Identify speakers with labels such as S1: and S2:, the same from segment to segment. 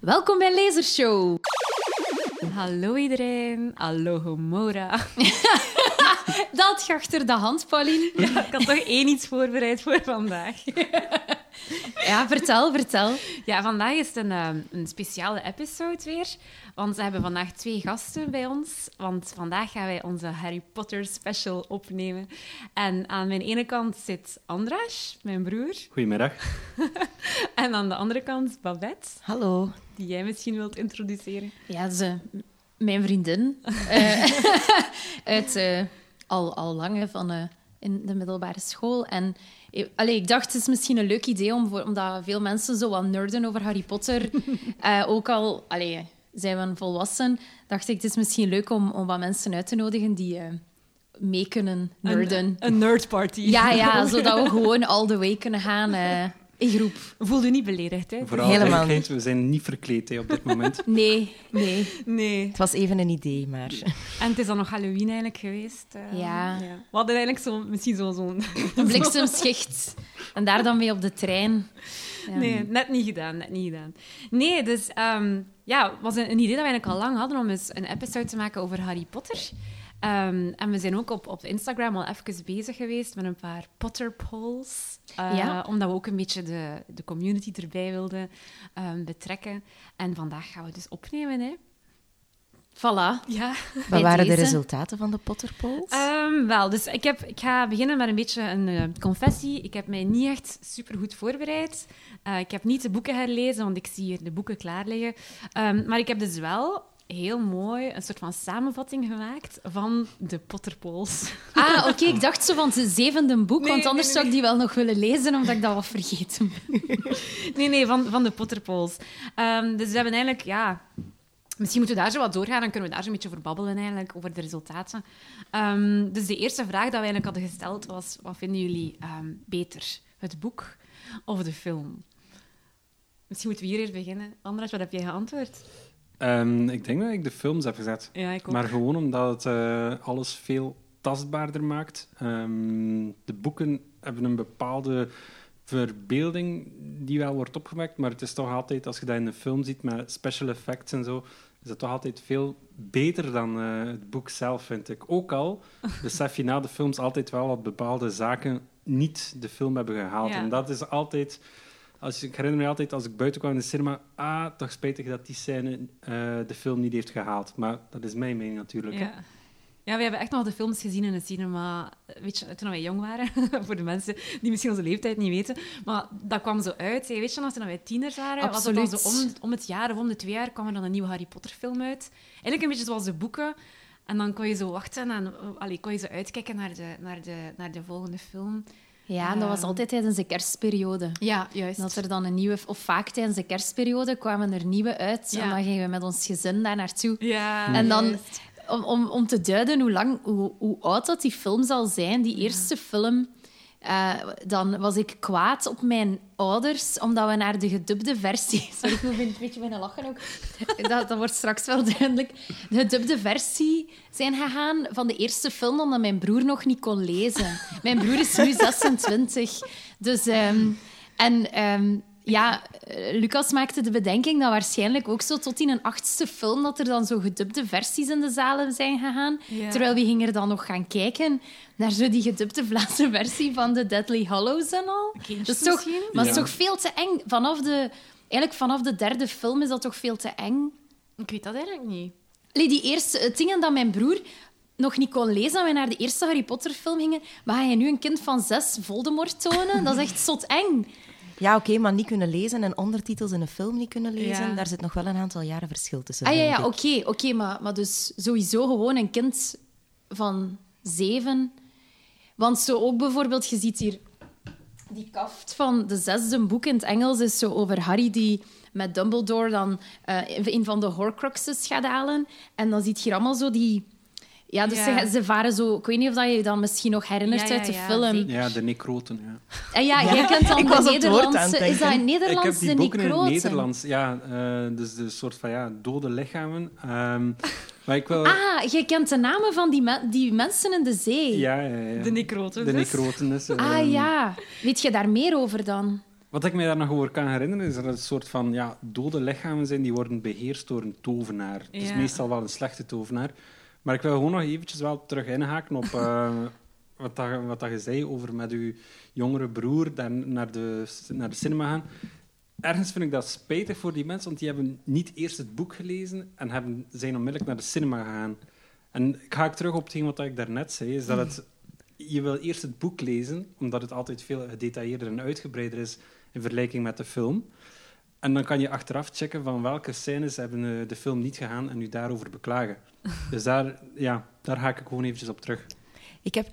S1: Welkom bij Lasershow.
S2: Hallo iedereen, hallo Homora.
S1: Eh, Dat je achter de hand, Pauline.
S2: ik had toch één iets voorbereid voor vandaag.
S1: Ja, vertel, vertel.
S2: Ja, vandaag is het een, ehm, een speciale episode weer. Want we hebben vandaag twee gasten bij ons. Want vandaag gaan wij onze Harry Potter special opnemen. En aan mijn ene kant zit Andras, mijn broer.
S3: Goedemiddag.
S2: En aan de andere kant Babette,
S1: Hallo.
S2: die jij misschien wilt introduceren.
S1: Ja, ze, mijn vriendin. Eh, uit eh, al, al lange van eh, in de middelbare school. En eh, allee, ik dacht, het is misschien een leuk idee, om voor, omdat veel mensen zo wat nerden over Harry Potter. Eh, ook al allee, zijn we een volwassen, dacht ik, het is misschien leuk om, om wat mensen uit te nodigen die eh, mee kunnen
S2: Een-
S1: nerden.
S2: Een nerdparty.
S1: Ja, ja, zodat we gewoon all the way kunnen gaan eh, in groep.
S2: Voel je niet beledigd, hè?
S3: Vooral
S4: Helemaal
S3: duidelijkheid, we zijn niet verkleed hè, op dit moment.
S1: Nee, nee.
S2: Nee.
S4: Het was even een idee, maar...
S2: En het is dan nog Halloween eigenlijk geweest. eh.
S1: Ja.
S2: We hadden eigenlijk zo, misschien zo- zo'n...
S1: Een bliksemschicht. En daar dan mee op de trein. Ja.
S2: Nee, net niet gedaan, net niet gedaan. Nee, dus ehm, ja, het was een, een idee dat we eigenlijk al lang hadden om eens een episode te maken over Harry Potter. Ehm, en we zijn ook op, op Instagram al even bezig geweest met een paar Potter polls. eh,
S1: Ja.
S2: Omdat we ook een beetje de, de community erbij wilden ehm, betrekken. En vandaag gaan we dus opnemen, hè.
S1: Voilà.
S2: Ja.
S1: Bij
S4: Wat waren de
S1: deze. Eh.
S4: resultaten van de Potterpolls?
S2: Ehm, wel, dus ik, heb, ik ga beginnen met een beetje een eh, confessie. Ik heb mij niet echt supergoed voorbereid. Eh, ik heb niet de boeken herlezen, want ik zie hier de boeken klaar liggen. Ehm, maar ik heb dus wel heel mooi een soort van samenvatting gemaakt van de Potterpools.
S1: Ah, oké, ik dacht zo van het zevende boek,
S2: Nee,
S1: want anders
S2: nee,
S1: zou ik die wel nog willen lezen, omdat ik dat wat vergeten ben.
S2: Nee, nee, van, van de Potterpools. Ehm, dus we hebben eigenlijk, ja... Misschien moeten we daar zo wat doorgaan, dan kunnen we daar zo een beetje over babbelen eigenlijk, over de resultaten. Ehm, dus de eerste vraag die we eigenlijk hadden gesteld was, wat vinden jullie ehm, beter? Het boek of de film? Misschien moeten we hier eerst beginnen. Anders, wat heb jij geantwoord?
S3: Ehm, ik denk dat ik de films heb gezet.
S2: Ja, ik
S3: Maar gewoon omdat het eh, alles veel tastbaarder maakt. Ehm, de boeken hebben een bepaalde verbeelding die wel wordt opgewekt. Maar het is toch altijd, als je dat in een film ziet met special effects en zo, is dat toch altijd veel beter dan eh, het boek zelf, vind ik. Ook al besef je na de films altijd wel wat bepaalde zaken niet de film hebben gehaald.
S2: Ja.
S3: En dat is altijd... Als, ik herinner me altijd, als ik buiten kwam in de cinema, ah, toch spijtig dat die scène eh, de film niet heeft gehaald. Maar dat is mijn mening natuurlijk. hè.
S2: Ja. Ja, we hebben echt nog de films gezien in de cinema. Weet je, toen wij jong waren, voor de mensen die misschien onze leeftijd niet weten. Maar dat kwam zo uit. hè. Weet je nog, toen wij tieners waren, was het dan zo om,
S1: Absoluut.
S2: om het jaar of om de twee jaar kwam er dan een nieuwe Harry Potter film uit. Eigenlijk een beetje zoals de boeken. En dan kon je zo wachten en eh, allee, kon je zo uitkijken naar de, naar de, naar de volgende film.
S1: Ja, en dat was
S2: Ehm.
S1: altijd tijdens de kerstperiode.
S2: Ja, juist.
S1: Dat er dan een nieuwe, of vaak tijdens de kerstperiode, kwamen er nieuwe uit.
S2: Ja.
S1: En dan gingen we met ons gezin daar naartoe.
S2: Ja,
S1: En dan,
S2: juist.
S1: om, om, om te duiden hoe, lang, hoe, hoe oud dat die film zal zijn, die eerste film, eh, dan was ik kwaad op mijn ouders, omdat we naar de gedubde versie... Sorry, ik moet een beetje bijna lachen ook. Dat, dat wordt straks wel duidelijk. De gedubde versie zijn gegaan van de eerste film, omdat mijn broer nog niet kon lezen. Mijn broer is nu 26. Dus... ehm, en ehm, ja, eh, Lucas maakte de bedenking dat waarschijnlijk ook zo tot in een achtste film dat er dan zo gedubde versies in de zalen zijn gegaan.
S2: Ja.
S1: Terwijl we gingen er dan nog gaan kijken naar zo die gedubde Vlaamse versie van de Deadly Hollows en al.
S2: Kindjes
S1: Dat is toch,
S2: misschien?
S1: maar het is
S3: Ja.
S1: toch veel te eng. Vanaf de, eigenlijk vanaf de derde film is dat toch veel te eng.
S2: Ik weet dat eigenlijk niet.
S1: Allee, die eerste, het ding dat mijn broer nog niet kon lezen, dat wij naar de eerste Harry Potter film gingen, maar ga je nu een kind van zes Voldemort tonen? Dat is echt zot eng.
S4: Ja, oké, maar niet kunnen lezen en ondertitels in een film niet kunnen lezen.
S2: Ja.
S4: Daar zit nog wel een aantal jaren verschil tussen.
S1: Ah ja,
S4: denk
S1: ja
S4: ik.
S1: oké, oké maar, maar dus sowieso gewoon een kind van zeven. Want zo ook bijvoorbeeld, je ziet hier die kaft van de zesde boek in het Engels is zo over Harry die met Dumbledore dan eh, een van de Horcruxes gaat halen. En dan ziet je hier allemaal zo die... Ja, dus
S2: Ja.
S1: Ze, ze varen zo... Ik weet niet of dat je je dan misschien nog herinnert
S2: Ja, ja,
S1: uit de
S2: ja,
S1: film.
S2: zeker.
S3: Ja, de necroten. Ja.
S1: En ja, jij kent dan
S4: Ik
S1: de
S4: was op het woord aan het
S1: Nederlandse... Is dat
S4: denken.
S1: in
S3: Ik
S1: Nederlands
S3: heb
S1: de
S3: die boeken in het
S1: necroten?
S3: Nederlands. Ja, eh, dus de soort van ja, dode lichamen. Ehm, maar ik wil...
S1: Ah, jij kent de namen van die, men- die mensen in de zee.
S3: ja, ja, ja.
S2: De necroten
S3: De
S2: dus.
S3: necroten dus,
S1: Ah
S3: ehm,
S1: ja, weet je daar meer over dan?
S3: Wat ik me daar nog over kan herinneren, is dat het een soort van ja, dode lichamen zijn die worden beheerst door een tovenaar. Het is
S2: Ja.
S3: meestal wel een slechte tovenaar. Maar ik wil gewoon nog eventjes wel terug inhaken op eh, wat, dat, wat dat je zei over met uw jongere broer daar naar de, naar de cinema gaan. Ergens vind ik dat spijtig voor die mensen, want die hebben niet eerst het boek gelezen en hebben, zijn onmiddellijk naar de cinema gegaan. En ik ga ik terug op hetgeen wat ik daarnet zei, is dat het, je wil eerst het boek lezen, omdat het altijd veel gedetailleerder en uitgebreider is in vergelijking met de film. En dan kan je achteraf checken van welke scènes hebben eh, de film niet gegaan en u daarover beklagen. Dus daar, ja, daar ga ik gewoon eventjes op terug.
S4: Ik heb,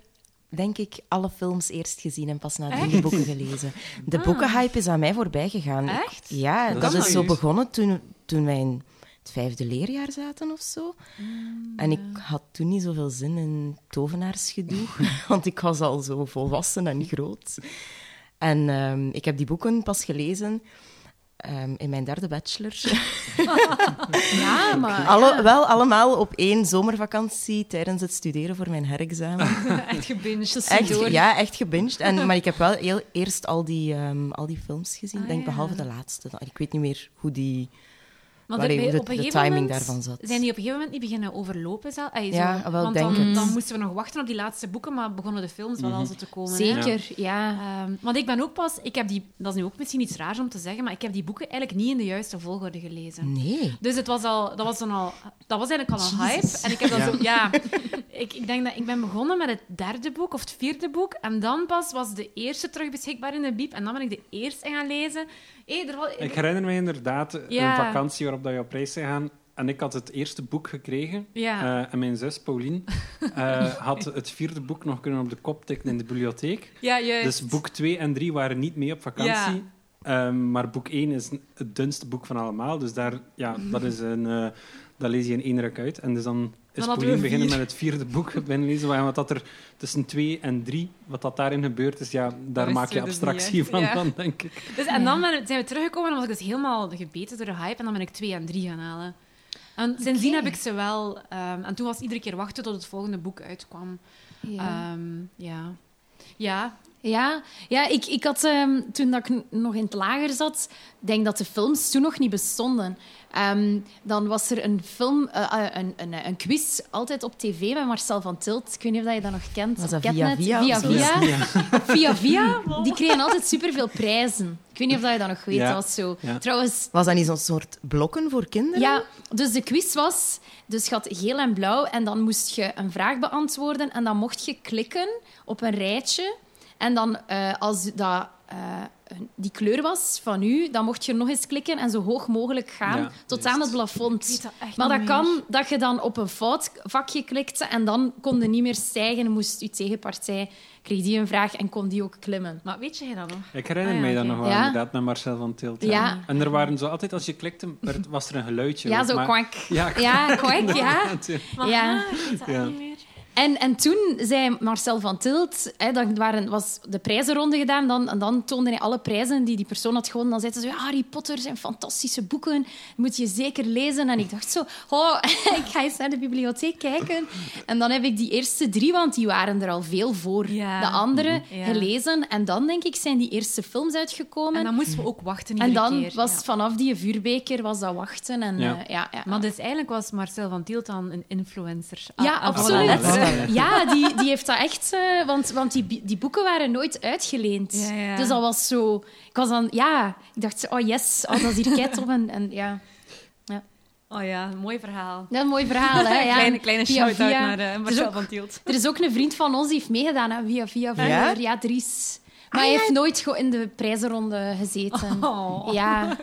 S4: denk ik, alle films eerst gezien en pas nadien
S2: Echt?
S4: de boeken gelezen. De
S2: Ah.
S4: boekenhype is aan mij voorbij gegaan. Ik-
S2: Echt?
S4: ja,
S3: Dat
S4: dat,
S3: is
S4: is zo
S3: serieus.
S4: begonnen toen, toen wij in het vijfde leerjaar zaten of zo.
S2: Mm,
S4: en ik had toen niet zoveel zin in tovenaarsgedoe, want ik was al zo volwassen en groot. En ehm, ik heb die boeken pas gelezen ehm, in mijn derde bachelor.
S1: Ja,
S2: Ah,
S1: maar...
S4: Alle, wel allemaal op één zomervakantie tijdens het studeren voor mijn herexamen.
S2: Echt gebinged.
S4: Echt,
S2: door.
S4: ja, echt gebinged. En, maar ik heb wel heel, eerst al die, ehm, al die films gezien,
S2: Ah,
S4: denk
S2: ja.
S4: behalve de laatste. dan. Ik weet niet meer hoe die...
S2: Want
S4: Allee,
S2: bij-
S4: de-
S2: op een
S4: de
S2: gegeven
S4: timing
S2: moment
S4: daarvan zat.
S2: Zijn die op een gegeven moment niet beginnen overlopen? Zelf? Ay, zo.
S4: Ja, wel,
S2: Want
S4: denk
S2: dan,
S4: het. Mhm.
S2: dan moesten we nog wachten op die laatste boeken, maar begonnen de films wel al zo te komen. hè.
S1: Zeker, ja.
S2: Ehm, want ik ben ook pas, ik heb die, dat is nu ook misschien iets raars om te zeggen, maar ik heb die boeken eigenlijk niet in de juiste volgorde gelezen.
S4: Nee.
S2: Dus het was al, dat was dan al, dat was eigenlijk al een hype. En ik heb dat
S3: Ja.
S2: zo, ja. Ik, ik denk dat ik ben begonnen met het derde boek of het vierde boek. En dan pas was de eerste terug beschikbaar in de bieb. En dan ben ik de eerste in gaan lezen. Hé, er, wa-
S3: Ik herinner me inderdaad
S2: Ja.
S3: een vakantie waarop dat je op reis zou gaan. En ik had het eerste boek gekregen.
S2: ja.
S3: Eh, en mijn zus, Paulien, eh, had het vierde boek nog kunnen op de kop tikken in de bibliotheek.
S2: ja, juist.
S3: Dus boek 2 en 3 waren niet mee op vakantie. Ehm, maar boek 1 is het dunste boek van allemaal. Dus daar, ja,
S2: Mhm.
S3: dat, is een, eh, dat lees je in één ruk uit. En dus dan is
S2: Dan hadden
S3: Paulien
S2: we
S3: beginnen met
S2: vier.
S3: het vierde boek binnenlezen. Maar Wat dat er tussen 2 en 3, wat dat daarin gebeurt, is ja, daar
S2: wisten
S3: maak je
S2: we dus
S3: abstractie
S2: niet, hè?
S3: van,
S2: Ja.
S3: dan, denk ik.
S2: Dus, en dan ben- zijn we teruggekomen en was ik dus helemaal gebeten door de hype. En dan ben ik twee en drie gaan halen. En sindsdien heb ik ze wel... ehm, en toen was iedere keer wachten tot het volgende boek uitkwam.
S1: Ja. Eh,
S2: Ja. ja. ja.
S1: Ja, ja ik, ik had ehm, toen dat ik n- nog in het lager zat, denk dat de films toen nog niet bestonden. Ehm, dan was er een film, eh, eh, een, een, een quiz, altijd op tv met Marcel van Tilt. Ik weet niet of dat je dat nog kent.
S4: Was dat
S1: Op
S4: Via
S1: Catnet.
S4: Via of zo?
S1: Via,
S3: Ja.
S1: Via Via, die kregen altijd superveel prijzen. Ik weet niet of dat je dat nog weet,
S3: Ja,
S1: dat was zo.
S3: ja.
S1: Trouwens,
S4: Was dat niet zo'n soort blokken voor kinderen?
S1: ja, dus de quiz was, dus je had geel en blauw en dan moest je een vraag beantwoorden en dan mocht je klikken op een rijtje en dan eh, als dat eh, een- die kleur was van u, dan mocht je nog eens klikken en zo hoog mogelijk gaan
S3: Ja,
S1: tot
S3: juist.
S1: aan het plafond.
S2: dat echt
S1: maar
S2: niet
S1: dat
S2: meer.
S1: kan dat je dan op een fout vakje klikte en dan kon je niet meer stijgen, moest je tegenpartij kreeg die een vraag en kon die ook klimmen.
S2: Maar weet jij dat nog?
S3: Ik herinner
S2: Ah, ja,
S3: mij dat
S2: oké.
S3: nog wel,
S1: Ja.
S3: inderdaad, met Marcel van Tilt. ja.
S1: Ja.
S3: En er waren zo altijd, als je klikte, werd- was er een geluidje.
S1: Ja,
S3: ook,
S1: zo
S3: maar-
S1: kwak.
S3: Ja,
S1: Ja, kwak, ja.
S3: inderdaad, ja.
S1: Ja.
S2: Ah, ik weet dat
S3: Ja.
S2: niet meer.
S1: En, en toen zei Marcel van Tilt, hè, dan waren, was de prijzenronde gedaan, dan, en dan toonde hij alle prijzen die die persoon had gewonnen. Dan zei ze, zo, "Ja, Harry Potter zijn fantastische boeken, moet je zeker lezen. En ik dacht zo, oh, ik ga eens naar de bibliotheek kijken. En dan heb ik die eerste drie, want die waren er al veel voor
S2: Ja.
S1: de andere,
S2: Mhm. Ja.
S1: gelezen. En dan, denk ik, zijn die eerste films uitgekomen.
S2: En dan moesten we ook wachten
S1: En
S2: iedere
S1: dan
S2: keer.
S1: was
S2: ja.
S1: vanaf die vuurbeker was dat wachten. En,
S3: Ja.
S1: eh, ja, ja.
S2: Maar dus eigenlijk was Marcel van Tielt dan een influencer.
S1: Ja,
S2: Ah, ah,
S1: absoluut.
S2: voilà.
S3: voilà.
S1: Ja, die, die heeft dat echt... eh, want want die, bi- die boeken waren nooit uitgeleend.
S2: Ja, ja.
S1: Dus dat was zo... Ik was dan... Ja, ik dacht, zo, oh yes, oh, dat is hier keitof. En, en ja,
S2: Oh ja, mooi verhaal.
S1: dat is een mooi verhaal, hè. Ja,
S2: kleine kleine
S1: Via
S2: shout-out
S1: Via.
S2: naar eh,
S1: Het is
S2: Marcel
S1: ook-
S2: van Tielt.
S1: Er is ook een vriend van ons die heeft meegedaan aan Via Via vroeger.
S4: Ja?
S1: Ja, Dries. Maar hij heeft nooit gewoon in de prijzenronde gezeten.
S2: Ah, Oh.
S1: Ja.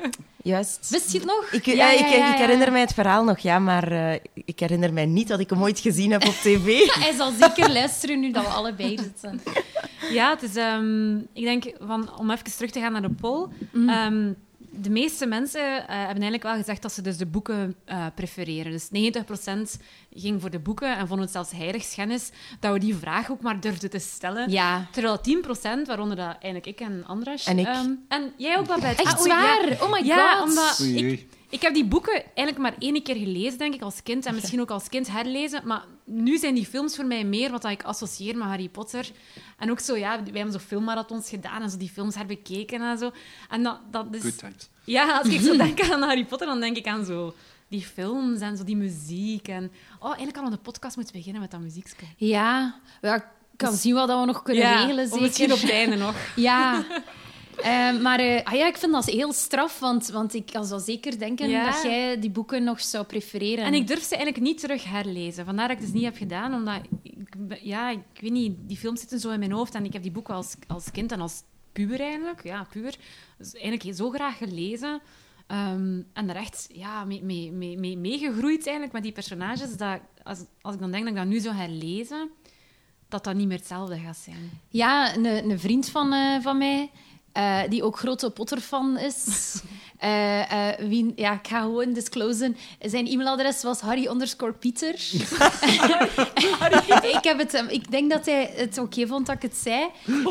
S4: Juist.
S1: Wist je het nog?
S4: Ik,
S1: Ja,
S4: ja,
S1: ja,
S4: ik,
S1: ja,
S4: ik
S1: ja.
S4: herinner mij het verhaal nog, ja, maar eh, ik herinner mij niet dat ik hem ooit gezien heb op tv.
S1: Hij zal zeker luisteren nu dat we allebei hier zitten.
S2: Ja, het is, ehm, ik denk, van, om even terug te gaan naar de poll.
S1: Mhm.
S2: Ehm, de meeste mensen eh, hebben eigenlijk wel gezegd dat ze dus de boeken eh, prefereren. Dus 90% ging voor de boeken en vond het zelfs heilig schennis dat we die vraag ook maar durfden te stellen.
S1: Ja.
S2: Terwijl 10%, waaronder dat eigenlijk ik en Andras...
S4: En ik.
S2: ehm, en jij ook, Babette.
S1: Echt
S2: Ah, oei, ja.
S1: waar? Oh my god.
S2: Ja, omdat
S3: Oei,
S2: ik,
S3: oei.
S2: Ik heb die boeken eigenlijk maar één keer gelezen, denk ik, als kind. En misschien ook als kind herlezen. Maar nu zijn die films voor mij meer wat dat ik associeer met Harry Potter. En ook zo, ja, wij hebben zo filmmarathons gedaan en zo die films herbekeken en zo. En dat, dat is...
S1: dus-
S3: Good times.
S2: Ja, als ik zo denk aan Harry Potter, dan denk ik aan zo die films en zo die muziek. En... Oh, eigenlijk hadden we de podcast moeten beginnen met dat muziekje.
S1: Ja, ja, ik kan zien wat dat we nog kunnen
S2: ja,
S1: regelen,
S2: of
S1: zeker.
S2: misschien op het einde nog.
S1: Ja. Eh, maar eh, ah ja, ik vind dat heel straf, want, want ik kan zo zeker denken
S2: Ja.
S1: dat jij die boeken nog zou prefereren.
S2: En ik durf ze eigenlijk niet terug herlezen. Vandaar dat ik het dus niet heb gedaan, omdat... Ik, ben- ja, ik weet niet, die films zitten zo in mijn hoofd. En ik heb die boeken als, als kind en als puber eigenlijk, ja, puber, dus eigenlijk zo graag gelezen. Ehm, en daar echt ja, mee, mee, mee, mee, meegegroeid eigenlijk met die personages. Dat, als, als ik dan denk dat ik dat nu zou herlezen, dat dat niet meer hetzelfde gaat zijn.
S1: Ja, een, een vriend van, eh, van mij, eh, die ook grote Potter-fan is. Eh, eh, wie, ja, ik ga gewoon disclosen. Zijn e-mailadres was harry underscore Pieter. ik, heb het, hem- ik denk dat hij het oké vond dat ik het zei.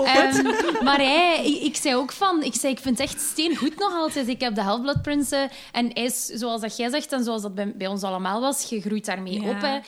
S1: Ehm, maar hij, ik, ik zei ook van... Ik, zei, ik vind het echt steengoed nog altijd. Ik heb de Half-Blood Prince. eh, en hij is, zoals dat jij zegt en zoals dat bij, bij ons allemaal was, gegroeid daarmee
S2: Ja.
S1: op. Hè.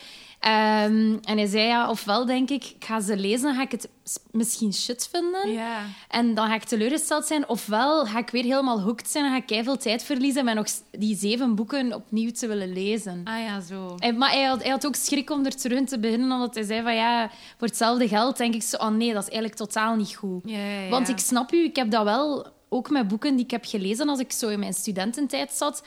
S1: Ehm, en hij zei, ja, ofwel denk ik, ik ga ze lezen, ga ik het s- misschien shit vinden.
S2: Ja.
S1: En dan ga ik teleurgesteld zijn. Ofwel ga ik weer helemaal hooked zijn en ga ik veel tijd verliezen met nog s- die zeven boeken opnieuw te willen lezen.
S2: Ah ja, zo.
S1: Hij- Maar hij had, hij had ook schrik om er terug in te beginnen, omdat hij zei van ja, voor hetzelfde geld denk ik zo, oh nee, dat is eigenlijk totaal niet goed.
S2: Ja, ja, ja.
S1: Want ik snap u, ik heb dat wel, ook met boeken die ik heb gelezen als ik zo in mijn studententijd zat,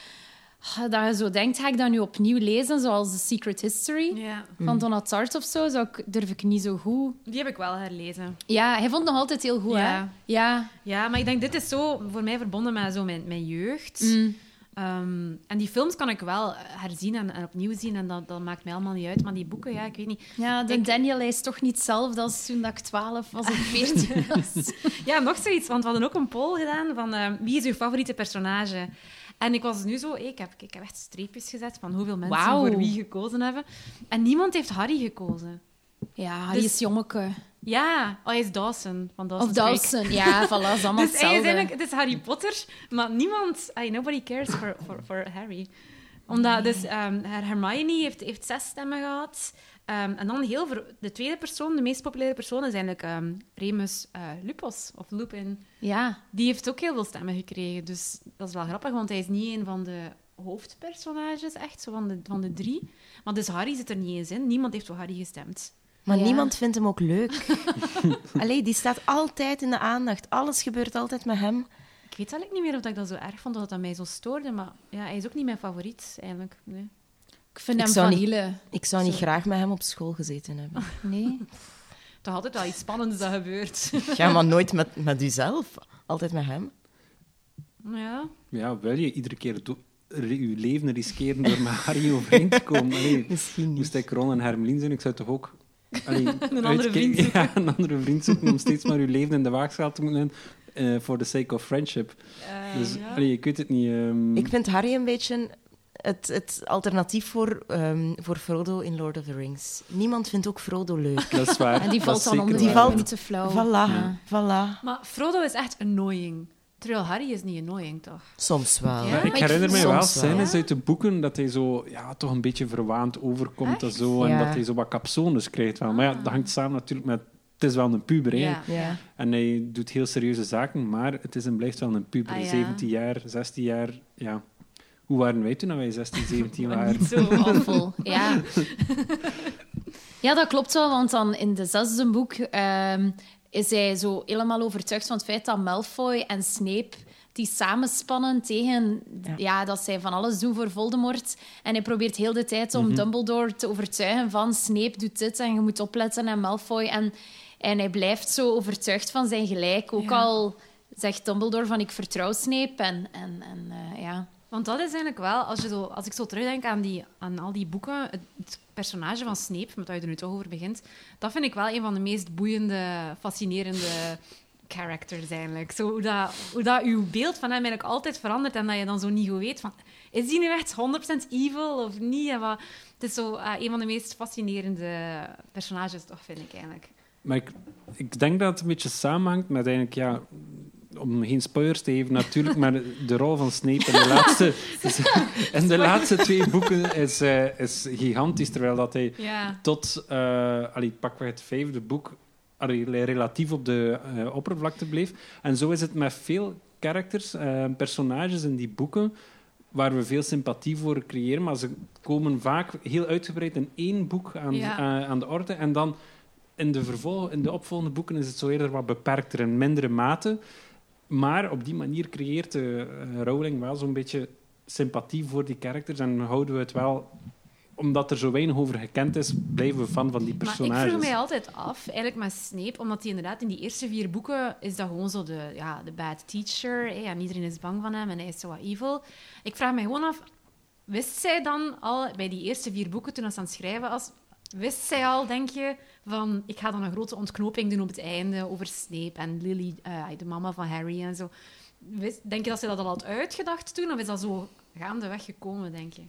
S1: ah, dat je zo denkt, ga ik dat nu opnieuw lezen, zoals The Secret History
S2: Ja.
S4: Mm.
S1: van Donald Tart of zo, zou ik, durf ik niet zo goed.
S2: Die heb ik wel herlezen.
S1: Ja, hij vond het nog altijd heel goed,
S2: Ja.
S1: hè? Ja.
S2: Ja, maar ik denk, dit is zo voor mij verbonden met zo mijn, mijn jeugd.
S1: Mm.
S2: Ehm, en die films kan ik wel herzien en, en opnieuw zien. En dat, dat maakt mij allemaal niet uit. Maar die boeken, ja, ik weet niet.
S1: Ja, de Daniel hij is toch niet hetzelfde als toen dat ik 12 was of 14 was.
S2: Ja, nog zoiets. Want we hadden ook een poll gedaan van ehm, wie is uw favoriete personage? En ik was nu zo... Ik heb, ik heb echt streepjes gezet van hoeveel mensen
S1: Wauw.
S2: voor wie gekozen hebben. En niemand heeft Harry gekozen.
S1: Ja, hij
S2: Dus-
S1: is jongeke.
S2: Ja, oh, hij is Dawson. Van Dawson's
S1: Of
S2: Creek.
S1: Dawson, ja, voilà, dat is allemaal
S2: Dus hij is
S1: hetzelfde.
S2: eigenlijk, het is Harry Potter, maar niemand, ay, nobody cares for, for, for Harry. Omdat dus, ehm, Her- Hermione heeft, heeft zes stemmen gehad. Ehm, en dan heel ver- de tweede persoon, de meest populaire persoon, is eigenlijk ehm, Remus eh, Lupus, of Lupin.
S1: Ja,
S2: Die heeft ook heel veel stemmen gekregen. Dus dat is wel grappig, want hij is niet een van de hoofdpersonages, echt, zo van de, van de drie. Maar dus Harry zit er niet eens in. Niemand heeft voor Harry gestemd.
S4: Maar
S1: Ja.
S4: niemand vindt hem ook leuk. Allee, die staat altijd in de aandacht. Alles gebeurt altijd met hem.
S2: Ik weet eigenlijk niet meer of dat ik dat zo erg vond, of dat dat mij zo stoorde. Maar ja, hij is ook niet mijn favoriet, eigenlijk. Nee.
S1: ik vind
S4: Ik
S1: hem
S4: zou niet-
S1: vanille.
S4: Ik zou niet
S1: Sorry.
S4: graag met hem op school gezeten hebben.
S1: Nee.
S2: Toch altijd wel iets spannends dat gebeurt.
S4: Ja, maar nooit met, met uzelf. Altijd met hem.
S2: Ja.
S3: Ja, wil je iedere keer do- re- je leven riskeren door met Harry overeen te komen? Allee,
S4: Misschien
S3: moest ik Ron en Hermelien zijn, ik zou toch ook... allee,
S2: andere
S3: uitkijken-
S2: vriend zoeken.
S3: Ja, een andere vriend zoeken om steeds maar je leven in de waagschaal te moeten eh for the sake of friendship. dus
S2: Eh, ja.
S3: allee, ik weet het niet. ehm,
S4: Ik vind Harry een beetje het, het alternatief voor, ehm, voor Frodo in Lord of the Rings. Niemand vindt ook Frodo leuk.
S3: Dat is waar.
S1: En die
S3: dat
S1: valt
S3: is
S1: dan
S3: zeker
S1: onder
S4: Die
S1: die
S3: waar.
S4: valt-
S1: niet te flauw.
S4: Voilà,
S3: Ja.
S4: voilà.
S2: Maar Frodo is echt annoying. Terwijl Harry is niet annoying, toch?
S4: Soms wel.
S2: Ja?
S3: Ik
S1: Maar
S3: herinner
S1: vind-
S3: me wel
S4: soms wel.
S3: scènes uit de boeken dat hij zo ja, toch een beetje verwaand overkomt en zo. En
S4: Ja.
S3: dat hij zo wat capsones krijgt. Wel. Maar ja, dat hangt samen natuurlijk met... Het is wel een puber, hè.
S2: Ah. Ja.
S4: Ja.
S3: En hij doet heel serieuze zaken, maar het is en blijft wel een puber.
S2: Ah, ja.
S3: 17 jaar, 16 jaar, ja. Hoe waren wij toen wij 16, 17 waren?
S2: Oh, Niet zo. al-
S1: Awful, ja. Ja, dat klopt wel, want dan in de zesde boek ehm, is hij zo helemaal overtuigd van het feit dat Malfoy en Snape die samenspannen tegen ja.
S4: Ja.
S1: dat zij van alles doen voor Voldemort. En hij probeert heel de tijd om Dumbledore te overtuigen van Snape doet dit en je moet opletten en Malfoy. En, en hij blijft zo overtuigd van zijn gelijk. Ook
S2: Ja.
S1: al zegt Dumbledore van ik vertrouw Snape en, en, en eh, ja...
S2: Want dat is eigenlijk wel, als, je zo, als ik zo terugdenk aan, die, aan al die boeken, het, het personage van Snape, met dat je er nu toch over begint, dat vind ik wel een van de meest boeiende, fascinerende characters eigenlijk. Zo, hoe, dat, hoe dat uw beeld van hem eigenlijk altijd verandert en dat je dan zo niet goed weet van, is die nu echt 100% evil of niet? En wat, het is zo eh, een van de meest fascinerende personages, toch, vind ik eigenlijk.
S3: Maar ik, ik denk dat het een beetje samenhangt met eigenlijk, ja, om geen spoilers te geven natuurlijk, maar de rol van Snape in de laatste, in de laatste twee boeken is, eh, is gigantisch. Terwijl dat hij
S2: Ja.
S3: tot eh allee, pakweg het vijfde boek allee, relatief op de eh, oppervlakte bleef. En zo is het met veel characters, eh, personages in die boeken, waar we veel sympathie voor creëren, maar ze komen vaak heel uitgebreid in één boek aan,
S2: Ja.
S3: eh, aan de orde. En dan in de, vervolg, in de opvolgende boeken is het zo eerder wat beperkter, in mindere mate. Maar op die manier creëert eh, eh, Rowling wel zo'n beetje sympathie voor die characters en houden we het wel omdat er zo weinig over gekend is, blijven we fan van die
S2: Maar ik
S3: personages.
S2: vroeg mij altijd af, eigenlijk met Snape, omdat hij inderdaad in die eerste vier boeken is dat gewoon zo de, ja, de bad teacher. Hè, en iedereen is bang van hem en hij is zo wat evil. Ik vraag mij gewoon af, wist zij dan al bij die eerste vier boeken, toen ze aan het schrijven was, wist zij al, denk je, van ik ga dan een grote ontknoping doen op het einde over Snape en Lily, eh, de mama van Harry en zo. Wist- denk je dat ze dat al had uitgedacht toen, of is dat zo gaandeweg gekomen, denk je?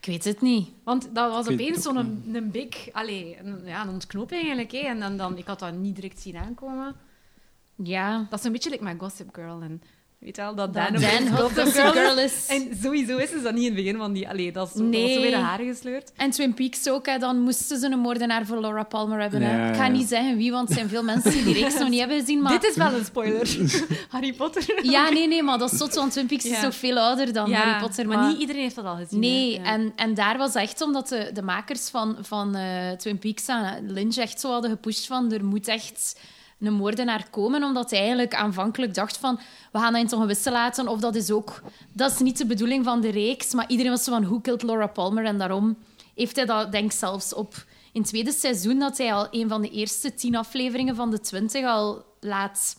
S1: Ik weet het niet.
S2: Want dat was
S3: Ik weet
S2: opeens
S3: het ook
S2: zo'n een big, allee, een, ja, een ontknoping eigenlijk. Hè. En dan, dan, ik had dat niet direct zien aankomen.
S1: Ja.
S2: Dat is een beetje like mijn Gossip Girl. En, weet je wel, dat Dan,
S1: Dan
S2: opeens
S1: Gossip Girl is... En,
S2: En sowieso is ze dat niet in het begin van die... Allee, dat is zo, dat was
S1: Nee.
S2: zo bij de haren gesleurd.
S1: Twin Peaks ook, hè. dan moesten ze een moordenaar voor Laura Palmer hebben. hè.
S3: Ja,
S1: Ik ga
S3: ja.
S1: niet zeggen wie, want er zijn veel mensen die die reeks nog niet hebben gezien. Maar...
S2: Dit is wel een spoiler. Harry Potter.
S1: Ja, nee, nee, maar dat is zot, want Twin Peaks
S2: Ja.
S1: is toch veel ouder dan
S2: Ja,
S1: Harry Potter.
S2: maar, niet iedereen heeft dat al gezien.
S1: Nee,
S2: hè. Ja.
S1: en, en daar was echt omdat de, de makers van, van eh, Twin Peaks en Lynch echt zo hadden gepusht van er moet echt een moordenaar komen, omdat hij eigenlijk aanvankelijk dacht van we gaan dat in het ongewisse laten, of dat is ook... Dat is niet de bedoeling van de reeks, maar iedereen was zo van hoe killed Laura Palmer? En daarom heeft hij dat denk ik zelfs op... In het tweede seizoen dat hij al een van de eerste tien afleveringen van de twintig al laat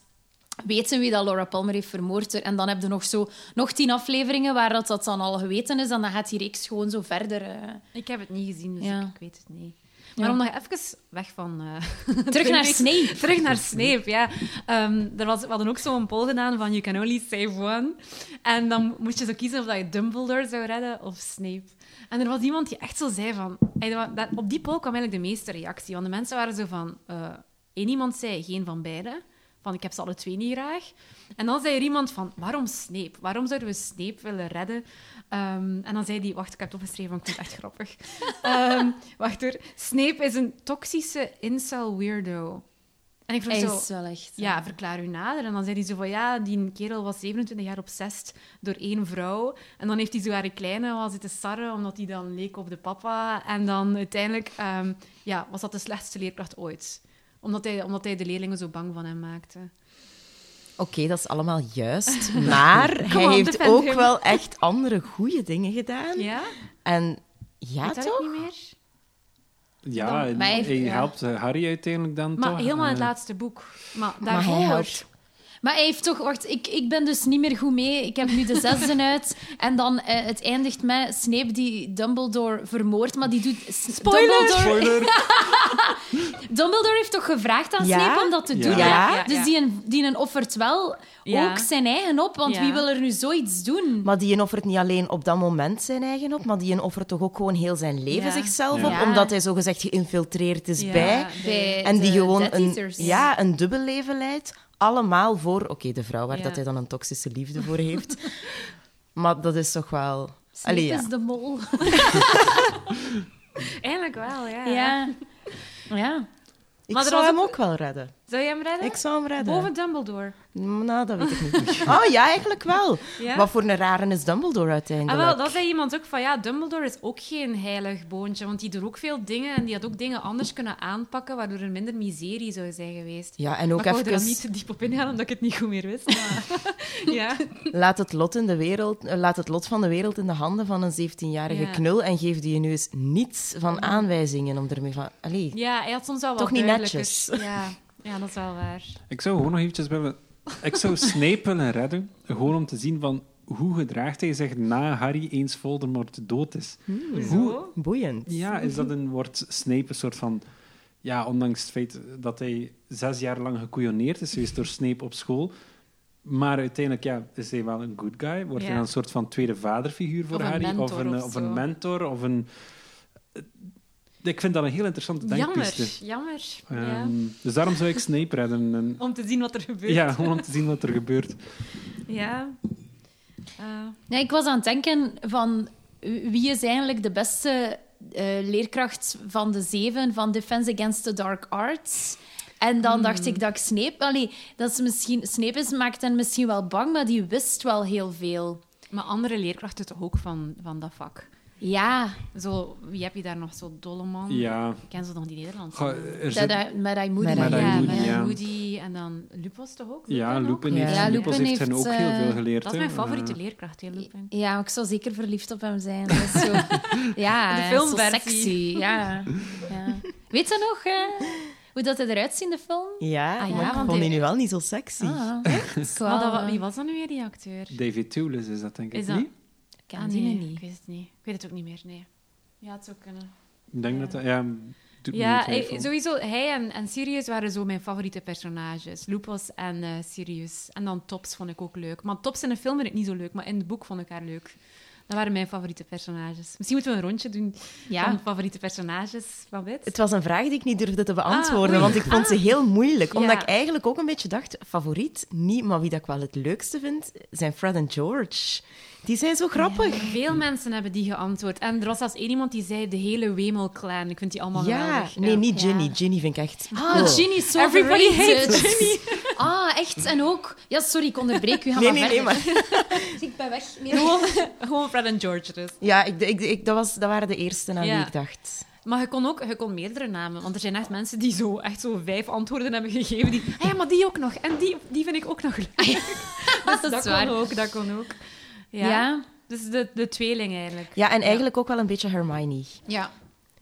S1: weten wie dat Laura Palmer heeft vermoord. En dan heb je nog zo nog tien afleveringen waar dat, dat dan al geweten is. En dan gaat die reeks gewoon zo verder. eh.
S2: Ik heb het niet gezien, dus
S1: Ja.
S2: ik, ik weet het niet. Maar
S1: Ja.
S2: om nog even weg van... eh,
S1: Terug naar Snape.
S2: Terug naar Snape, ja. Ehm, er was, we hadden ook zo'n poll gedaan van You can only save one. En dan moest je zo kiezen of dat je Dumbledore zou redden of Snape. En er was iemand die echt zo zei van... Ey, dat wa- dat- op die poll kwam eigenlijk de meeste reactie. Want de mensen waren zo van... eh één iemand zei geen van beide. Van ik heb ze alle twee niet graag. En dan zei er iemand van, waarom Snape? Waarom zouden we Snape willen redden? Ehm, en dan zei die, wacht, ik heb het opgeschreven, want ik vind het echt grappig. Ehm, wacht hoor. Snape is een toxische incel weirdo. En ik vroeg
S1: Hij
S2: zo...
S1: is wel echt. eh.
S2: Ja, verklaar u nader. En dan zei hij zo van, ja, die kerel was 27 jaar obsessed door één vrouw. En dan heeft hij zo haar kleine al zitten sarren, omdat hij dan leek op de papa. En dan uiteindelijk ehm, ja, was dat de slechtste leerkracht ooit. Omdat hij, omdat hij de leerlingen zo bang van hem maakte.
S4: Oké, dat is allemaal juist. Maar hij
S2: on,
S4: heeft
S2: defend
S4: ook
S2: him.
S4: wel echt andere goede dingen gedaan.
S2: Ja?
S4: En ja,
S2: Weet dat ook
S4: toch?
S2: niet meer?
S3: Ja,
S1: Dan-
S3: hij
S1: mij- ja.
S3: helpt eh, Harry uiteindelijk dan
S2: Maar
S3: toch.
S2: helemaal in het
S3: Eh,
S2: laatste boek. Maar
S4: Maar
S2: daarvoor...
S4: hij helpt.
S1: Maar hij heeft toch... Wacht, ik, ik ben dus niet meer goed mee. Ik heb nu de zesde uit. En dan eh, het eindigt met Snape die Dumbledore vermoordt. Maar die doet... S-
S2: Spoiler!
S1: Dumbledore,
S3: Spoiler!
S1: Dumbledore heeft toch gevraagd aan
S4: Ja?
S1: Snape om dat te
S3: Ja.
S1: doen?
S4: Ja.
S1: Dus die, een- die een offert wel
S2: Ja.
S1: ook zijn eigen op. Want
S2: Ja.
S1: wie wil er nu zoiets doen?
S4: Maar die een offert niet alleen op dat moment zijn eigen op, maar die een offert toch ook gewoon heel zijn leven
S2: Ja.
S4: zichzelf
S3: Ja.
S4: op,
S1: Ja.
S4: omdat hij zogezegd geïnfiltreerd is
S2: Ja,
S4: bij.
S1: Bij
S4: En die
S1: de
S4: gewoon
S1: Death
S4: een,
S1: Eaters.
S4: ja, een dubbel leven leidt. Allemaal voor, oké, de vrouw waar
S2: Ja.
S4: dat hij dan een toxische liefde voor heeft. maar dat is toch wel...
S1: Snape
S4: Allee, ja.
S1: is de mol.
S2: Eigenlijk wel, ja.
S1: Ja. Ja.
S4: Ik
S2: Maar er
S4: zou
S2: was
S4: hem
S2: ook-
S4: ook wel redden.
S2: Zou jij hem redden?
S4: Ik zou hem redden.
S2: Boven Dumbledore.
S4: Nou, dat weet ik niet. Oh ja, eigenlijk wel.
S2: Ja?
S4: Wat voor een rare is Dumbledore
S2: Ah,
S4: uiteindelijk?
S2: wel, dat zei iemand ook van ja, Dumbledore is ook geen heilig boontje, want die doet ook veel dingen en die had ook dingen anders kunnen aanpakken, waardoor er minder miserie zou zijn geweest.
S4: Ja, en
S2: maar
S4: ook
S2: ik wou er
S4: even...
S2: dan niet te diep op ingaan, omdat ik het niet goed meer wist. Maar... ja.
S4: Laat het, lot in de wereld, eh, laat het lot van de wereld in de handen van een 17-jarige
S2: Ja. Oh.
S4: knul en geef die nu eens niets van aanwijzingen om ermee van... Allee,
S2: ja, hij had soms wel wat
S4: Toch niet
S2: duidelijker.
S4: netjes.
S2: Ja. ja, dat is wel waar.
S3: Ik zou gewoon nog eventjes willen... Ik zou Snape willen redden, gewoon om te zien van hoe gedraagt hij zich na Harry eens Voldemort dood is.
S2: Hmm, Hoezo?
S4: boeiend.
S3: Ja, is dat een, wordt Snape een soort van... Ja, ondanks het feit dat hij zes jaar lang gekoeioneerd is geweest door Snape op school. Maar uiteindelijk ja, is hij wel een good guy. Wordt
S2: Ja.
S3: hij dan een soort van tweede vaderfiguur voor
S2: Of een
S3: Harry?
S2: mentor
S3: of, een,
S2: of
S3: of
S2: zo.
S3: een mentor? Of een... Ik vind dat een heel interessante denkpiste.
S2: Jammer, jammer. ja.
S3: Ehm, Dus daarom zou ik Snape redden. En,
S2: Om te zien wat er gebeurt.
S3: ja, gewoon om te zien wat er gebeurt.
S2: Ja. Eh,
S1: Nee, ik was aan het denken van eh, wie is eigenlijk de beste eh, leerkracht van de zeven van Defense Against the Dark Arts. En
S2: Hmm.
S1: dan dacht ik dat ik Snape... Allee, dat ze misschien... Snape is, maakt hen misschien wel bang, maar die wist wel heel veel.
S2: maar andere leerkrachten toch ook van, van dat vak.
S1: Ja,
S2: Zo, wie heb je daar nog? Zo Dolleman?
S3: Ja.
S2: Ik ken ze nog, die Nederlandse.
S3: Goh, er
S1: dat,
S3: zit-
S1: dat, met dat moeder.
S4: Met dat
S1: ja,
S3: Moody,
S1: met-
S2: Moody,
S3: ja.
S2: Moody en dan Lupus toch ook?
S3: ja,
S2: Lupin ook?
S3: Lupin
S4: Ja.
S3: heeft,
S4: Ja,
S3: Lupus
S1: Lupin
S3: heeft hen
S1: heeft,
S3: ook heel
S1: eh,
S3: veel geleerd.
S2: Dat is
S3: hè.
S2: mijn favoriete
S3: Eh,
S2: leerkracht, heel Lupin.
S1: Ja, ik zou zeker verliefd op hem zijn. Dat is zo, ja,
S2: De
S1: hij is zo
S2: filmversie.
S1: sexy. Ja, ja. Weet je nog eh, hoe dat hij eruit ziet in de film?
S4: Ja,
S1: Ah, ja,
S4: maar ik
S1: want
S4: vond
S2: die-
S4: die nu wel niet zo sexy.
S1: Ah, echt?
S2: Maar dat wa- wie was dat nu weer, die acteur?
S3: David Toulis is dat, denk ik.
S2: Is dat-
S3: niet?
S1: Ik ken
S2: Ah,
S1: die
S2: nee,
S1: nu
S2: Ik
S1: niet.
S2: weet het niet. Ik weet het ook niet meer, nee. Ja, het zou kunnen.
S3: Ik denk dat dat... Ja, doet me
S2: Ja,
S3: niet twijfel.
S2: eh, sowieso, hij en, en Sirius waren zo mijn favoriete personages. Lupus en eh, Sirius. En dan Tops vond ik ook leuk. Maar Tops in de film vind ik niet zo leuk, maar in het boek vond ik haar leuk. Dat waren mijn favoriete personages. Misschien moeten we een rondje doen van
S1: Ja,
S2: favoriete personages. Wat weet?
S4: Het was een vraag die ik niet durfde te beantwoorden,
S2: Ah, oei.
S4: want ik vond ze heel moeilijk.
S2: Ja.
S4: Omdat ik eigenlijk ook een beetje dacht, favoriet niet, maar wie dat ik wel het leukste vind, zijn Fred en George. Die zijn zo grappig.
S2: Veel mensen hebben die geantwoord. En er was zelfs één iemand die zei de hele Wemel-clan. Ik vind die allemaal
S4: ja,
S2: geweldig.
S4: nee, niet
S1: Ja.
S4: Ginny. Ginny vind ik echt...
S1: Ah,
S4: Oh.
S1: Ginny is zo
S2: Everybody
S1: overrated.
S2: hates Ginny.
S1: Ah, echt? En ook... Ja, sorry, ik onderbreek u. Ga
S4: Nee,
S1: maar
S4: nee, nee,
S1: verder.
S4: maar...
S1: Ik ben weg. Nee.
S2: Gewoon, gewoon Fred en George dus.
S4: Ja, ik, ik, ik- dat, was, dat waren de eerste aan
S2: Ja.
S4: wie ik dacht.
S2: Maar je kon ook je kon meerdere namen. Want er zijn echt mensen die zo, echt zo vijf antwoorden hebben gegeven. Die, ah ja, maar die ook nog. En die, die vind ik ook nog leuk.
S1: dat is
S2: dat
S1: waar.
S2: kon ook, dat kon ook. Ja.
S1: Ja. ja.
S2: Dus de, de tweeling eigenlijk.
S4: Ja, en eigenlijk ook wel een beetje Hermione.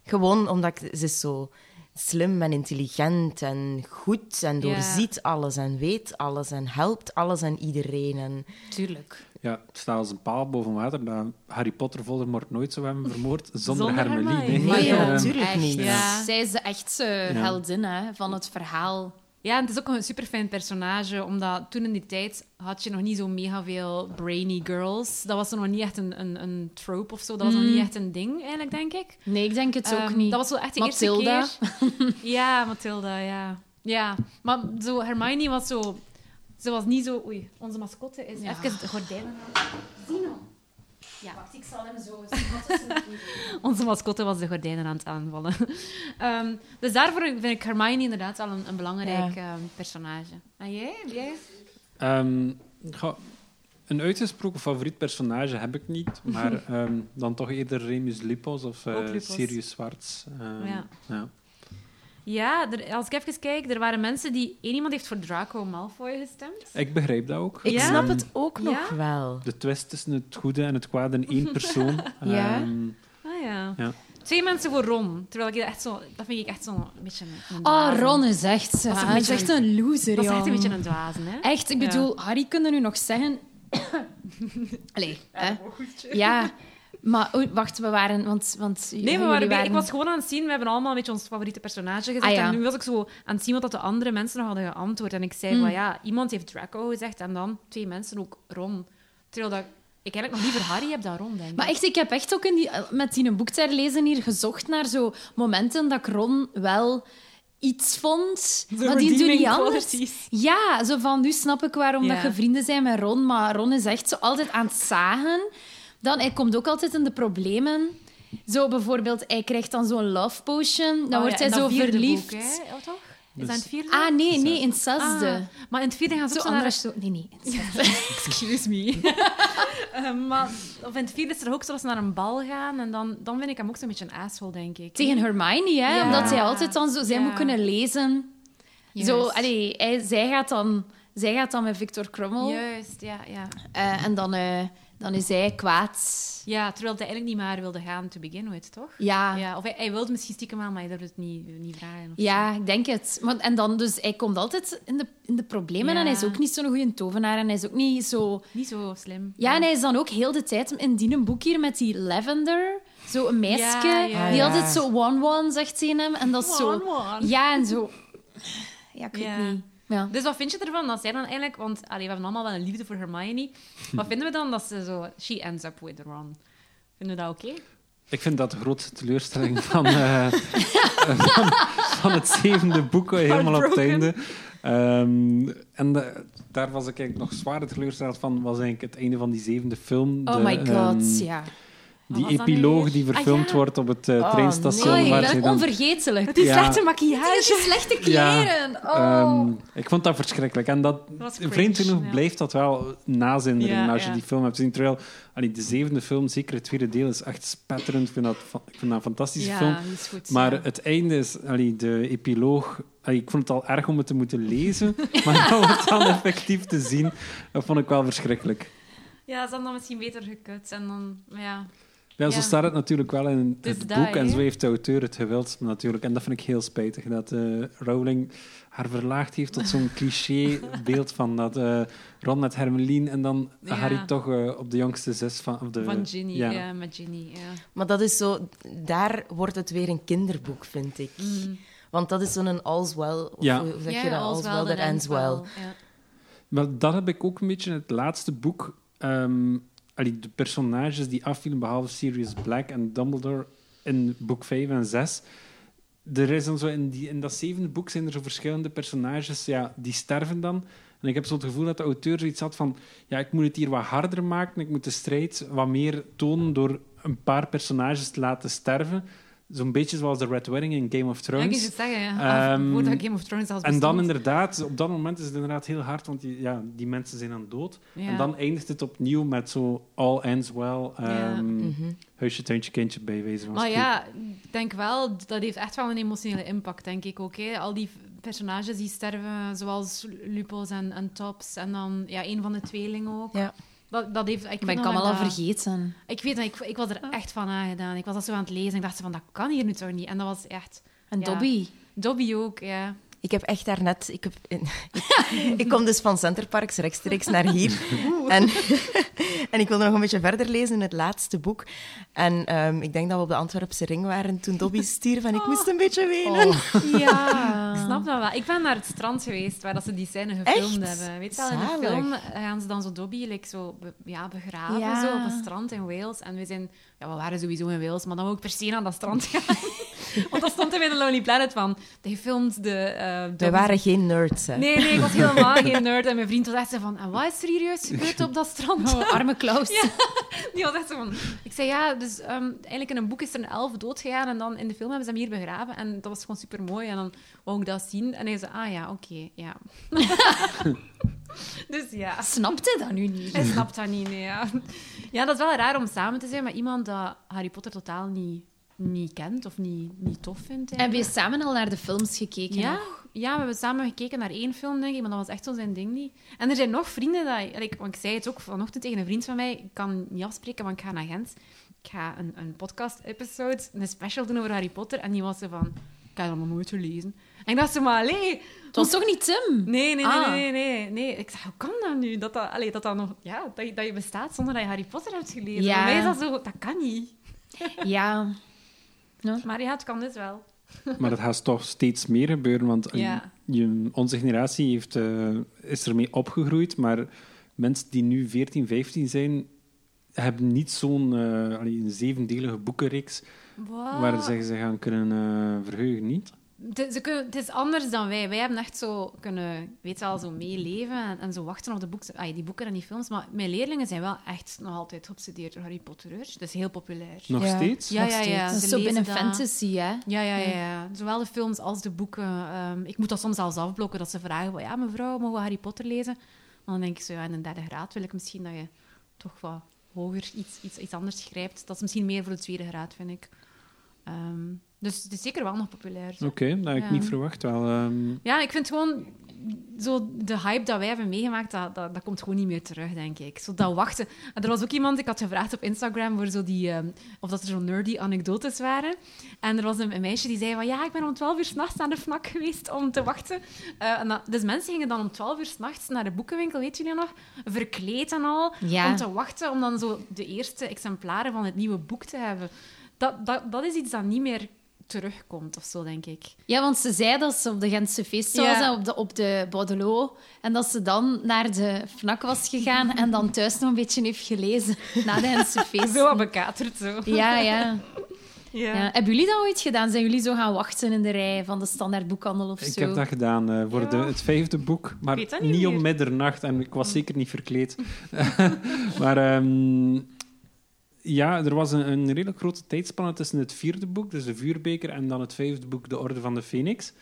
S4: Gewoon omdat ik, ze is zo slim en intelligent en goed en
S2: Ja.
S4: doorziet alles en weet alles en helpt alles en iedereen. En...
S1: tuurlijk.
S3: Ja, het staat als een paal boven water dat Harry Potter Voldemort nooit zou hebben vermoord zonder,
S2: Zonder
S3: Hermeline.
S2: Hermione.
S1: Maar
S4: Nee,
S1: ja,
S3: Ehm,
S4: natuurlijk
S1: Echt.
S4: niet.
S2: Ja.
S1: Zij is de echte heldin hè, van het verhaal.
S2: Ja, en het is ook een superfijn personage, omdat toen in die tijd had je nog niet zo mega veel brainy girls. Dat was er nog niet echt een, een, een trope of zo. Dat was nog
S1: Mm.
S2: niet echt een ding, eigenlijk, denk ik.
S1: Nee, ik denk het ook
S2: Ehm,
S1: niet.
S2: Dat was wel echt de
S1: Mathilda.
S2: eerste keer. Ja, Mathilda, ja. Ja, maar zo, Hermione was zo... Ze was niet zo... Oei, onze mascotte is... Even de gordijnen aan. Zino. Ja. Wacht, ik zal hem zo... onze mascotte was de gordijnen aan het aanvallen. Ehm, dus daarvoor vind ik Hermione inderdaad wel een, een belangrijk ehm, personage. En jij? Heb jij?
S3: Ehm, goh, een uitgesproken favoriet personage heb ik niet, maar ehm, dan toch eerder Remus Lupus of eh,
S2: Ook Lupus.
S3: Sirius Zwarts. Ehm,
S2: Ja.
S3: ja.
S2: Ja, er- als ik even kijk, er waren mensen die... één iemand heeft voor Draco Malfoy gestemd.
S3: Ik begrijp dat ook.
S4: Ik
S2: Ja.
S4: snap
S3: Ehm,
S4: het ook nog
S2: Ja?
S4: wel.
S3: De twist tussen het goede en het kwade in één persoon.
S4: Ja.
S3: Ehm,
S2: Ah ja.
S3: Ja.
S2: Twee mensen voor Ron. Terwijl ik dat echt zo... Dat vind ik echt zo'n beetje... een- een
S1: Ah,
S2: dwaze.
S1: Ron is echt... ze.
S2: Dat is een
S1: Hij is
S2: beetje
S1: echt een loser,
S2: Dat is echt
S1: jong.
S2: een beetje een dwazen, hè?
S1: Echt, ik
S2: Ja.
S1: bedoel, Harry kunnen nu nog zeggen. Allee, hè? Ja, maar oei, wacht, we waren. Want, want
S2: Nee, we
S1: jullie
S2: waren bij- ik was gewoon aan het zien. We hebben allemaal een beetje ons favoriete personage gezegd.
S1: Ah, ja.
S2: En nu was ik zo aan het zien wat dat de andere mensen nog hadden geantwoord. En ik zei
S1: Mm.
S2: van ja, iemand heeft Draco gezegd en dan twee mensen ook Ron. Terwijl dat ik eigenlijk nog liever Harry heb dan Ron, denk ik.
S1: Maar echt, ik heb echt ook in die, met die een boek ter lezen hier gezocht naar zo momenten dat ik Ron wel iets vond.
S2: De
S1: maar die doen
S2: redeeming
S1: niet anders.
S2: qualities.
S1: Ja, zo van nu snap ik waarom
S2: Ja.
S1: dat je vrienden zijn met Ron. Maar Ron is echt zo altijd aan het zagen. Dan, hij komt ook altijd in de problemen. Zo bijvoorbeeld, hij krijgt dan zo'n love potion. Dan
S2: Oh,
S1: wordt
S2: ja,
S1: hij
S2: en
S1: zo
S2: dat vierde
S1: verliefd.
S2: Boek, hè? Oh, toch? Is
S3: Dus-
S2: dat in het vierde?
S1: Ah, nee, nee,
S3: Zesde.
S1: in het zesde.
S2: Ah, maar in het vierde gaan ze
S1: zo
S2: ook zo
S1: andere...
S2: naar...
S1: Zo, nee, nee, in het zesde.
S2: Excuse me. Eh, maar, of in het vierde is er ook zoals naar een bal gaan. En dan, dan vind ik hem ook zo'n beetje een asshole, denk ik.
S1: Tegen Hermione, hè?
S2: Ja.
S1: Omdat zij altijd dan zo... Zij
S2: Ja.
S1: moet kunnen lezen. Zo,
S2: Juist.
S1: allee, hij, zij, gaat dan, zij gaat dan met Victor Krummel.
S2: Juist, ja, ja.
S1: eh, en dan, eh, dan is zij kwaad.
S2: Ja, terwijl hij eigenlijk niet meer wilde gaan te beginnen with, toch?
S1: Ja, ja.
S2: Ja, of hij, hij wilde misschien stiekem aan, maar hij durfde het niet, niet vragen. Of
S1: ik denk het. Want, en dan dus, hij komt altijd in de, in de problemen.
S2: Ja.
S1: En hij is ook niet zo'n goede tovenaar. En hij is ook niet zo...
S2: zo. Niet zo slim.
S1: Ja, en hij is dan ook heel de tijd in die een boek hier met die Lavender. Zo een meisje.
S2: Ja, ja.
S1: Die
S4: Ah, ja.
S1: altijd zo one-one zegt tegen hem. En dat is zo... Ja, en zo... Ja, ik weet
S2: Ja.
S1: niet. Ja.
S2: Dus wat vind je ervan dat zij dan eigenlijk... Want allee, we hebben allemaal wel een liefde voor Hermione. Wat vinden we dan dat ze zo... She ends up with Ron. Vinden we dat oké?
S3: Ik vind dat de grootste teleurstelling van, eh, van, van het zevende boek, eh, helemaal op het einde. Ehm, en de- daar was ik eigenlijk nog zwaar teleurgesteld van, was eigenlijk het einde van die zevende film.
S1: Oh
S3: De,
S1: my god,
S3: ehm,
S1: ja.
S3: Die
S2: was dat nu
S3: epiloog
S2: weer?
S3: die
S2: Ah,
S3: verfilmd
S2: ja.
S3: wordt op het eh,
S4: Oh,
S3: treinstation.
S1: Oh, ik
S3: waar
S1: ben
S3: ze dan
S1: onvergetelijk.
S2: Het is
S3: Ja.
S2: slechte
S1: Die
S2: maquillage.
S1: slechte
S3: Ja,
S1: kleren. oh.
S3: Ehm, ik vond dat verschrikkelijk. En dat,
S2: was cringe,
S3: vreemd genoeg
S2: ja.
S3: blijft dat wel nazinderen
S2: Ja,
S3: als je
S2: ja.
S3: die film hebt gezien. Terwijl allee, de zevende film, zeker het tweede deel, is echt spetterend. Ik vind dat, fa- ik vind dat een fantastische film.
S2: Ja, die is goed.
S3: Maar eh,
S2: ja.
S3: het einde is, allee, de epiloog. allee, ik vond het al erg om het te moeten lezen, maar om het dan effectief te zien, dat vond ik wel verschrikkelijk.
S2: Ja, ze hadden dan misschien beter gekut. En dan, maar ja.
S3: Ja, zo
S2: Ja.
S3: staat het natuurlijk wel in
S2: Dus
S3: het
S2: dat,
S3: boek en
S2: hè?
S3: zo heeft de auteur het gewild natuurlijk. En dat vind ik heel spijtig, dat eh, Rowling haar verlaagd heeft tot zo'n cliché beeld van dat eh, Ron met Hermeline en dan
S2: Ja.
S3: Harry toch eh, op de jongste zus van... Op de,
S2: Van Ginny,
S3: ja.
S2: ja. met Ginny. Ja.
S4: Maar dat is zo, daar wordt het weer een kinderboek, vind ik. Want dat is zo'n all's well, of
S3: Ja.
S4: hoe zeg
S2: Mm. Ja,
S4: je dat?
S2: all's
S4: All's
S2: well
S4: well
S2: that
S4: that ends well.
S2: Ja.
S3: Maar dat heb ik ook een beetje in het laatste boek. ehm, allee, de personages die afvielen, behalve Sirius Black en Dumbledore in boek 5 en 6. Er is dan zo in, die, in dat zevende boek zijn er zo verschillende personages ja, die sterven dan. En ik heb zo het gevoel dat de auteur zoiets had van... Ja, ik moet het hier wat harder maken. Ik moet de strijd wat meer tonen door een paar personages te laten sterven. Zo'n beetje zoals de Red Wedding in Game
S2: Ja,
S3: of
S2: ik
S3: Thrones.
S2: kan het zeggen, ja.
S3: Ehm,
S2: Af- voordat Game of Thrones zelfs
S3: En dan
S2: bestond.
S3: inderdaad, op dat moment is het inderdaad heel hard, want die, ja, die mensen zijn dan dood.
S2: Ja.
S3: En dan eindigt het opnieuw met zo all ends well,
S2: Ja.
S3: ehm,
S4: Mhm.
S3: huisje, tuintje, kindje bij wijze van
S2: Maar
S3: spreken.
S2: ja, ik denk wel, dat heeft echt wel een emotionele impact, denk ik ook. Hè. Al die personages die sterven, zoals Lupos en, en Tops, en dan ja, een van de tweelingen ook.
S4: Ja.
S2: Dat, dat heeft, ik
S1: Ik ben
S2: weet nog
S1: Kamala
S2: dat-
S1: vergeten. Ah.
S2: Ik weet dat, ik, ik was er echt van aangedaan. Ik was dat zo aan het lezen en ik dacht van, dat kan hier nu toch niet? En dat was echt...
S1: En
S2: Ja.
S1: Dobby.
S2: Dobby ook, ja.
S4: Ik heb echt daarnet... Ik, heb, ik, ik kom dus van Centerparks rechtstreeks naar hier. En, en ik wilde nog een beetje verder lezen in het laatste boek. En ehm, ik denk dat we op de Antwerpse ring waren toen Dobby stierf en
S2: Oh.
S4: ik moest een beetje wenen.
S2: Ja, ik snap dat wel. Ik ben naar het strand geweest waar dat ze die scène gefilmd
S4: Ah. Echt?
S2: hebben. Weet je wel, in de
S4: Zalig.
S2: film eh, gaan ze dan zo Dobby like, zo be- ja, begraven
S1: Ja.
S2: zo, op een strand in Wales. En we, zijn, ja, we waren sowieso in Wales, maar dan wou ik per se naar dat strand gaan. Want dat stond er bij de Lonely Planet van. Die filmt de... eh
S4: Wij
S2: Dobby's-
S4: waren geen nerds, hè.
S2: Nee, nee, ik was helemaal geen nerd. En mijn vriend was echt zo van, en wat is er hier juist gebeurd op dat strand?
S1: Oh, arme Klaus.
S2: Ja. Die was echt zo van... Ik zei, ja, dus ehm, eigenlijk in een boek is er een elf doodgegaan en dan in de film hebben ze hem hier begraven. En dat was gewoon super mooi. En dan wou ik dat zien. En hij zei, ah ja, oké, ja. dus ja.
S1: Snapt hij dat nu niet?
S2: Hij snapt dat niet, nee, ja. Ja, dat is wel raar om samen te zijn met iemand dat Harry Potter totaal niet, niet kent of niet, niet tof vindt.
S1: Heb
S2: eigenlijk.
S1: je samen al naar de films gekeken?
S2: Ja, ja, we hebben samen gekeken naar één film, denk ik, maar dat was echt zo zijn ding niet. En er zijn nog vrienden, dat, like, want ik zei het ook vanochtend tegen een vriend van mij, ik kan niet afspreken, want ik ga naar Gent. Ik ga een, een podcast-episode, een special doen over Harry Potter, en die was ze van, ik heb dat nog nooit gelezen. En ik dacht ze maar, allee,
S1: Het was toch niet Tim?
S2: nee, nee, nee,
S1: Ah.
S2: nee, nee, nee, nee. Ik zei, hoe kan dat nu? Dat, dat, allee, dat, dat, nog, ja, dat, je- dat je bestaat zonder dat je Harry Potter hebt gelezen.
S1: Ja.
S2: Voor mij is dat zo, dat kan niet.
S1: Ja.
S2: Maar ja, het kan dus wel.
S3: Maar dat gaat toch steeds meer gebeuren, want eh,
S2: Ja.
S3: je- onze generatie heeft, eh, is ermee opgegroeid, maar mensen die nu 14, 15 zijn, hebben niet zo'n eh, allee, een zevendelige boekenreeks
S2: Wow.
S3: waar ze zich aan kunnen eh, verheugen, niet?
S2: Het, ze kunnen- het is anders dan wij. Wij hebben echt zo kunnen, weet je wel, zo meeleven en, en zo wachten op de boek, ai, die boeken en die films. Maar mijn leerlingen zijn wel echt nog altijd geobsedeerd door Harry Potterers. Dat is heel populair.
S3: Nog
S4: Ja.
S3: steeds?
S2: ja,
S4: nog
S2: ja, ja.
S1: Dat
S4: steeds.
S2: Ze
S1: is zo
S2: lezen
S1: binnen
S2: dat.
S1: fantasy, hè?
S2: Ja, ja, ja, ja. Zowel de films als de boeken. Ehm, ik moet dat soms zelfs afblokken, dat ze vragen van, ja, mevrouw, mogen we Harry Potter lezen? Maar dan denk ik zo, ja, in de derde graad wil ik misschien dat je toch wat hoger iets, iets, iets anders grijpt. Dat is misschien meer voor de tweede graad, vind ik. Ehm, dus het is zeker wel nog populair. zo.
S3: Oké, dat had ik
S2: Ja.
S3: niet verwacht. Wel, ehm,
S2: Ja, ik vind gewoon zo de hype dat wij hebben meegemaakt, dat, dat, dat komt gewoon niet meer terug, denk ik. Zo dat wachten. En er was ook iemand, ik had gevraagd op Instagram voor zo die, ehm, of dat er zo'n nerdy anekdotes waren. En er was een, een meisje die zei van, ja, ik ben om 12 uur s'nachts aan de FNAC geweest om te wachten. Eh, en dat- dus mensen gingen dan om 12 uur s'nachts naar de boekenwinkel, weet jullie nog, verkleed en al,
S1: Ja.
S2: om te wachten om dan zo de eerste exemplaren van het nieuwe boek te hebben. Dat, dat, dat is iets dat niet meer terugkomt of zo, denk ik.
S1: Ja, want ze zei dat ze op de Gentse feest was
S2: Ja.
S1: en op de, op de Bordelot. En dat ze dan naar de FNAC was gegaan en dan thuis nog een beetje heeft gelezen na de Gentse feest.
S2: Zo wat bekaterd, zo.
S1: Ja, ja,
S2: Ja.
S1: ja. Hebben jullie dat ooit gedaan? Zijn jullie zo gaan wachten in de rij van de standaard boekhandel of
S3: Ik
S1: zo?
S3: heb dat gedaan eh, voor
S2: Ja.
S3: de, het vijfde boek, maar
S2: weet dat
S3: niet,
S2: niet meer. Oh.
S3: om middernacht en ik was zeker niet verkleed. maar ehm, ja, er was een, een redelijk grote tijdspanne tussen het vierde boek, dus de Vuurbeker, en dan het vijfde boek, De Orde van de Phoenix.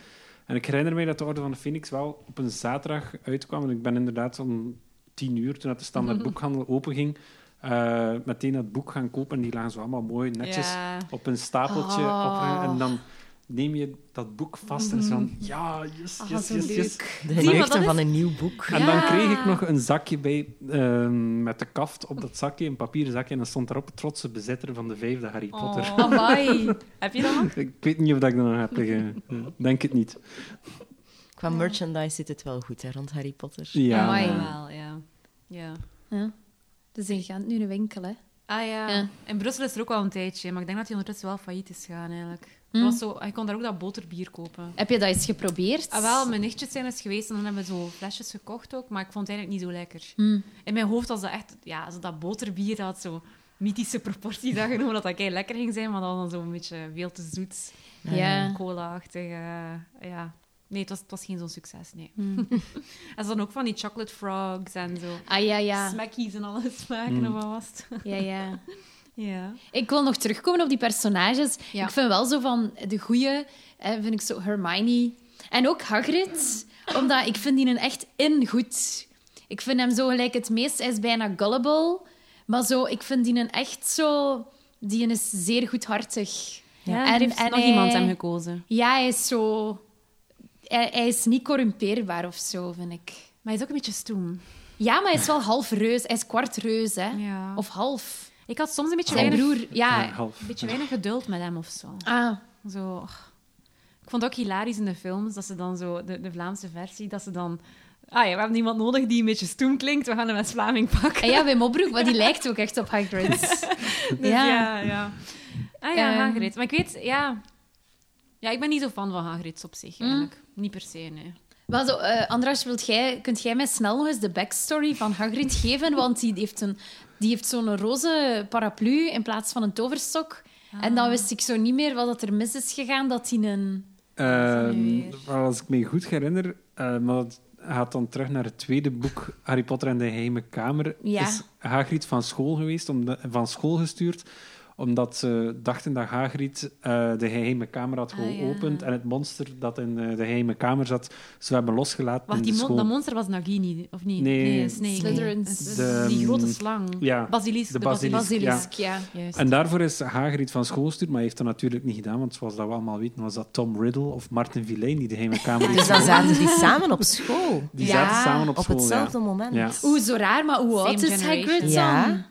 S3: En ik herinner mij dat De Orde van de Phoenix wel op een zaterdag uitkwam. Want ik ben inderdaad om tien uur, toen dat de standaard boekhandel openging, eh meteen dat boek gaan kopen. En die lagen zo allemaal mooi netjes
S2: Ja.
S3: op een stapeltje.
S1: Ah.
S3: Op, en dan neem je dat boek vast en zo van... Ja, yes,
S1: Ah,
S3: yes,
S1: zo
S3: yes, yes.
S4: De
S2: maar
S4: geruchten
S2: dat
S4: van een nieuw boek.
S3: En dan
S2: Ja.
S3: kreeg ik nog een zakje bij ehm, met de kaft op dat zakje, een papieren zakje. En dan stond daarop trotse bezitter van de vijfde Harry Potter.
S2: Oh.
S1: Amai.
S2: Heb je dat nog?
S3: Ik weet niet of dat ik dat nog heb liggen. Denk het niet.
S4: Qua merchandise zit het wel goed hè, rond Harry Potter.
S3: Ja.
S1: Amai.
S3: eh,
S2: Wel, ja. ja.
S1: Ja. Dus in Gent nu een winkel, hè?
S2: Ah ja.
S1: Ja.
S2: in Brussel is er ook al een tijdje, maar ik denk dat hij ondertussen wel failliet is gegaan eigenlijk.
S1: Hm.
S2: Dat was zo, je kon daar ook dat boterbier kopen.
S1: Heb je dat eens geprobeerd?
S2: Ah, wel, mijn nichtjes zijn eens geweest en dan hebben we zo flesjes gekocht ook, maar ik vond het eigenlijk niet zo lekker.
S1: Hm.
S2: In mijn hoofd was dat echt, ja, zo dat boterbier dat had zo mythische proporties aangenomen, dat dat kei lekker ging zijn, maar dat was dan zo'n beetje veel te zoet,
S1: Ja.
S2: cola-achtig. eh, ja. Nee, het was, het was geen zo'n succes, nee.
S1: Hmm.
S2: en ze dan ook van die chocolate frogs en zo.
S1: Ah ja, ja.
S2: Smackies en alles smaken,
S3: Hm.
S2: of wat was het?
S1: ja, ja.
S2: ja.
S1: Ik wil nog terugkomen op die personages.
S2: Ja.
S1: Ik vind wel zo van de goeie, eh, vind ik zo Hermione. En ook Hagrid, omdat ik vind die een echt in goed. Ik vind hem zo gelijk het meest, hij is bijna gullible. Maar zo, ik vind die een echt zo, die is zeer goedhartig.
S2: Ja,
S1: En-
S2: er heeft
S1: en
S2: nog
S1: hij-
S2: iemand hem gekozen.
S1: Ja, hij is zo, hij, hij is niet corrumpeerbaar of zo, vind ik.
S2: Maar hij is ook een beetje stoem.
S1: Ja, maar hij is wel half reus, hij is kwart reus, hè.
S2: Ja.
S1: Of half.
S2: Ik had soms een beetje,
S1: Zijn
S2: weinig,
S1: broer,
S3: ja,
S1: ja.
S3: half.
S2: een beetje weinig geduld met hem of zo.
S1: Ah,
S2: zo och. Ik vond het ook hilarisch in de films dat ze dan zo, de, de Vlaamse versie, dat ze dan. Ah ja, we hebben iemand nodig die een beetje stoem klinkt, we gaan hem als Vlaming pakken.
S1: En ja, Wim Opbroek, maar die lijkt ook echt op Hagrid.
S2: Dus
S1: ja.
S2: ja, ja. Ah ja,
S1: Ehm.
S2: Hagrid. Maar ik weet, ja. Ja, ik ben niet zo fan van Hagrid op
S1: Hm?
S2: zich eigenlijk. Niet per se, nee.
S1: Maar zo, eh, Andras, wilt jij, kunt jij mij snel nog eens de backstory van Hagrid geven? Want die heeft, een, die heeft zo'n roze paraplu in plaats van een toverstok. En
S2: Ah.
S1: dan wist ik zo niet meer wat dat er mis is gegaan, dat hij een...
S2: Dat is nu
S3: Ehm,
S2: weer.
S3: wel, als ik me goed herinner, eh, maar dat gaat dan terug naar het tweede boek, Harry Potter en de Geheime Kamer,
S1: Ja.
S3: is Hagrid van school geweest, omdat- van school gestuurd, omdat ze dachten dat Hagrid eh, de Geheime Kamer had
S2: Ah,
S3: geopend
S2: ja.
S3: en het monster dat in eh, de Geheime Kamer zat, ze hebben losgelaten
S2: Wacht,
S3: in
S2: die
S3: de
S2: mon-
S3: school.
S2: dat monster was Nagini, of niet?
S3: Nee.
S2: nee Snake.
S1: Slytherin.
S2: Dus
S3: De- mm,
S2: die grote slang.
S3: ja,
S2: basilisk.
S3: de
S2: De basilisk.
S3: basilisk,
S1: basilisk, ja.
S2: Juist.
S3: en daarvoor is Hagrid van school gestuurd, maar hij heeft dat natuurlijk niet gedaan, want zoals dat we allemaal weten, was dat Tom Riddle of Martin Villain die de Geheime Kamer heeft
S4: Dus dan
S3: geopend.
S4: zaten die samen op school.
S3: Die
S1: Ja,
S3: zaten samen op,
S4: Op
S3: school, ja.
S4: hetzelfde moment.
S3: Ja.
S1: Oeh, zo raar, maar hoe
S2: Same
S1: oud is
S2: generation.
S1: Hagrid dan?
S4: Ja.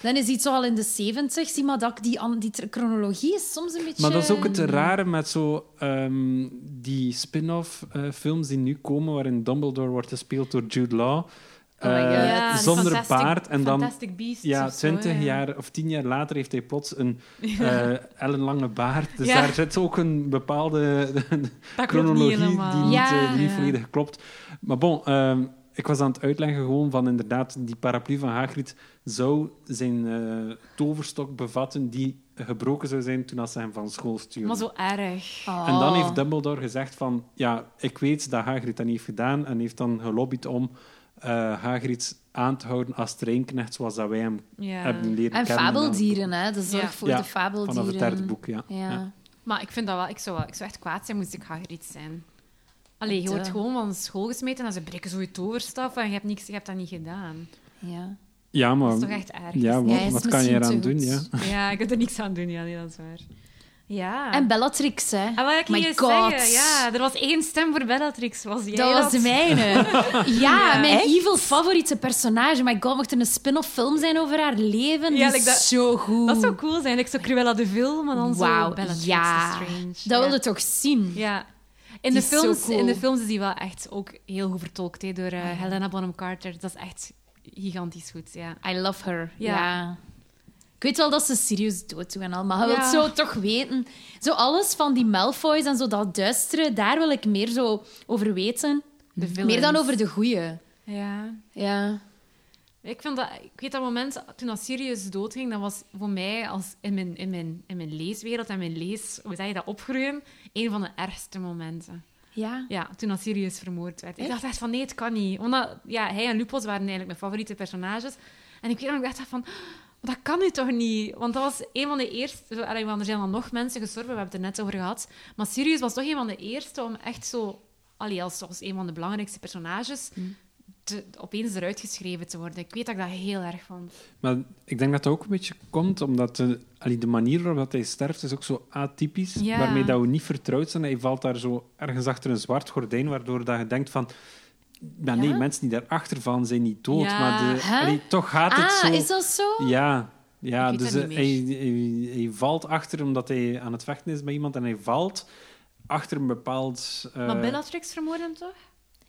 S1: Dan is hij toch al in de 70. Zie maar dat ik die, an- die tr- chronologie is soms een beetje...
S3: Maar dat is ook het rare met zo ehm, die spin-off eh, films die nu komen, waarin Dumbledore wordt gespeeld door Jude Law.
S1: Oh my
S3: eh,
S1: God. Ja,
S2: die
S3: zonder
S2: Fantastic-
S3: baard. En dan
S2: Fantastic Beasts
S3: ja,
S2: of zo, ja.
S3: 20 jaar of 10 jaar later heeft hij plots een eh, ellenlange baard. Dus
S2: Ja.
S3: daar zit ook een bepaalde
S2: Dat klopt niet
S3: chronologie die niet,
S2: helemaal.
S1: Ja,
S3: eh, die niet
S2: ja.
S3: volledig klopt. Maar bon, ehm, ik was aan het uitleggen gewoon van inderdaad, die paraplu van Hagrid zou zijn eh, toverstok bevatten die gebroken zou zijn toen als ze hem van school stuurden.
S2: Maar zo erg.
S1: Oh.
S3: eh, En dan heeft Dumbledore gezegd van... Ja, ik weet dat Hagrid dat niet heeft gedaan. En heeft dan gelobbyd om eh, Hagrid aan te houden als treinknecht zoals dat wij hem
S2: Ja.
S3: hebben leren
S1: En
S3: kennen.
S1: fabeldieren, hè. De zorg
S2: Ja.
S1: voor
S3: Ja,
S1: de fabeldieren.
S3: Vanaf het derde boek, ja.
S1: Ja.
S2: Maar ik vind dat wel... Ik zou, wel- ik zou echt kwaad zijn moest ik Hagrid zijn. Allee, je
S1: Het,
S2: wordt
S1: eh,
S2: gewoon van school gesmeten en ze breken zo je toverstaf en je hebt, niks, je hebt dat niet gedaan.
S1: Ja.
S3: Ja, maar...
S2: Dat is toch echt erg?
S3: ja,
S1: Ja,
S3: wat,
S1: hij is
S3: wat kan je
S1: misschien
S3: eraan
S1: te
S3: doen?
S1: goed.
S3: Ja.
S2: Ja, ik heb er niks aan doen. Ja, nee, dat is waar. Ja.
S1: En Bellatrix, hè.
S2: Ah, wat ik
S1: My
S2: hier
S1: God.
S2: zeggen? Ja, er was één stem voor Bellatrix. Was jij
S1: dat was de mijne. Ja, mijn
S4: Echt?
S1: evil favoriete personage. My god, mocht er een spin-off film zijn over haar leven?
S2: Ja,
S1: die is
S2: like dat-
S1: zo goed.
S2: Dat zou cool zijn. Ik zou Cruella de Vil, maar dan
S1: Wauw,
S2: zo Bellatrix
S1: ja.
S2: Strange.
S1: Dat wilde toch zien?
S2: Ja.
S1: Die
S2: In de,
S1: is zo
S2: films,
S1: cool. Ah,
S2: in de films is die wel echt ook heel goed vertolkt hè, door eh, Helena Bonham Carter. Dat is echt gigantisch goed, ja.
S1: I love her. Ja.
S2: Ja.
S1: Ik weet wel dat ze Sirius dood doen en al, maar je
S2: Ja.
S1: wilt zo toch weten. Zo alles van die Malfoys en zo dat duistere, daar wil ik meer zo over weten.
S2: De
S1: Mm. Meer dan over de goeie.
S2: Ja.
S1: Ja.
S2: Ik, vind dat, ik weet dat moment, toen dat Sirius doodging, dat was voor mij als in, mijn, in, mijn, in mijn leeswereld en mijn lees, hoe zeg je dat, opgroeien, een van de ergste momenten.
S1: Ja.
S2: Ja, toen dat Sirius vermoord werd. Ik
S1: Echt?
S2: dacht echt van, nee, het kan niet. Omdat, ja, hij en Lupus waren eigenlijk mijn favoriete personages. En ik weet nog, ik dacht echt van, dat kan nu toch niet? Want dat was een van de eerste... zo, allee, want Er zijn dan nog mensen gestorven, we hebben het er net over gehad. Maar Sirius was toch een van de eerste om echt zo... Allee, als, als een van de belangrijkste personages... Te, opeens eruit geschreven te worden. Ik weet dat ik dat heel erg vond.
S3: Maar ik denk dat dat ook een beetje komt omdat de, allee, de manier waarop dat hij sterft is ook zo atypisch.
S2: Ja.
S3: Waarmee dat we niet vertrouwd zijn. Hij valt daar zo ergens achter een zwart gordijn, waardoor dat je denkt van... Ja, nee,
S1: Ja?
S3: mensen die daarachter van zijn niet dood.
S2: Ja.
S3: Maar de,
S1: Hè?
S3: allee, toch gaat het zo...
S1: Ah, is dat zo?
S3: Ja, ja
S2: Ik weet
S3: dus
S2: dat
S3: eh,
S2: niet
S3: hij, hij, hij valt achter omdat hij aan het vechten is bij iemand en hij valt achter een bepaald... eh,
S2: maar Bellatrix vermoordde hem toch?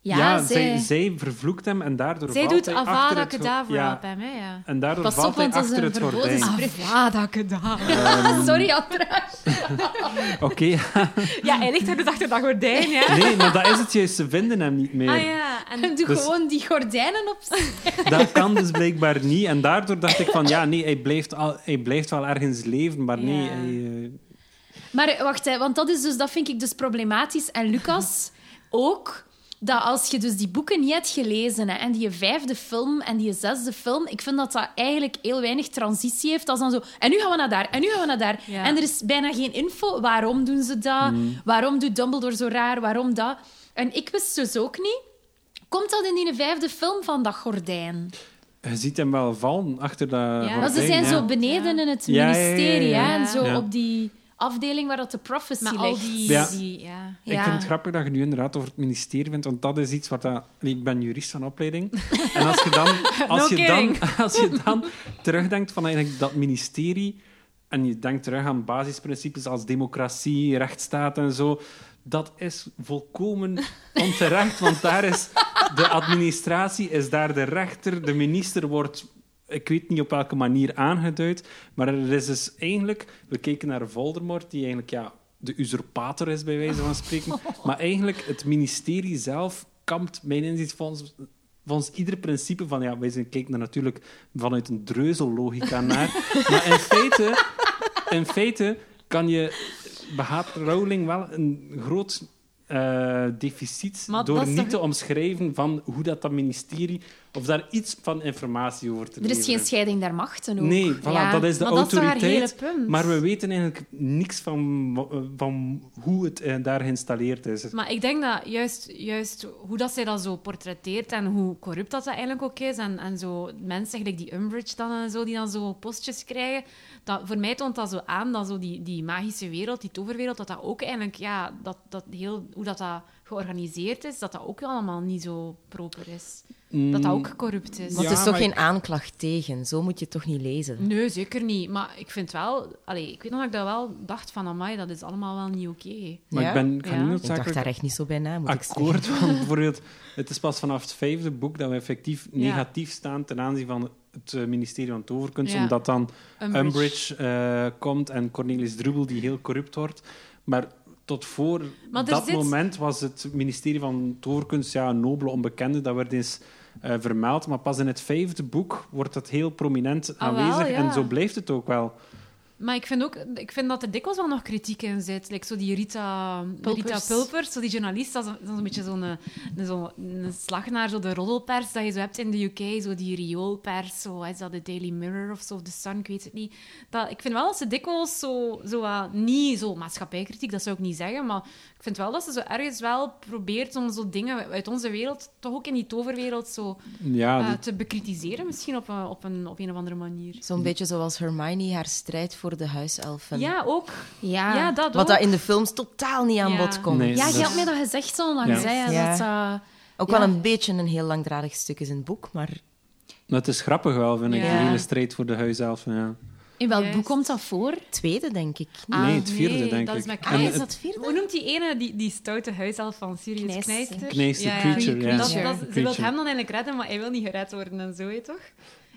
S1: Ja,
S3: zij,
S1: zij.
S3: zij vervloekt hem en daardoor
S2: Zij
S3: valt
S2: doet
S3: hij achter
S2: Avada
S3: het go-
S2: Kedavra
S3: ja,
S2: op hem, hè? Ja.
S3: En daardoor
S1: Pas
S3: valt
S1: op,
S3: hij
S1: want dat is
S3: achter
S1: een
S3: het
S1: verboden
S3: gordijn.
S1: spree-
S2: Avada Kedavra.
S3: ehm,
S1: Sorry, Atra.
S3: Oké,
S2: Ja, hij ligt daar dus achter dat gordijn, ja.
S3: nee, maar dat is het juist. Ze vinden hem niet meer.
S2: Ah ja, en
S1: Doe
S3: Dus-
S1: gewoon die gordijnen op.
S3: Dat kan dus blijkbaar niet. En daardoor dacht ik van, ja, nee, hij blijft, al, hij blijft wel ergens leven, maar nee,
S2: Ja.
S3: hij... eh,
S1: Maar eh, wacht, hè, want dat, is dus, dat vind ik dus problematisch. En Lucas ook, dat als je dus die boeken niet hebt gelezen hè, en die vijfde film en die zesde film, ik vind dat dat eigenlijk heel weinig transitie heeft. Dat is dan zo, en nu gaan we naar daar, en nu gaan we naar daar.
S2: Ja.
S1: En er is bijna geen info. Waarom doen ze dat?
S3: Hmm.
S1: Waarom doet Dumbledore zo raar? Waarom dat? En ik wist dus ook niet. Komt dat in die vijfde film van dat gordijn?
S3: eh, je ziet hem wel vallen achter dat
S2: Ja,
S1: Want ze
S3: gordijn,
S1: zijn
S3: ja.
S1: zo beneden
S2: Ja.
S1: in het
S3: Ja, ja, ja, ja,
S1: ministerie,
S2: ja.
S1: Hè? en zo
S3: Ja.
S1: op die afdeling waar dat de prophecy
S2: Met
S1: ligt.
S2: al die...
S3: Ja.
S2: die- ja.
S3: Ik vind het grappig dat je nu inderdaad over het ministerie bent, want dat is iets wat... Dat, ik ben jurist van opleiding. En als je dan, als
S2: No
S3: je dan, als je dan terugdenkt van eigenlijk dat ministerie en je denkt terug aan basisprincipes als democratie, rechtsstaat en zo, dat is volkomen onterecht, want daar is de administratie, is daar de rechter, de minister wordt... Ik weet niet op welke manier aangeduid, maar er is dus eigenlijk... We keken naar Voldemort, die eigenlijk ja, de usurpator is, bij wijze van spreken. Maar eigenlijk, het ministerie zelf kampt, mijn inzicht, volgens, volgens ieder principe van... Ja, wij zijn, kijken er natuurlijk vanuit een dreuzellogica naar. Maar in feite, in feite kan je... Behaat Rowling wel een groot... eh, deficit
S2: Maar dat
S3: door
S2: is
S3: niet
S2: toch-
S3: te omschrijven van hoe dat, dat ministerie of daar iets van informatie over te
S1: Er is
S3: leveren.
S1: geen scheiding der machten ook.
S3: Nee, voilà,
S1: Ja.
S3: dat is de
S2: maar dat is toch haar
S3: autoriteit.
S2: hele punt?
S3: Maar we weten eigenlijk niks van, wa- eh, van hoe het eh, daar geïnstalleerd is.
S2: Maar ik denk dat juist, juist hoe dat zij dat zo portretteert en hoe corrupt dat, dat eigenlijk ook is. En, en zo mensen, gelijk die Umbridge dan en zo, die dan zo postjes krijgen. Dat, voor mij toont dat zo aan dat zo die, die magische wereld, die toverwereld, dat dat ook eigenlijk, ja, dat, dat heel, hoe dat, dat georganiseerd is, dat dat ook allemaal niet zo proper is.
S3: Mm,
S2: Dat dat ook corrupt is.
S4: Want
S3: Ja,
S4: het is toch
S3: maar
S4: geen aanklacht tegen? Zo moet je het toch niet lezen?
S2: Nee, zeker niet. Maar ik vind wel... Allee, ik weet nog dat ik dat wel dacht van... Amai, dat is allemaal wel niet oké.
S3: Maar
S4: Ja?
S3: ik ben ik ga
S2: Ja.
S3: niet
S2: Ik
S4: Ik dacht daar
S3: noodzakelijk
S4: echt niet zo bij na, moet ik zeggen.
S3: akkoord. Want bijvoorbeeld, het is pas vanaf het vijfde boek dat we effectief
S2: Ja.
S3: negatief staan ten aanzien van het eh, ministerie van Toverkunst.
S2: Ja.
S3: Omdat dan
S2: Umbridge.
S3: Umbridge eh, komt en Cornelis Drubbel, die heel corrupt wordt. Maar tot voor
S2: Maar dus er
S3: dat
S2: zit-
S3: moment was het ministerie van Toverkunst ja, een nobele onbekende. Dat werd eens eh, vermeld. Maar pas in het vijfde boek wordt dat heel prominent
S2: Ah, wel,
S3: aanwezig.
S2: ja.
S3: En zo blijft het ook wel.
S2: Maar ik vind ook... Ik vind dat er dikwijls wel nog kritiek in zit. Like zo die Rita Pulpers.
S1: Pulpers.
S2: Rita Pulpers zo die journalist, dat is, dat is een beetje zo'n eh, een, zo een slag naar zo de roddelpers dat je zo hebt in de UK. Zo die rioolpers, zo, is dat de Daily Mirror of zo, of The Sun, ik weet het niet. Dat, ik vind wel dat ze dikwijls zo, zo wat- niet zo maatschappijkritiek, dat zou ik niet zeggen, maar ik vind wel dat ze zo ergens wel probeert om zo dingen uit onze wereld, toch ook in die toverwereld, zo
S3: Ja,
S4: Ah,
S2: eh,
S3: dat-
S2: te bekritiseren misschien op een, op een, op een of andere manier.
S4: Zo'n beetje zoals Hermione haar strijd voor de huiselfen.
S2: Ja, ook.
S1: Ja,
S2: Ja, dat
S4: Ah, Wat
S2: ook.
S4: dat in de films totaal niet aan
S2: Ja.
S4: bod komt.
S3: Nee.
S1: ja je
S3: dat-
S1: had mij dat gezegd zo langs.
S3: Ja.
S1: hè,
S4: Ja.
S1: Dat, eh,
S4: Ook
S1: Ja.
S4: wel een beetje een heel langdradig stuk is in het boek, maar
S3: maar het is grappig wel, vind ik.
S2: Ja.
S3: De hele strijd voor de huiselfen. Ja.
S1: in welk
S2: Juist.
S1: boek komt dat voor?
S4: tweede denk ik. niet.
S3: Nee, het vierde,
S2: Ah, nee,
S3: denk
S2: dat
S3: ik.
S2: Is met
S3: Ah,
S4: Ah,
S2: Knijs.
S4: is dat vierde?
S2: Hoe noemt die ene die, die stoute huiself van Sirius
S1: Knijs.
S2: Kneister?
S3: Knijster, Creature,
S2: Dat,
S3: ja.
S2: dat,
S4: Creature.
S2: Ze wil
S3: Creature.
S2: hem dan eigenlijk redden, maar hij wil niet gered worden en zo, hè, toch?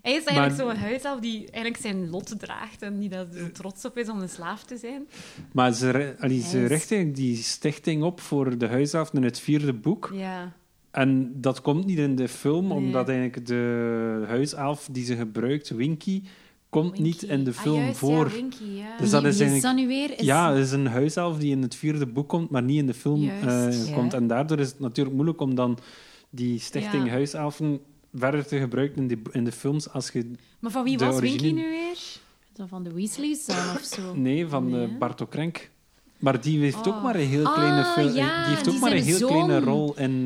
S2: Hij is eigenlijk
S3: Maar-
S2: zo'n huiself die eigenlijk zijn lot draagt en die daar zo trots op is om een slaaf te zijn.
S3: Maar ze, re- allee, ze
S1: Yes.
S3: richt eigenlijk die stichting op voor de huishaaf in het vierde boek.
S2: Ja.
S3: En dat komt niet in de film,
S2: Nee.
S3: omdat eigenlijk de huiself die ze gebruikt, Winky, komt
S2: Winky.
S3: niet in de
S2: Ah,
S3: film
S2: juist,
S3: voor.
S2: Ja, Winky, ja.
S3: Dus dat
S1: Wie-
S3: is
S1: wie
S3: eigenlijk-
S1: dat nu weer? Is-
S3: Ja, het is een huiself die in het vierde boek komt, maar niet in de film eh,
S2: Juist.
S4: Ja.
S3: komt. En daardoor is het natuurlijk moeilijk om dan die stichting
S2: Ja.
S3: huiselfen verder te gebruiken in, die, in de films als je...
S2: Maar van wie
S3: De
S2: was
S3: origine-
S2: Winky nu weer?
S1: Zo van de Weasleys dan of zo.
S3: Nee, van
S2: Oh, Nee,
S3: eh,
S2: hè?
S3: Barto Krenk. Maar die heeft
S2: Oh.
S3: ook maar een heel
S1: Ah,
S3: kleine, fil-
S1: ja,
S3: die heeft ook
S1: die
S3: maar een
S1: zijn
S3: heel
S1: zoon.
S3: kleine rol in, eh, in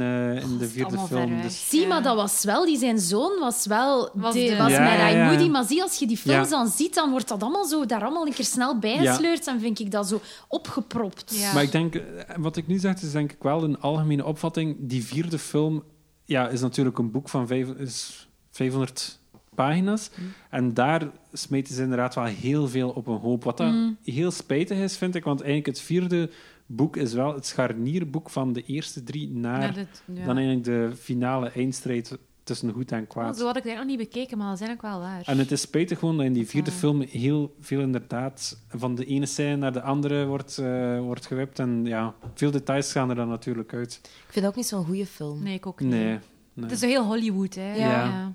S2: dat
S3: de
S2: is
S3: vierde
S2: allemaal ver
S3: film.
S2: weg.
S3: Dus
S1: Zie,
S2: Ja.
S1: maar dat was wel... Die zijn zoon was wel...
S2: Was
S1: de,
S2: de-
S1: was
S3: Ja,
S1: met
S3: ja, ja.
S1: Aimoudi. Maar zie, als je die films
S3: Ja.
S1: dan ziet, dan wordt dat allemaal zo daar allemaal een keer snel bijgesleurd. En vind ik dat zo opgepropt.
S2: Ja.
S3: Maar ik denk, eh, wat ik nu zeg, is denk ik wel een algemene opvatting. Die vierde film ja, is natuurlijk een boek van vijf- is 500 pagina's.
S2: Hm.
S3: En daar smeten ze inderdaad wel heel veel op een hoop. Wat dat
S2: Hm.
S3: heel spijtig is, vind ik, want eigenlijk het vierde boek is wel het scharnierboek van de eerste drie naar
S2: Naar dit- ja.
S3: dan eigenlijk de finale eindstrijd tussen goed en
S2: Oh,
S3: kwaad.
S2: Zo had ik dat nog niet bekeken, maar dat is eigenlijk wel waar.
S3: En het is spijtig gewoon dat in die vierde
S2: Ja.
S3: film heel veel inderdaad van de ene scène naar de andere wordt, eh, wordt gewipt. En ja, veel details gaan er dan natuurlijk uit.
S4: Ik vind dat ook niet zo'n goede film.
S2: Nee, ik ook niet.
S3: Nee. nee.
S2: Het is zo heel Hollywood, hè.
S3: Ja.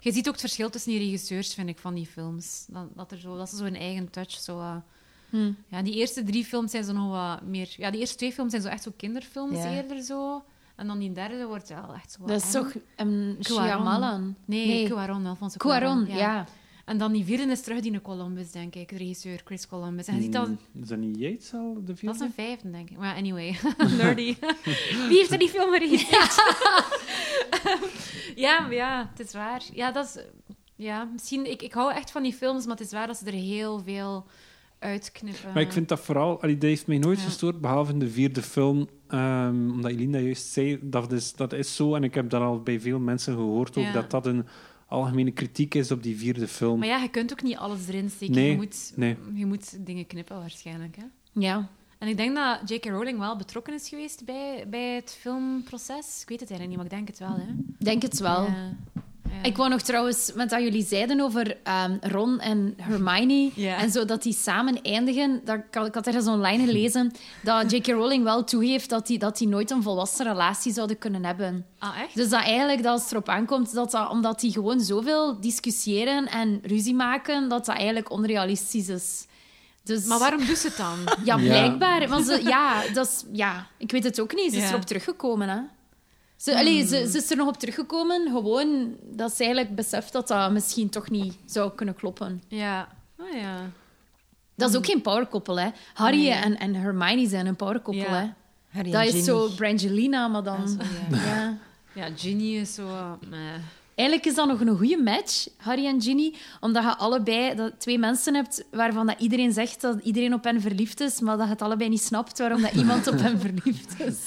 S2: Je ziet ook het verschil tussen die regisseurs, vind ik, van die films. Dat, dat, er zo, dat ze zo'n eigen touch... Zo, eh,
S1: Hm.
S2: ja, die eerste drie films zijn zo nog wat meer... Ja, die eerste twee films zijn zo echt zo kinderfilms
S4: Ja.
S2: eerder zo. En dan die derde wordt wel echt zo wat
S1: Dat is
S2: eng.
S1: toch um,
S2: Cuaron.
S1: Shyamalan?
S2: Nee,
S1: Nee.
S2: Cuaron, Alfonso
S1: Cuaron, ja.
S2: En dan die vierde is terug die in Columbus, denk ik. De regisseur Chris Columbus. En je ziet dat...
S3: Mm, Is dat niet Yates al, de
S2: Dat is
S3: vierde?
S2: een vijfde, denk ik. Maar anyway, nerdy. Wie heeft er die film geregisseerd? ja, maar ja, het is waar. Ja, dat is... Ja, misschien... Ik, ik hou echt van die films, maar het is waar dat ze er heel veel uitknippen.
S3: Maar ik vind dat vooral... Allee, die heeft mij nooit
S2: Ja.
S3: gestoord, behalve in de vierde film. Ehm, omdat Elinda juist zei, dat is, dat is zo. En ik heb dat al bij veel mensen gehoord, ook,
S2: Ja.
S3: dat dat een algemene kritiek is op die vierde film.
S2: Maar ja, je kunt ook niet alles erin steken.
S3: Nee,
S2: je, moet,
S3: nee.
S2: je moet dingen knippen, waarschijnlijk. Hè?
S1: Ja.
S2: En ik denk dat J.K. Rowling wel betrokken is geweest bij, bij het filmproces. Ik weet het eigenlijk niet, maar ik denk het wel. Hè?
S1: Denk het wel.
S2: Ja. Ja.
S1: Ik wou nog trouwens, met dat jullie zeiden over ehm, Ron en Hermione
S2: Ja.
S1: en zo, dat die samen eindigen. Dat, ik, had- ik had ergens online gelezen dat J.K. Rowling wel toegeeft dat die, dat die nooit een volwassen relatie zouden kunnen hebben.
S2: Ah, echt?
S1: Dus dat eigenlijk, dat als het erop aankomt, dat dat, omdat die gewoon zoveel discussiëren en ruzie maken, dat dat eigenlijk onrealistisch is. Dus...
S2: Maar waarom doet ze het dan?
S1: Ja,
S3: Ja.
S1: blijkbaar. Want ze, ja, dat is, ja, ik weet het ook niet. Ze is
S2: Ja. Hmm.
S1: erop teruggekomen, hè. Ze, allee, ze, ze is er nog op teruggekomen, gewoon dat ze eigenlijk beseft dat dat misschien toch niet zou kunnen kloppen.
S2: Ja. Oh ja.
S1: Dat is ook geen powerkoppel, hè. Harry
S2: Hmm. Nee.
S1: en, en Hermione zijn een powerkoppel,
S2: Ja.
S1: hè.
S4: Harry en
S1: Dat is
S4: Ginny.
S1: zo Brangelina, maar
S2: Ah,
S1: dan...
S2: zo, ja.
S1: Ja.
S2: Ja, Ginny is zo... eh, meh.
S1: Eigenlijk is dat nog een goede match, Harry en Ginny, omdat je allebei dat twee mensen hebt waarvan dat iedereen zegt dat iedereen op hen verliefd is, maar dat je het allebei niet snapt waarom dat iemand op hen verliefd is.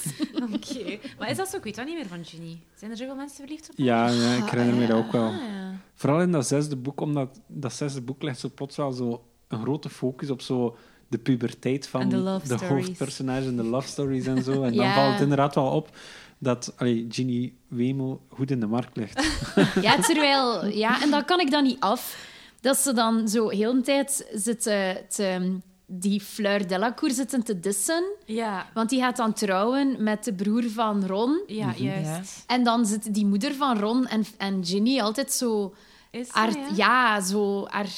S2: Oké. Maar is dat zo? Ik weet dat niet meer van Ginny. Zijn er zoveel mensen verliefd op haar?
S3: Ja, ja, ik herinner me dat ook wel.
S2: Ah, ja.
S3: Vooral in dat zesde boek, omdat dat zesde boek legt zo plots wel zo een grote focus op zo de puberteit van
S2: En de love stories.
S3: hoofdpersonages en de love stories en zo. En
S1: Ja.
S3: dan valt het inderdaad wel op dat allee, Ginny Wemel goed in de markt ligt.
S1: Ja, terwijl... Ja, en dan kan ik dat niet af. Dat ze dan zo heel een tijd zitten te, die Fleur Delacour zitten te dissen,
S2: Ja,
S1: want die gaat dan trouwen met de broer van Ron.
S2: ja juist.
S1: En dan zit die moeder van Ron en, en Ginny altijd zo...
S2: Is ze,
S1: haar,
S2: ja?
S1: ja. zo haar,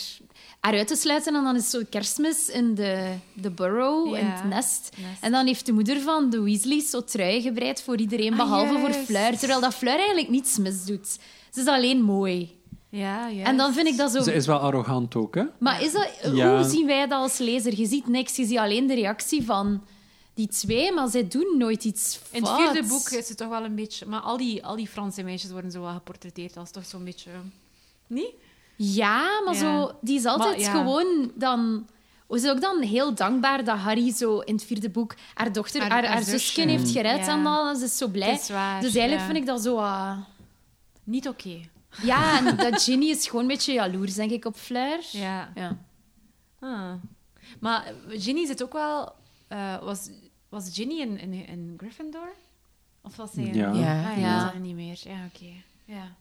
S1: haar uit te sluiten. En dan is zo kerstmis in de, de burrow, in
S2: Ja.
S1: het nest.
S2: Nest.
S1: En dan heeft de moeder van de Weasleys zo trui gebreid voor iedereen,
S2: Ah,
S1: behalve voor
S2: juist.
S1: Fleur. Terwijl dat Fleur eigenlijk niets misdoet. Ze is alleen mooi.
S2: Ja, juist.
S1: En dan vind ik dat zo...
S3: Ze is wel arrogant ook, hè?
S1: Maar is dat...
S3: Ja.
S1: hoe zien wij dat als lezer? Je ziet niks, je ziet alleen de reactie van die twee, maar zij doen nooit iets
S2: In het
S1: fouts.
S2: vierde boek is ze toch wel een beetje... Maar al die, al die Franse meisjes worden zo wel geportretteerd als toch zo'n beetje... Niet?
S1: Ja, maar
S2: Ja.
S1: Zo, die is altijd
S2: Maar, ja.
S1: gewoon dan. We zijn ook dan heel dankbaar dat Harry zo in het vierde boek haar dochter, haar,
S2: Haar-
S1: haar,
S2: haar
S1: zusje
S2: zusje.
S1: heeft gered
S2: Ja.
S1: en al. En ze is zo blij.
S2: Het is waar,
S1: dus eigenlijk
S2: ja.
S1: vind ik dat zo. ah,
S2: Niet oké.
S1: Ja, en dat Ginny is gewoon een beetje jaloers, denk ik, op Fleur.
S2: Ja.
S1: Ja.
S2: Ah. Maar eh, Ginny zit ook wel... eh, was, was Ginny in, in, in Gryffindor? Of was zij... in-
S3: Ja.
S4: Ja.
S2: Ah, ja,
S1: Ja.
S2: dat is er niet meer. Ja, oké. Ja.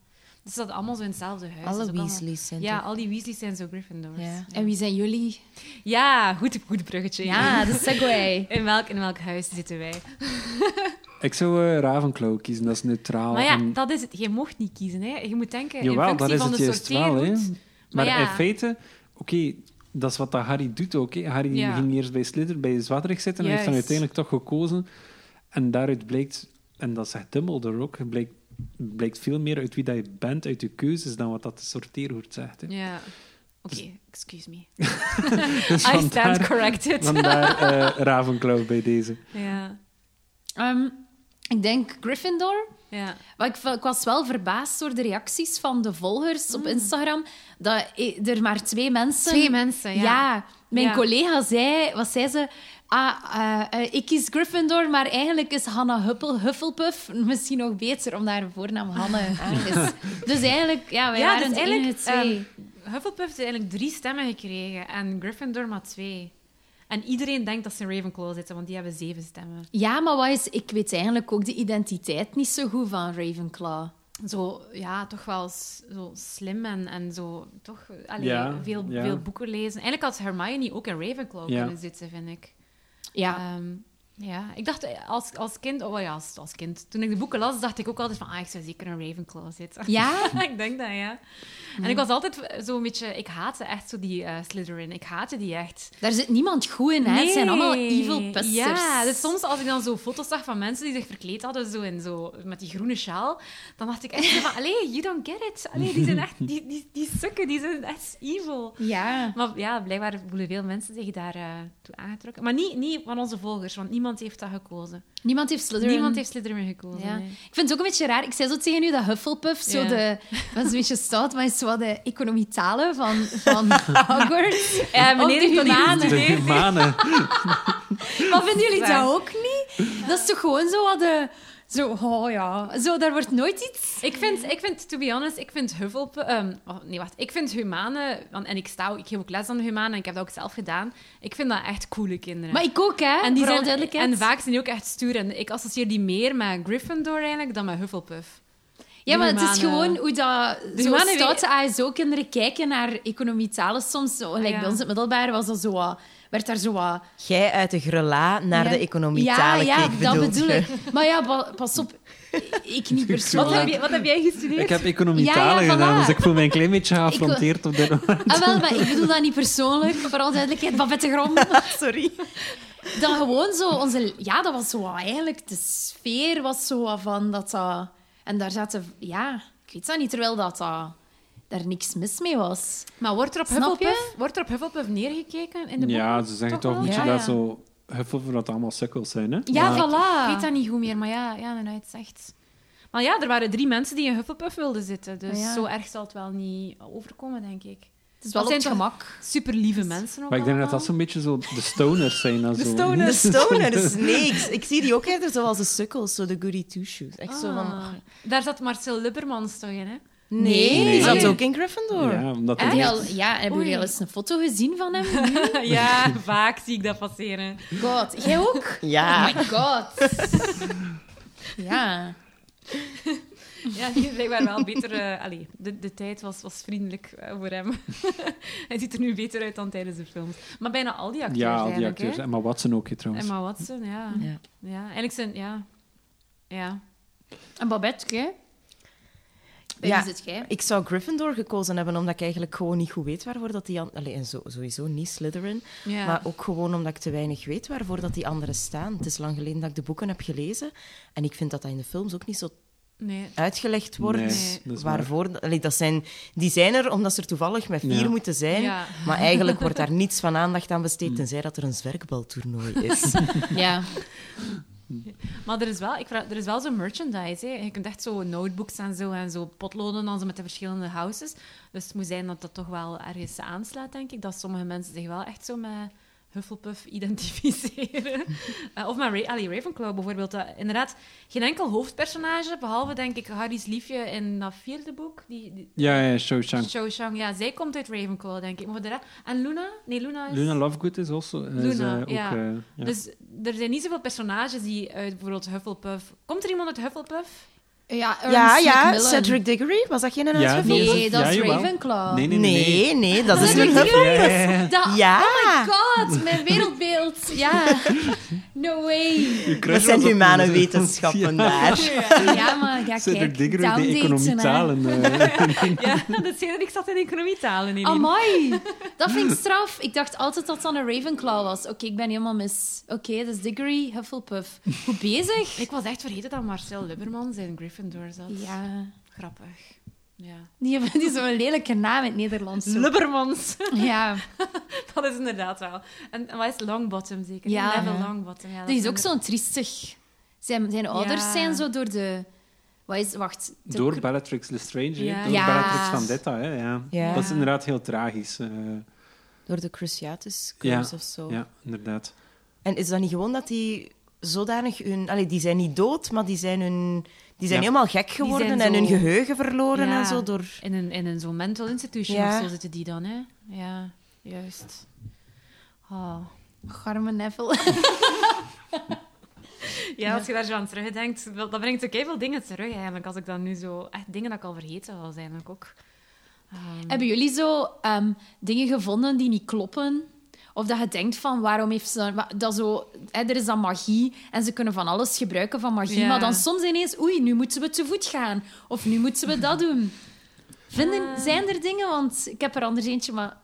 S2: Dus dat allemaal zo in hetzelfde huis. Dat is
S4: Alle
S2: ook allemaal-
S4: Weasleys zijn
S2: Ja,
S4: toch-
S2: al die Weasleys zijn zo Gryffindors.
S4: Ja.
S1: En wie zijn jullie?
S2: Ja, goed, goed bruggetje.
S1: Ja, de segway.
S2: In welk, in welk huis zitten wij?
S3: Ik zou eh, Ravenclaw kiezen, dat is neutraal.
S2: Maar ja,
S3: en-
S2: dat is het. Je mocht niet kiezen. Hè. Je moet denken
S3: Jawel,
S2: in
S3: dat
S2: functie
S3: is
S2: van
S3: het
S2: de
S3: juist wel. Hè.
S2: sorteerroute.
S3: Maar
S2: ja.
S3: in feite, oké, dat is wat dat Harry doet ook. Hè. Harry
S2: Ja.
S3: ging eerst bij Slytherin, bij Zwadderig zitten en heeft dan
S2: Juist.
S3: uiteindelijk toch gekozen. En daaruit blijkt, en dat zegt Dumbledore ook, het blijkt, blijkt veel meer uit wie dat je bent, uit je keuzes, dan wat dat de sorteerhoed zegt. Hè.
S2: Ja. Oké, excuse me.
S3: Dus
S2: I stand
S3: vandaar,
S2: corrected.
S3: vandaar eh, Ravenclaw bij deze.
S2: ja,
S1: Ehm, ik denk Gryffindor.
S2: ja.
S1: Maar ik, ik was wel verbaasd door de reacties van de volgers op Instagram. Dat i- er maar twee mensen...
S2: Mm. Twee mensen, ja.
S1: mijn
S2: Ja.
S1: collega zei... Wat zei ze? Ah, eh, eh, ik kies Gryffindor, maar eigenlijk is Hanna Huppel, Hufflepuff misschien nog beter, omdat haar voornaam Hanne is. Dus eigenlijk, ja, wij
S2: Ja,
S1: waren
S2: dus
S1: de enige
S2: eigenlijk,
S1: twee.
S2: Hufflepuff heeft eigenlijk drie stemmen gekregen en Gryffindor maar twee. En iedereen denkt dat ze in Ravenclaw zitten, want die hebben zeven stemmen.
S1: Ja, maar wat is... Ik weet eigenlijk ook de identiteit niet zo goed van Ravenclaw.
S2: Zo, ja, toch wel s- zo slim en, en zo, toch? allee,
S3: Ja,
S2: veel,
S3: ja.
S2: veel boeken lezen. Eigenlijk had Hermione ook in Ravenclaw
S3: Ja.
S2: kunnen zitten, vind ik.
S1: Ja.
S2: Ehm, ja, ik dacht eh, als, als kind, oh ja, als, als kind, toen ik de boeken las, dacht ik ook altijd van, ah, ik zou zeker een Ravenclaw zitten.
S1: Ja?
S2: ik denk dat, ja. En ik was altijd zo'n beetje, ik haatte echt zo die eh, Slytherin, ik haatte die echt.
S1: Daar zit niemand goed in, hè? Het zijn allemaal
S2: Nee.
S1: evil pesters.
S2: Ja, dus soms als ik dan zo foto's zag van mensen die zich verkleed hadden zo en zo, met die groene sjaal, dan dacht ik echt zo van, allee, you don't get it. Allee, die zijn echt, die, die, die sukken, die zijn echt evil.
S1: Ja.
S2: Maar ja, blijkbaar voelen veel mensen zich daar eh, toe aangetrokken. Maar niet, niet van onze volgers, want niemand heeft dat gekozen.
S1: Niemand heeft Slytherin.
S2: Niemand heeft Slytherin gekozen.
S1: Ja.
S2: nee.
S1: Ik vind het ook een beetje raar. Ik zei zo tegen u dat Hufflepuff zo
S2: Ja.
S1: de... Dat is een beetje stout, maar is zo de economietalen van, van Hogwarts.
S2: Ja,
S1: Of
S2: meneer
S1: de
S2: heeft dat niet
S1: humanen.
S2: gestudeerd.
S3: De manen.
S1: Maar vinden jullie
S2: Waar.
S1: dat ook niet? Dat is toch gewoon zo wat de... Zo, oh ja. Zo, daar wordt nooit iets...
S2: Ik vind, ik vind, to be honest, ik vind Hufflepuff... ehm, oh, nee, wacht. Ik vind humanen... want- En ik, sta, ook- ik geef ook les aan de humanen en ik heb dat ook zelf gedaan. Ik vind dat echt coole kinderen.
S1: Maar ik ook, hè?
S2: en, die
S1: vooral
S2: zijn,
S1: duidelijkheid.
S2: en vaak zijn die ook echt stoer. En ik associeer die meer met Gryffindor eigenlijk dan met Hufflepuff.
S1: Ja, maar het is
S2: humanen-
S1: gewoon hoe dat
S2: De
S1: zo
S2: humanen
S1: stoute ASO-kinderen kijken naar economietalen soms. Zo, gelijk
S2: Ah, Ja.
S1: bij ons in het middelbaar was dat zo wat- werd daar zo wat
S4: Jij uit de grela naar
S1: Ja.
S4: de economie talen
S1: Ja, ja
S4: keek,
S1: dat
S4: bedoelt
S1: bedoel
S4: je?
S1: ik. Maar ja, pa- pas op. Ik niet
S2: Wat,
S1: persoonlijk.
S2: heb, je, wat heb jij gestudeerd?
S3: Ik heb economie
S1: Ja, ja,
S3: talen gedaan,
S1: voilà.
S3: dus ik voel me een klein beetje geaffronteerd op dit moment.
S1: Ah, wel, maar ik bedoel dat niet persoonlijk, vooral duidelijkheid, maar met de grond.
S4: Sorry.
S1: Dan gewoon zo onze... Ja, dat was zo wat eigenlijk... De sfeer was zo wat van dat dat... En daar zaten... Ja, ik weet dat niet, terwijl dat dat... Daar niks mis mee was.
S2: Maar wordt er, op
S1: Snap
S2: Hufflepuff, wordt er op Hufflepuff neergekeken in de boeken?
S3: Ja, ze zeggen toch
S2: wel?
S3: een beetje
S2: Ja,
S3: dat
S2: ja.
S3: zo... Hufflepuff dat allemaal sukkels zijn, hè?
S1: Ja,
S2: Ik
S1: voilà.
S2: weet dat niet goed meer, maar ja, ja nou, het zegt. Maar ja, er waren drie mensen die in Hufflepuff wilden zitten. Dus
S1: Ah, ja.
S2: zo erg zal het wel niet overkomen, denk ik.
S1: Het is wel
S2: Dat
S1: op
S2: zijn
S1: het
S2: toch-
S1: gemak.
S2: Super lieve mensen ook.
S3: Maar ik denk dat
S2: allemaal.
S3: dat zo'n beetje zo de stoners zijn. dan zo.
S4: De stoners. Nee, ik, ik zie die ook eerder zoals de sukkels, zo de goody two-shoes. Echt zo van...
S2: Ah. Daar zat Marcel Lubbermans toch in, hè?
S1: Nee.
S4: Die zat
S3: Nee.
S4: ook in Gryffindor.
S3: Ja, omdat
S1: Heb
S3: dat
S1: je
S3: niet-
S1: al- ja, hebben jullie
S2: Oei.
S1: al eens een foto gezien van hem?
S2: ja, vaak zie ik dat passeren.
S1: God, jij ook?
S4: Ja.
S1: Oh my god. ja.
S2: Ja, die is blijkbaar wel beter... eh, allee, de, de tijd was, was vriendelijk eh, voor hem. Hij ziet er nu beter uit dan tijdens de films. Maar bijna al die acteurs
S3: Ja, al die
S2: eigenlijk,
S3: acteurs.
S2: hè?
S3: Emma Watson ook, hè, trouwens.
S2: Emma Watson, ja.
S4: Ja.
S2: Ja, eigenlijk zijn... Ja. Ja.
S1: En Babette, jij? Bij
S4: Ja.
S1: wie zit jij?
S4: Ik zou Gryffindor gekozen hebben, omdat ik eigenlijk gewoon niet goed weet waarvoor dat die... an- Allee, en zo, sowieso niet Slytherin.
S2: ja.
S4: Maar ook gewoon omdat ik te weinig weet waarvoor dat die anderen staan. Het is lang geleden dat ik de boeken heb gelezen. En ik vind dat dat in de films ook niet zo
S2: Nee.
S4: uitgelegd wordt.
S3: Nee, dat is waar.
S4: waarvoor... Allee, dat zijn, die zijn er omdat ze er toevallig met vier
S3: Ja.
S4: moeten zijn.
S2: Ja.
S4: Maar eigenlijk wordt daar niets van aandacht aan besteed, tenzij dat er een zwerkbaltoernooi is.
S1: Ja.
S2: Maar er is wel, ik vraag, er is wel zo'n merchandise. Hè. Je kunt echt zo notebooks en zo en zo potloden dan zo met de verschillende houses. Dus het moet zijn dat dat toch wel ergens aanslaat, denk ik. Dat sommige mensen zich wel echt zo met Hufflepuff identificeren. Eh, of met Ray, allee, Ravenclaw bijvoorbeeld. Dat, inderdaad, geen enkel hoofdpersonage, behalve denk ik Harry's liefje in dat vierde boek. Die, die,
S3: Ja, ja, Shawshank.
S2: Cho Chang, ja, zij komt uit Ravenclaw, denk ik. Maar voor de rest- en Luna? Nee, Luna is... Dus
S3: Luna Lovegood is, also, is
S2: Luna,
S3: eh, ook...
S2: ja.
S3: eh, ja.
S2: Dus er zijn niet zoveel personages die uit bijvoorbeeld Hufflepuff... Komt er iemand uit Hufflepuff?
S1: Ja, Ernest
S4: Ja, ja,
S1: Macmillan.
S4: Cedric Diggory. Was dat geen een
S3: Ja,
S4: uitgevoerd?
S1: Nee, dat is
S3: Ja, jawel.
S1: Ravenclaw.
S3: Nee, nee, nee.
S4: Nee, nee, dat is
S1: Cedric
S4: een
S1: Diggory.
S4: Hufflepuff.
S1: Dat-
S4: Ja.
S1: Oh my god, mijn wereldbeeld. Ja. No way.
S4: Dat zijn humane wetenschappen daar.
S1: Ja, maar ja,
S3: Cedric
S1: kijk.
S3: Diggory, de
S1: downdaten,
S3: economie
S1: hè.
S3: talen. eh,
S2: Ja, dat zei dat ik zat in economietalen in.
S1: Amai, dat vind ik straf. Ik dacht altijd dat dat een Ravenclaw was. Oké, ik ben helemaal mis. Oké, dat is Diggory, Hufflepuff. Goed bezig.
S2: Ik was echt vergeten dat Marcel Lubbermans in Gryffindor zat.
S1: Ja,
S2: Grappig. Ja.
S1: die hebben die zo'n lelijke naam in het Nederlands. zo.
S2: Lubbermans.
S1: Ja,
S2: Dat is inderdaad wel. En, en wat is Longbottom zeker?
S1: Ja.
S2: Neville
S1: Ja.
S2: Longbottom. Ja, dat
S1: die is
S2: is
S1: ook zo'n triestig. Zijn, zijn ouders
S2: Ja.
S1: zijn zo door de... Wat is... Wacht. de-
S3: Door Bellatrix Lestrange, hè.
S2: Ja.
S3: door
S1: Ja.
S3: Bellatrix Vendetta. Hè. Ja.
S4: Ja.
S3: Dat is inderdaad heel tragisch. eh,
S4: Door de Cruciatus
S3: Ja,
S4: Curse of zo.
S3: ja, inderdaad.
S4: En is dat niet gewoon dat die zodanig hun... Allee, die zijn niet dood, maar die zijn, hun, die zijn
S3: Ja.
S4: helemaal gek geworden
S2: zijn
S4: en hun
S2: zo-
S4: geheugen verloren
S2: Ja.
S4: en zo door...
S2: In een, in een zo'n mental institution
S4: Ja.
S2: of zo zitten die dan, hè? Ja, juist. Oh.
S1: Garme Neville.
S2: Ja, als je daar zo aan terugdenkt, wel- dat brengt ook heel veel dingen terug eigenlijk. Als ik dan nu zo... Echt dingen dat ik al vergeten was eigenlijk ook. Ehm,
S1: Hebben jullie zo ehm, dingen gevonden die niet kloppen? Of dat je denkt van waarom heeft ze dan- wa- dat zo, hè, er is dan magie en ze kunnen van alles gebruiken van magie,
S2: Ja.
S1: maar dan soms ineens, oei, nu moeten we te voet gaan of nu moeten we dat doen. Vinden, Zijn er dingen, want ik heb er anders eentje, maar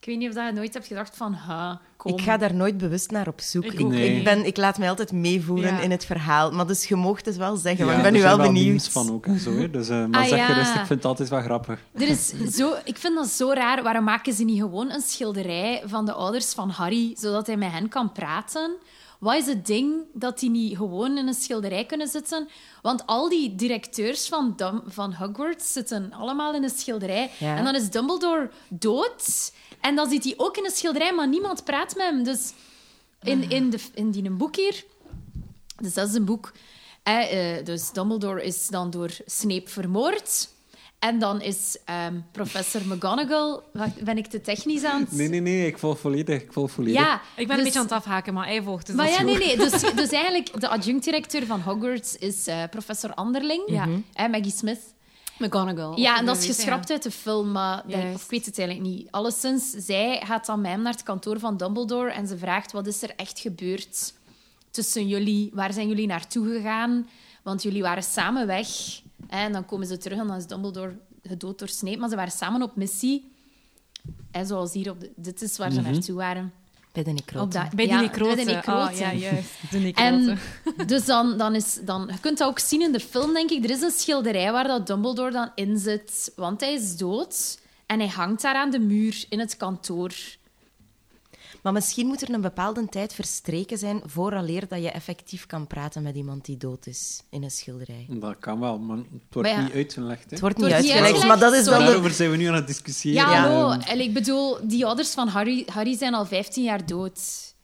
S1: ik weet niet of dat je nooit hebt gedacht van, ha, kom.
S4: Ik ga daar nooit bewust naar op zoek.
S2: Ik
S4: Ik,
S3: ook
S4: ik,
S3: niet.
S4: ben, ik laat mij altijd meevoeren
S2: Ja.
S4: in het verhaal. Maar dus je mocht het wel zeggen,
S3: Ja,
S4: want ik
S3: er
S4: ben nu
S3: zijn
S4: wel benieuwd.
S3: memes van ook en zo. Hè. Dus, eh, maar
S1: Ah,
S3: zeg
S1: ja.
S3: gerust, ik vind het altijd wel grappig.
S1: Er is zo, ik vind dat zo raar. Waarom maken ze niet gewoon een schilderij van de ouders van Harry, zodat hij met hen kan praten? Wat is het ding dat die niet gewoon in een schilderij kunnen zitten? Want al die directeurs van, Dum- van Hogwarts zitten allemaal in een schilderij.
S4: Ja.
S1: En dan is Dumbledore dood. En dan zit hij ook in een schilderij, maar niemand praat met hem. Dus in, in, de, in die een boek hier, dus dat is een boek. hè, eh, dus Dumbledore is dan door Snape vermoord. En dan is ehm, professor McGonagall... Wacht, Ben ik te technisch aan het...
S3: Nee, nee, nee, ik volg volledig. Ik volg volledig.
S1: Ja,
S2: Ik ben een
S1: dus-
S2: beetje aan het afhaken, maar hij volgt. Dus
S1: Maar
S2: dat
S1: ja,
S2: is
S1: nee,
S2: goed.
S1: nee. Dus, dus eigenlijk, de adjunct-directeur van Hogwarts is eh, professor Anderling. Ja. Hè, Maggie Smith.
S2: McGonagall.
S1: Ja,
S2: Of
S1: en dat is
S2: Louise, ja.
S1: geschrapt uit de film, maar dat-
S2: Juist.
S1: of ik weet het eigenlijk niet. Alleszins, zij gaat dan met hem naar het kantoor van Dumbledore en ze vraagt wat is er echt gebeurd tussen jullie? Waar zijn jullie naartoe gegaan? Want jullie waren samen weg. hè, En dan komen ze terug en dan is Dumbledore gedood door Snape, maar ze waren samen op missie. En zoals hier, op de- dit is waar ze naartoe waren.
S4: Bij de necrote.
S1: Op dat-
S2: Bij die
S1: ja,
S2: necrote.
S1: Bij de
S2: Ah,
S1: necrote.
S2: ja, juist. De necrote.
S1: En dus dan, dan is dan, je kunt dat ook zien in de film, denk ik. Er is een schilderij waar dat Dumbledore dan in zit, want hij is dood en hij hangt daar aan de muur in het kantoor.
S4: Maar misschien moet er een bepaalde tijd verstreken zijn vooraleer dat je effectief kan praten met iemand die dood is in een schilderij.
S3: Dat kan wel, maar het wordt
S1: Maar ja.
S3: niet uitgelegd. Hè.
S4: Het wordt
S1: Het
S4: niet
S1: wordt niet
S4: uitgelegd, maar
S1: uitgelegd,
S4: dat is wel de...
S3: Daarover zijn we nu aan het discussiëren.
S1: Ja, hallo.
S3: Ehm,
S1: En ik bedoel, die ouders van Harry, Harry zijn al 15 jaar dood.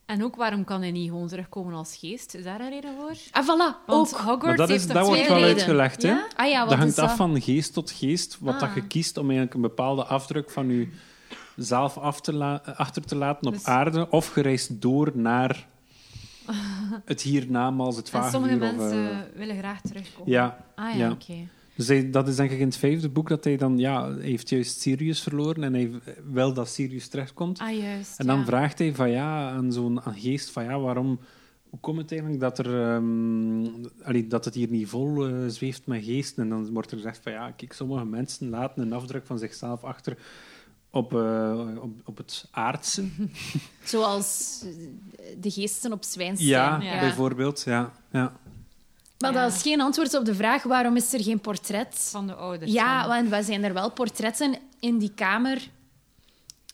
S2: En ook, waarom kan hij niet gewoon terugkomen als geest? Is daar een reden voor?
S1: En Ah, voilà,
S2: Want
S1: ook.
S2: Hogwarts
S3: Maar dat, is,
S2: heeft
S3: dat
S2: toch
S3: wordt
S2: twee
S3: wel
S1: reden.
S2: redenen?
S3: uitgelegd. Hè?
S2: Ja?
S1: Ah ja, wat
S3: dat
S1: is
S3: hangt
S1: dat?
S3: af van geest tot geest, wat dat je kiest om eigenlijk een bepaalde afdruk van je zelf af te la- achter te laten op
S2: Dus-
S3: aarde, of gereisd door naar het hiernamaals, het
S2: En
S3: vagevuur.
S2: sommige
S3: of,
S2: mensen
S3: eh,
S2: willen graag terugkomen.
S3: ja,
S2: Ah ja,
S3: ja.
S2: oké.
S3: Dus hij- dat is denk ik in het vijfde boek dat hij dan, ja, hij heeft juist Sirius verloren en hij wil dat Sirius terechtkomt.
S2: Ah, juist.
S3: En dan
S2: ja.
S3: vraagt hij van ja, aan zo'n aan geest van ja, waarom, hoe komt het eigenlijk dat, er, ehm, allee, dat het hier niet vol eh, zweeft met geesten? En dan wordt er gezegd van ja, kijk, sommige mensen laten een afdruk van zichzelf achter op, eh, op, op het aardse.
S1: Zoals eh, de geesten op Zwijnstein.
S3: Ja,
S2: ja.
S3: bijvoorbeeld. Ja, ja.
S1: Maar
S2: Ja.
S1: dat is geen antwoord op de vraag waarom is er geen portret
S2: Van de ouders.
S1: Ja,
S2: dan.
S1: want we zijn er wel portretten in die kamer.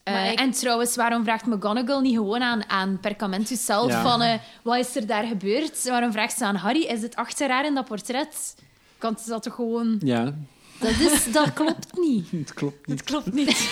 S1: Eh,
S2: Maar ik-
S1: En trouwens, waarom vraagt McGonagall niet gewoon aan, aan Percamentus zelf
S3: Ja.
S1: van eh, wat is er daar gebeurd? Waarom vraagt ze aan Harry, is het achter haar in dat portret? Kan ze dat toch gewoon...
S3: ja,
S1: Dat, is, dat klopt niet.
S3: het klopt niet.
S2: Het klopt niet.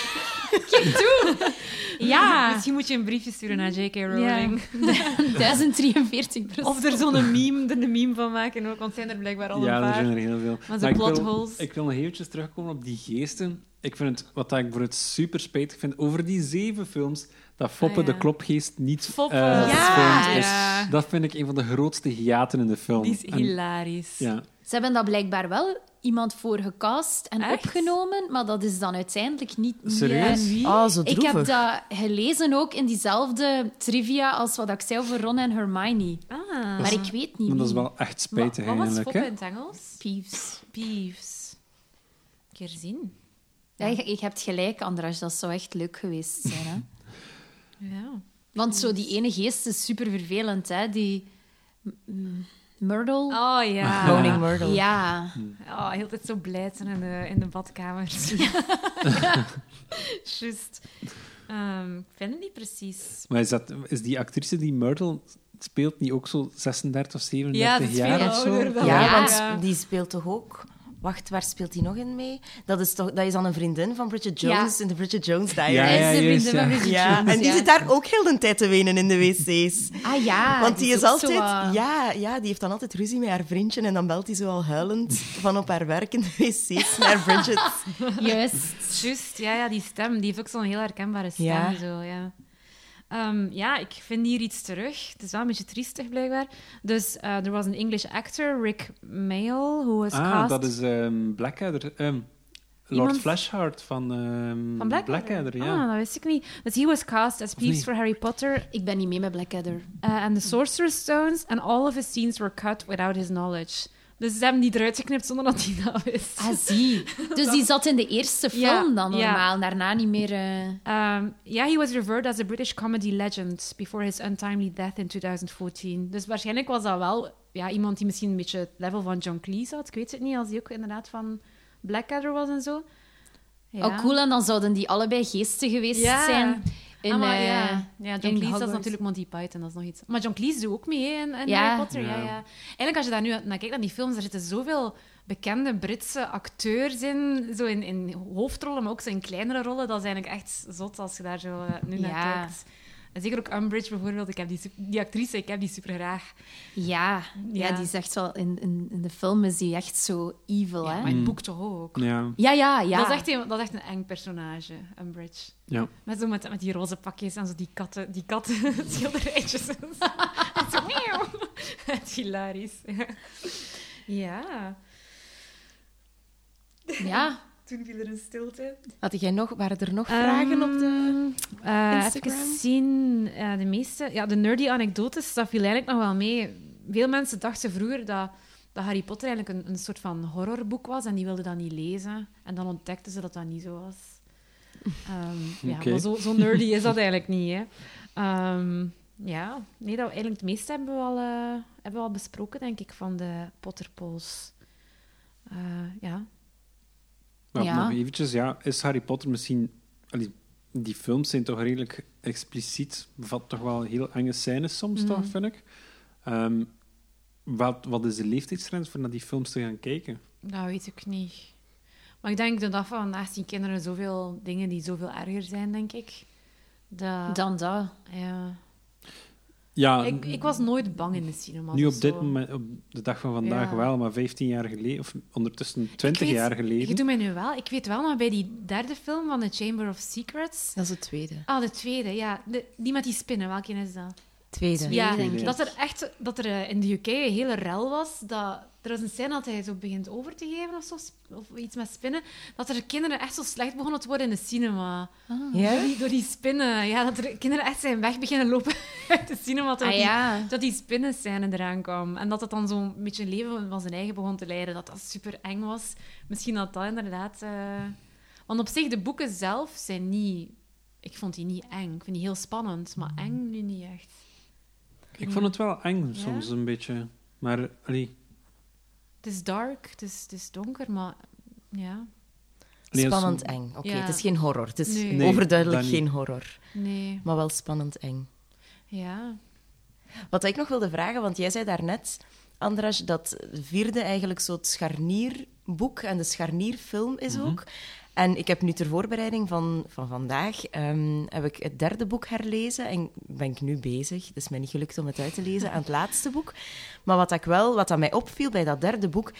S1: Ja.
S2: Misschien moet je een briefje sturen naar J.K.
S1: ja.
S2: Rowling.
S1: 1043 procent.
S2: Of er zo'n meme, er een meme van maken ook, want zijn er blijkbaar al een
S3: Ja, er
S2: paar.
S3: zijn er heel veel.
S2: Maar de
S3: ik wil-
S2: plotholes.
S3: Ik wil nog eventjes terugkomen op die geesten. Ik vind het, wat ik voor het super spijtig vind over die zeven films, dat Foppe
S2: Ah, ja.
S3: de klopgeest niet
S2: Foppe.
S3: eh,
S2: Ja,
S3: gefilmd is.
S2: ja.
S3: Dat vind ik een van de grootste hiaten in de film.
S2: Die is
S3: En-
S2: hilarisch.
S3: ja.
S1: Ze hebben daar blijkbaar wel iemand voor gecast en
S2: Echt?
S1: opgenomen, maar dat is dan uiteindelijk niet...
S3: Serieus?
S1: niet-
S2: Oh.
S4: Ah, zo
S1: Ik
S4: droevig.
S1: heb dat gelezen ook in diezelfde trivia als wat ik zei over Ron en Hermione.
S2: Ah.
S1: Maar ik weet niet
S3: Maar dat is
S1: wie.
S3: wel echt spijtig
S2: Wat was
S3: eigenlijk.
S2: Foppe
S3: Hè?
S2: in het Engels?
S1: Peeves.
S2: Peeves. Een keer zien.
S1: Ja, je, je hebt gelijk, Andras. Dat zou echt leuk geweest zijn. Hè?
S2: Ja.
S1: Want zo die ene geest is super vervelend, hè? Die mm, Myrtle.
S2: Oh ja.
S4: Moaning Myrtle.
S1: Ja.
S2: Oh, heel de tijd zo blijten in de, in de badkamers. Juist. Ehm, ik vind het niet precies.
S3: Maar is, dat, is die actrice die Myrtle speelt niet ook zo 36 of 37
S2: Ja, dat is
S3: jaar
S2: veel
S3: of zo?
S2: ouder dan-
S4: Ja,
S1: Ja.
S4: want
S2: Ja.
S4: die speelt toch ook... Wacht, waar speelt die nog in mee? Dat is, toch, dat is dan een vriendin van Bridget
S1: Ja.
S4: Jones in de Bridget Jones Diaries.
S3: Ja,
S1: Hij is de
S3: juist,
S1: vriendin van
S3: ja.
S1: Bridget
S4: Ja,
S1: Jones,
S4: en die
S1: ja.
S4: zit daar ook heel de tijd te wenen in de wc's.
S1: Ah ja.
S4: Want die is
S1: ook zo,
S4: altijd...
S1: eh,
S4: Ja, ja, die heeft dan altijd ruzie met haar vriendje en dan belt hij zo al huilend van op haar werk in de wc's naar Bridget.
S1: Juist.
S2: Juist, ja, ja, die stem. Die heeft ook zo'n heel herkenbare stem.
S4: Ja.
S2: Zo, ja. Ehm, ja, ik vind hier iets terug. Het is wel een beetje triestig, blijkbaar. Dus eh, er was een English actor, Rick Mail, who was
S3: Ah,
S2: cast...
S3: dat is ehm, Blackadder. ehm, Lord
S2: Iemand-
S3: Flashheart van, ehm,
S2: Van Blackadder?
S3: ja.
S2: Ah, dat wist ik niet. Dus he was cast as Peeves
S3: nee?
S2: for Harry Potter
S1: Ik ben niet mee met Blackadder.
S2: uh, and the Sorcerer's Stones and all of his scenes were cut without his knowledge. Dus ze hebben die eruit geknipt zonder dat hij dat wist.
S1: Ah, zie. Dus die zat in de eerste film
S2: Ja,
S1: dan normaal.
S2: ja.
S1: Daarna niet meer... eh,
S2: Um, yeah, he was revered as a British comedy legend before his untimely death in 2014. Dus waarschijnlijk was dat wel ja, iemand die misschien een beetje het level van John Cleese had. Ik weet het niet, als hij ook inderdaad van Blackadder was en zo. Ja.
S1: Oh, cool. En dan zouden die allebei geesten geweest
S2: Ja.
S1: zijn. In,
S2: ah, maar,
S1: eh,
S2: ja. ja, John
S1: in
S2: Cleese dat is
S1: Hogwarts.
S2: natuurlijk Monty Python, dat is nog iets. Maar John Cleese doet ook mee hè, in, in
S1: Ja.
S2: Harry Potter. Ja.
S3: Ja.
S2: Ja, Eigenlijk, als je daar nu naar kijkt, naar die films, er zitten zoveel bekende Britse acteurs in. Zo in, in hoofdrollen, maar ook zo in kleinere rollen. Dat is eigenlijk echt zot als je daar zo eh, nu
S1: Ja.
S2: naar kijkt. En zeker ook Umbridge bijvoorbeeld. Ik heb die, sup- die actrice, ik heb die super graag.
S1: Ja, ja.
S2: Ja.
S1: die is echt wel... In, in, in de film is die echt zo evil,
S2: Ja,
S1: hè?
S2: maar in het boek toch ook.
S3: Ja,
S1: Ja, ja, ja.
S2: Dat, is echt een, dat is echt een eng personage, Umbridge.
S3: ja.
S2: Met, zo met, met die roze pakjes en zo die katten, die katten schilderijtjes. en zo. En zo, meeuw. Het is hilarisch. Ja.
S1: Ja. Ehm,
S2: Toen viel er een stilte.
S4: Had jij nog, waren er nog
S2: Vragen op de
S4: Instagram?
S2: Ehm, eh, even zien. eh, de meeste... Ja, de nerdy anekdotes, dat viel eigenlijk nog wel mee. Veel mensen dachten vroeger dat, dat Harry Potter eigenlijk een, een soort van horrorboek was en die wilden dat niet lezen. En dan ontdekten ze dat dat niet zo was. Ehm, ja,
S3: Oké.
S2: maar zo, zo nerdy is dat eigenlijk niet, hè. Ehm, ja, nee, dat we eigenlijk het meeste hebben we al, eh, hebben we al besproken, denk ik, van de Potterpools. Eh, ja,
S3: Maar
S1: Ja.
S3: nog eventjes, ja, is Harry Potter misschien... allee, die films zijn toch redelijk expliciet, bevat toch wel heel enge scènes soms,
S2: Mhm.
S3: toch, vind ik. Ehm, wat, wat is de leeftijdsgrens voor naar die films te gaan kijken?
S2: Dat weet ik niet. Maar ik denk dat dat vandaag zien kinderen zoveel dingen die zoveel erger zijn, denk ik. Dat,
S1: Dan dat.
S2: ja.
S3: Ja,
S2: ik, ik was nooit bang in de cinema.
S3: Ah,
S2: dus
S3: nu op dit moment, op de dag van vandaag
S2: Ja.
S3: wel, maar 15 jaar geleden, of ondertussen 20 jaar geleden.
S2: Ik doe mij nu wel. Ik weet wel nog bij die derde film van The Chamber of Secrets.
S4: Dat is het tweede.
S2: Ah, de tweede, ja. De- die met die spinnen, welke is dat?
S4: Tweede.
S2: Ja,
S1: denk
S3: ik.
S2: dat er echt dat er eh, in de UK een hele rel was. Dat, er was een scène dat hij zo begint over te geven of zo, sp- of iets met spinnen. Dat er kinderen echt zo slecht begonnen te worden in de cinema. Door,
S4: Ja?
S2: die, door die spinnen. Ja, dat er kinderen echt zijn weg beginnen lopen uit de cinema. Dat
S1: Ah,
S2: die,
S1: ja.
S2: dat die spinnenscène eraan kwam. En dat het dan zo'n beetje een leven van zijn eigen begon te leiden. Dat dat super eng was. Misschien dat dat inderdaad... eh, Want op zich, de boeken zelf zijn niet... Ik vond die niet eng. Ik vind die heel spannend. Maar
S4: Mhm.
S2: eng nu niet echt.
S3: Ik vond het wel eng
S2: Ja?
S3: soms een beetje. Maar allee,
S2: Het is dark, het is, het is donker, maar... Ja,
S3: Nee, dat is-
S4: Spannend eng. Oké,
S2: Ja.
S4: het is geen horror. Het is
S2: Nee. Nee,
S4: overduidelijk
S3: dat niet.
S4: geen horror.
S2: nee,
S4: Maar wel spannend eng.
S2: ja.
S4: Wat ik nog wilde vragen, want jij zei daarnet, Andras, dat vierde eigenlijk zo het scharnierboek en de scharnierfilm is
S1: Mhm.
S4: ook. En ik heb nu ter voorbereiding van, van vandaag, ehm, heb ik het derde boek herlezen en ben ik nu bezig. Het is mij niet gelukt om het uit te lezen aan het laatste boek. Maar wat ik wel, wat aan mij opviel bij dat derde boek,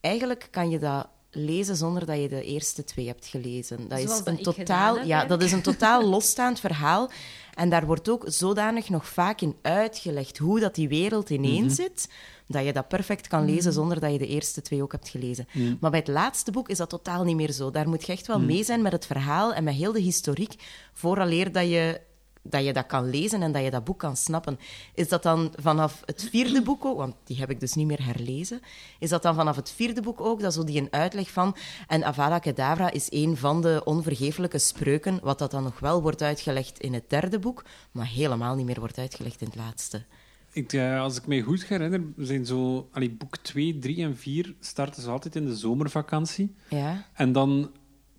S4: eigenlijk kan je dat lezen zonder dat je de eerste twee hebt gelezen. Dat
S1: Zoals
S4: is
S1: dat ik
S4: een
S1: gedaan
S4: totaal,
S1: heb,
S4: ja,
S1: hè.
S4: dat is een totaal losstaand verhaal. En daar wordt ook zodanig nog vaak in uitgelegd hoe dat die wereld ineen zit, dat je dat perfect kan lezen zonder dat je de eerste twee ook hebt gelezen. Maar bij het laatste boek is dat totaal niet meer zo. Daar moet je echt wel mee zijn met het verhaal en met heel de historiek, vooraleer dat je dat je dat kan lezen en dat je dat boek kan snappen. Is dat dan vanaf het vierde boek ook, want die heb ik dus niet meer herlezen, is dat dan vanaf het vierde boek ook, dat zo die een uitleg van, en Avada Kedavra is een van de onvergeeflijke spreuken, wat dat dan nog wel wordt uitgelegd in het derde boek, maar helemaal niet meer wordt uitgelegd in het laatste.
S3: Ik, eh, als ik mij goed herinner, zijn zo... Allee, boek 2, 3 en 4 starten ze altijd in de zomervakantie.
S4: Ja?
S3: En dan,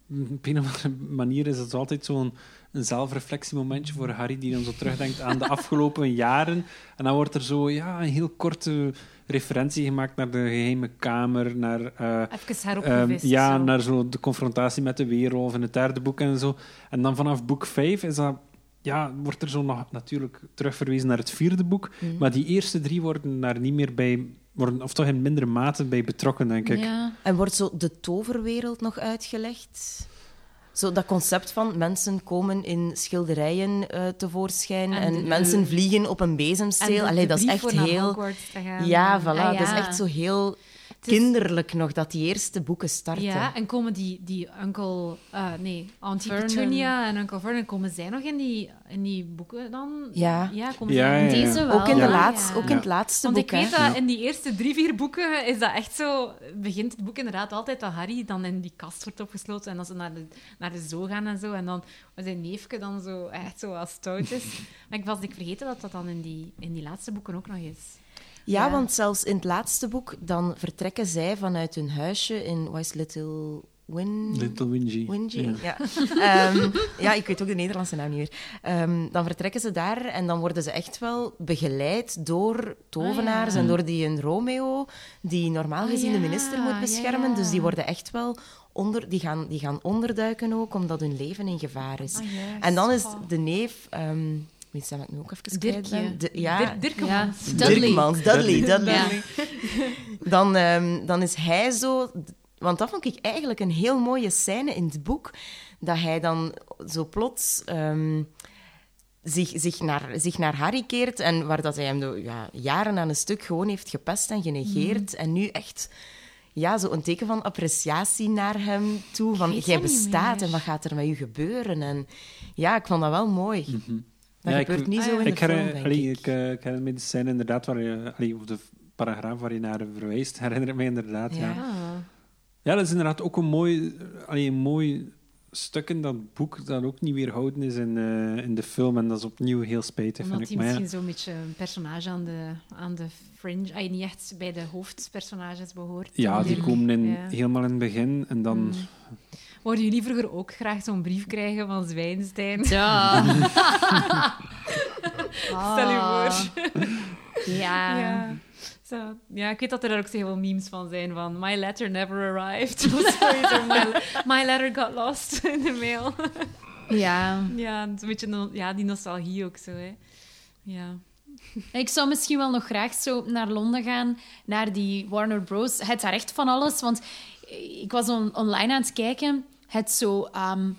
S3: mm, op een of andere manier, is het zo altijd zo'n een zelfreflectiemomentje voor Harry, die dan zo terugdenkt aan de afgelopen jaren. En dan wordt er zo ja, een heel korte referentie gemaakt naar de geheime kamer, naar... eh,
S2: Even heropgevist.
S3: Ehm, ja,
S2: zo.
S3: naar zo de confrontatie met de weerwolf in het derde boek en zo. En dan vanaf boek vijf is dat, ja, wordt er zo nog natuurlijk terugverwezen naar het vierde boek.
S2: Mhm.
S3: Maar die eerste drie worden daar niet meer bij, worden, of toch in mindere mate bij betrokken, denk ik.
S2: Ja.
S4: En wordt zo de toverwereld nog uitgelegd? Zo dat concept van mensen komen in schilderijen eh, tevoorschijn en,
S2: En de-
S4: mensen vliegen op een bezemsteel.
S2: de-
S4: Allee,
S2: de
S4: dat is
S2: brief
S4: echt
S2: voor naar
S4: heel...
S2: Hogwarts te gaan.
S4: Ja, voilà.
S1: Ah,
S4: Dat is
S1: ja.
S4: echt zo heel
S2: is-
S4: kinderlijk nog, dat die eerste boeken starten.
S2: Ja, en komen die, die uncle... eh, nee, Auntie
S1: Vernon.
S2: Petunia en Uncle Vernon, komen zij nog in die, in die boeken dan?
S4: Ja.
S2: Ja, komen
S3: Ja,
S2: zij nog in
S3: ja, ja.
S2: die-
S1: Deze wel.
S4: ook in, de
S3: Ja.
S4: laatste,
S2: Ja.
S4: ook in het laatste
S2: Want
S4: boek.
S2: ik weet
S4: hè.
S2: dat in die eerste drie, vier boeken is dat echt zo... Begint het boek inderdaad altijd dat Harry dan in die kast wordt opgesloten en dat ze naar de, naar de zoo gaan en zo. En dan zijn neefje dan zo echt zo als stout is. maar ik was ik vergeten dat dat dan in die, in die laatste boeken ook nog is.
S4: ja,
S1: Ja.
S4: want zelfs in het laatste boek, dan vertrekken zij vanuit hun huisje in West Little Win...
S3: Little Wingy.
S4: Wingy,
S3: Ja.
S4: ja. Ehm, ja, ik weet ook de Nederlandse naam niet meer. Ehm, dan vertrekken ze daar en dan worden ze echt wel begeleid door tovenaars en door die een Romeo, die normaal
S2: Ah,
S4: gezien de
S2: ja,
S4: minister moet
S2: ja,
S4: beschermen.
S2: ja.
S4: Dus die worden echt wel onder, die gaan, die gaan onderduiken ook, omdat hun leven in gevaar is.
S2: Ah, juist.
S4: en dan is
S2: Oh.
S4: de neef, ehm wie stel ik nu ook even kwijt
S1: Dirkje.
S4: ben? De- ja,
S2: Dirk- Dirkemans.
S1: Ja. Dudley.
S4: Dirkmans, Dudley, Dudley.
S1: Ja.
S4: Dan, ehm, dan is hij zo... Want dat vond ik eigenlijk een heel mooie scène in het boek. Dat hij dan zo plots ehm, zich, zich, naar, zich naar Harry keert. En waar dat hij hem de, ja, jaren aan een stuk gewoon heeft gepest en
S2: Mhm.
S4: genegeerd. En nu echt ja, zo een teken van appreciatie naar hem toe. Van,
S2: weet
S4: jij
S2: dat niet
S4: bestaat
S2: meer."
S4: en wat gaat er met u gebeuren? En ja, ik vond dat wel mooi. Dat
S3: Mhm. Ja, ik-
S4: gebeurt niet
S2: ah,
S4: zo
S2: ja.
S4: in
S3: Ik
S4: de film,
S3: herinner,
S4: denk
S3: allee,
S4: ik.
S3: ik, eh, ik herinner me de scène inderdaad waar je, allee, of de paragraaf waar je naar verwijst, herinner ik me inderdaad, ja.
S4: Ja.
S2: Ah.
S3: Ja, dat is inderdaad ook een mooi, allee, een mooi stuk in dat boek dat ook niet weerhouden is in, eh, in de film. En dat is opnieuw heel spijtig,
S2: Omdat
S3: vind
S2: hij
S3: ik. Maar ja,
S2: misschien zo'n beetje een personage aan de, aan de fringe... Ay, niet echt bij de hoofdpersonages behoort.
S3: ja, die
S2: Mm.
S3: komen in,
S2: Ja. Mm.
S3: helemaal in het begin. En dan...
S2: Wouden jullie vroeger ook graag zo'n brief krijgen van Zwijnstein?
S1: Ja.
S2: Stel je voor.
S1: Ah. Ja.
S2: Ja. Zo. ja, ik weet dat er daar ook heel veel memes van zijn van My letter never arrived. Of zoiets, of my, my letter got lost in de mail.
S1: ja.
S2: ja, een beetje no- ja, die nostalgie ook zo. Hè. Ja.
S1: Ik zou misschien wel nog graag zo naar Londen gaan, naar die Warner Bros. Het daar echt van alles, want ik was on- online aan het kijken. Het zo ehm,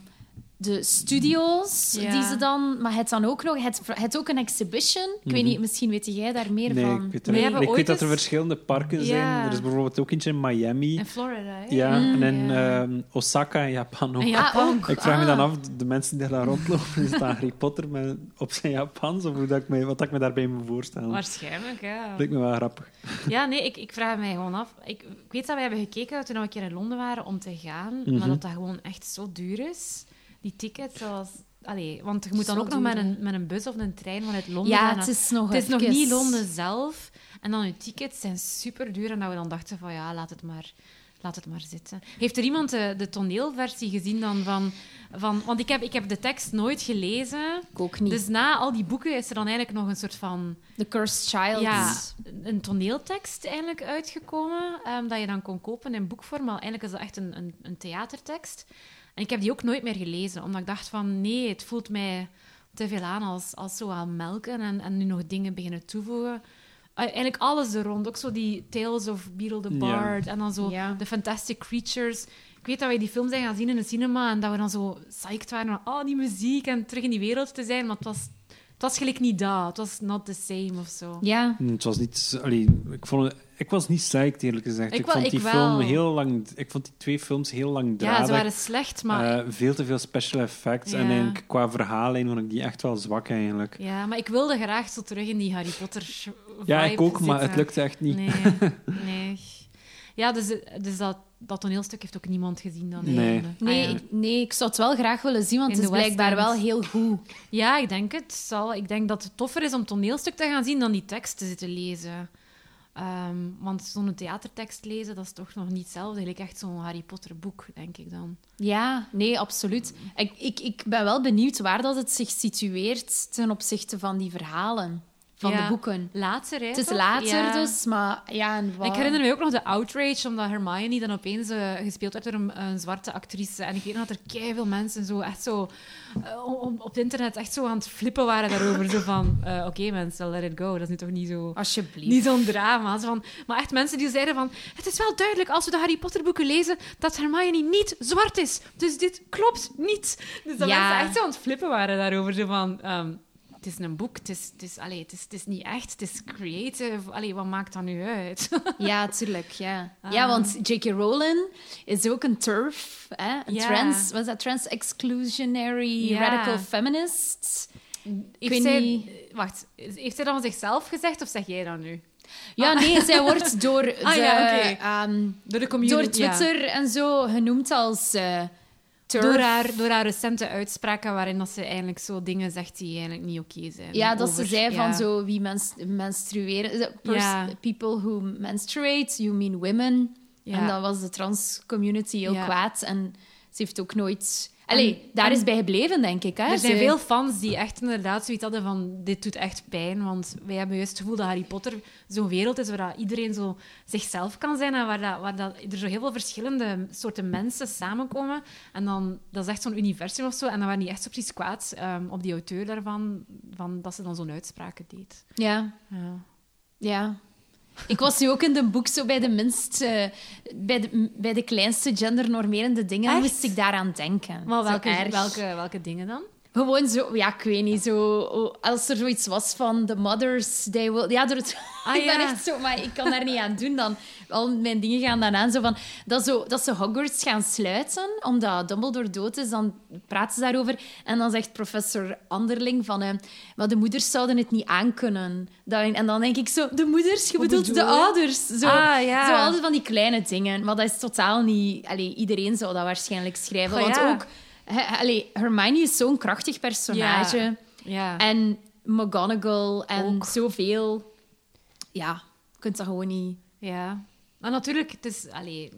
S1: de studios
S2: Ja.
S1: die ze dan, maar het dan ook nog, het, het ook een exhibition. Ik weet niet, misschien weet jij daar meer
S3: Mhm. Nee,
S1: van.
S3: ik weet,
S2: We
S3: er-
S2: hebben
S3: ik weet
S2: ooit
S3: dat er
S2: eens-
S3: verschillende parken
S2: Ja.
S3: zijn. Er is bijvoorbeeld ook eentje in Miami.
S2: In Florida, hè?
S3: ja, en in
S2: Mm, ja.
S3: ehm, Osaka in Japan ook.
S1: Ja, ook.
S3: Ik vraag me
S1: Ah.
S3: dan af, de mensen die daar rondlopen, is dat Harry Potter met, op zijn Japans? Of hoe dat ik me, wat dat ik me daarbij moet voorstellen? Dat
S2: Waarschijnlijk, ja.
S3: lijkt me wel grappig.
S2: Ja, nee, ik, ik vraag mij gewoon af. Ik, ik weet dat wij hebben gekeken toen we een keer in Londen waren om te gaan, maar dat dat gewoon echt zo duur is. Die tickets, zoals... Allee, want je moet dan
S1: Zo
S2: ook nog
S1: duur,
S2: met een, met een bus of een trein vanuit Londen
S1: Ja,
S2: gaan.
S1: het is nog
S2: Het is nog
S1: even.
S2: niet Londen zelf. En dan je tickets zijn super duur. En dat we dan dachten van ja, laat het maar, laat het maar zitten. Heeft er iemand de, de toneelversie gezien dan van... van want ik heb, ik heb de tekst nooit gelezen.
S1: Ik ook niet.
S2: Dus na al die boeken is er dan eigenlijk nog een soort van
S1: The Cursed Child.
S2: ja, een toneeltekst eigenlijk uitgekomen, ehm, dat je dan kon kopen in boekvorm. Maar eigenlijk is dat echt een, een, een theatertekst. En ik heb die ook nooit meer gelezen, omdat ik dacht van nee, het voelt mij te veel aan als, als zo aan melken en, en nu nog dingen beginnen toevoegen. eh, eigenlijk alles er rond. Ook zo die Tales of Beetle the
S3: Ja.
S2: Bard en dan zo
S1: Ja.
S2: The Fantastic Creatures. Ik weet dat wij die film zijn gaan zien in de cinema en dat we dan zo psyched waren van oh, die muziek en terug in die wereld te zijn. Maar het was, het was gelijk niet dat. Het was not the same of zo.
S1: Ja.
S3: Mm, Het was niet... Allee, ik, vond, het- ik was niet psyched, eerlijk gezegd.
S2: Ik
S3: Ik,
S2: wel-
S3: vond
S2: ik
S3: die
S2: wel.
S3: film heel lang... Ik vond die twee films heel lang
S2: Ja, ze
S3: dradig.
S2: waren slecht, maar...
S3: Eh, veel te veel special effects.
S2: Ja.
S3: En eigenlijk qua verhaallijn vond ik die echt wel zwak, eigenlijk.
S2: Ja, maar ik wilde graag zo terug in die Harry Potter sh-
S3: Ja,
S2: vibe
S3: ik ook, maar
S2: zitten.
S3: het lukte echt niet.
S2: Nee, nee. Ja, dus, dus dat, dat toneelstuk heeft ook niemand gezien dan
S3: Nee.
S2: eigenlijk.
S1: Nee,
S2: Ah, ja.
S1: ik, nee, ik zou het wel graag willen zien, want
S2: In
S1: het is
S2: de West
S1: blijkbaar
S2: End.
S1: wel heel goed.
S2: Ja, ik denk het. Zal, ik denk dat het toffer is om toneelstuk te gaan zien dan die tekst te zitten lezen. Ehm, want zo'n theatertekst lezen, dat is toch nog niet hetzelfde. Eigenlijk echt zo'n Harry Potter boek, denk ik dan.
S1: Ja, nee, absoluut. Ik, ik, ik ben wel benieuwd waar dat het zich situeert ten opzichte van die verhalen, van
S2: Ja.
S1: de boeken.
S2: Later, hè?
S1: Het is
S2: toch?
S1: later
S2: Ja.
S1: dus, maar ja, en wat...
S2: Ik herinner me ook nog de outrage, omdat Hermione dan opeens eh, gespeeld werd door een, een zwarte actrice. En ik weet nog dat er veel mensen zo echt zo eh, op, op het internet echt zo aan het flippen waren daarover. zo van, eh, oké mensen, let it go. Dat is nu toch niet
S1: Ah,
S2: zo...
S1: Alsjeblieft.
S2: Niet zo'n drama. Zo van, maar echt mensen die zeiden van... Het is wel duidelijk als we de Harry Potter boeken lezen dat Hermione niet zwart is. Dus dit klopt niet. Dus dat
S1: Ja.
S2: mensen echt zo aan het flippen waren daarover. Zo van... ehm, het is een boek, het is, het, is, allee, het, is, het is niet echt, het is creative. Allee, wat maakt dat nu uit?
S1: Ja, tuurlijk, ja.
S2: Ah.
S1: Ja, want J.K. Rowling is ook een turf, hè? een
S2: Ja.
S1: trans... Wat is dat? Trans-exclusionary
S2: Ja.
S1: radical feminist. Ik
S2: Heeft
S1: weet
S2: zij,
S1: niet...
S2: Wacht, heeft zij dat van zichzelf gezegd of zeg jij dat nu?
S1: Ja, nee, zij wordt door de...
S2: Ah, ja, oké.
S1: ehm,
S2: Door de community.
S1: door Twitter en zo genoemd als eh turf.
S2: Door, haar, door haar recente uitspraken waarin dat ze eigenlijk zo dingen zegt die eigenlijk niet oké zijn.
S1: Ja, dat ze
S2: Over-
S1: zei
S2: ja.
S1: van zo wie mens, menstrueren. eh, pers-
S2: Ja.
S1: People who menstruate, you mean women.
S2: Ja.
S1: En dan was de trans community heel
S2: Ja.
S1: kwaad. En ze heeft ook nooit. Allee, daar is bij gebleven, denk ik. Hè?
S2: Dus Er zijn
S1: Ze-
S2: veel fans die echt inderdaad zoiets hadden van dit doet echt pijn, want wij hebben juist het gevoel dat Harry Potter zo'n wereld is waar dat iedereen zo zichzelf kan zijn en waar, dat, waar dat, er zo heel veel verschillende soorten mensen samenkomen. En dan, dat is echt zo'n universum of zo. En dan waren die echt zo precies kwaad ehm, op die auteur daarvan, van, dat ze dan zo'n uitspraken deed.
S1: Ja,
S2: Ja.
S1: ja. Ik was nu ook in de boek zo bij de minst, eh, bij, de, m- bij de kleinste gendernormerende dingen
S2: Echt?
S1: moest ik daaraan denken.
S2: Maar
S1: Zo
S2: welke,
S1: erg.
S2: welke, welke dingen dan?
S1: Gewoon zo, ja, ik weet niet, zo, oh, als er zoiets was van The Mothers Day Will... Ja, door het,
S2: Ah,
S1: ik ben
S2: ja.
S1: echt zo, maar ik kan daar niet aan doen dan. Al mijn dingen gaan dan aan, zo van, dat, zo, dat ze Hogwarts gaan sluiten, omdat Dumbledore dood is, dan praten ze daarover. En dan zegt professor Anderling van, eh, maar de moeders zouden het niet aankunnen. Dat, en dan denk ik zo, de moeders, je
S2: Wat
S1: bedoelt de
S2: bedoel je?
S1: ouders. Zo,
S2: Ah, ja.
S1: zo altijd van die kleine dingen. Maar dat is totaal niet... Allee, iedereen zou dat waarschijnlijk schrijven,
S2: Goh,
S1: want
S2: ja.
S1: ook... He- Allee, Hermione is zo'n krachtig personage.
S2: Ja.
S1: En McGonagall en
S2: Ook.
S1: zoveel. Ja, je kunt dat gewoon niet.
S2: ja. Maar natuurlijk, het is, allee,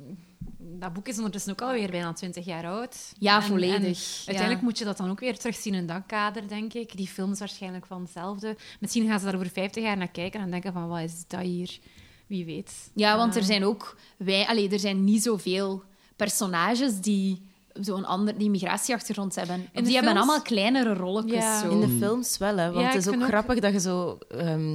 S2: dat boek is ondertussen ook alweer bijna 20 jaar oud.
S1: Ja,
S2: En-
S1: volledig.
S2: en
S1: Ja.
S2: uiteindelijk moet je dat dan ook weer terugzien in dat kader, denk ik. Die films waarschijnlijk van hetzelfde. Misschien gaan ze daar over 50 jaar naar kijken en denken van, wat is dat hier? Wie weet.
S1: Ja, want
S2: Ah.
S1: er zijn ook wij, allee, er zijn niet zoveel personages die zo'n ander, die migratieachtergrond hebben. Of
S2: de
S1: die hebben
S2: films?
S1: allemaal kleinere rolletjes.
S2: Ja.
S1: Zo.
S4: In de films wel, hè, want
S2: Ja,
S4: het is
S2: ik
S4: ook
S2: vind ook-
S4: grappig dat je zo... ehm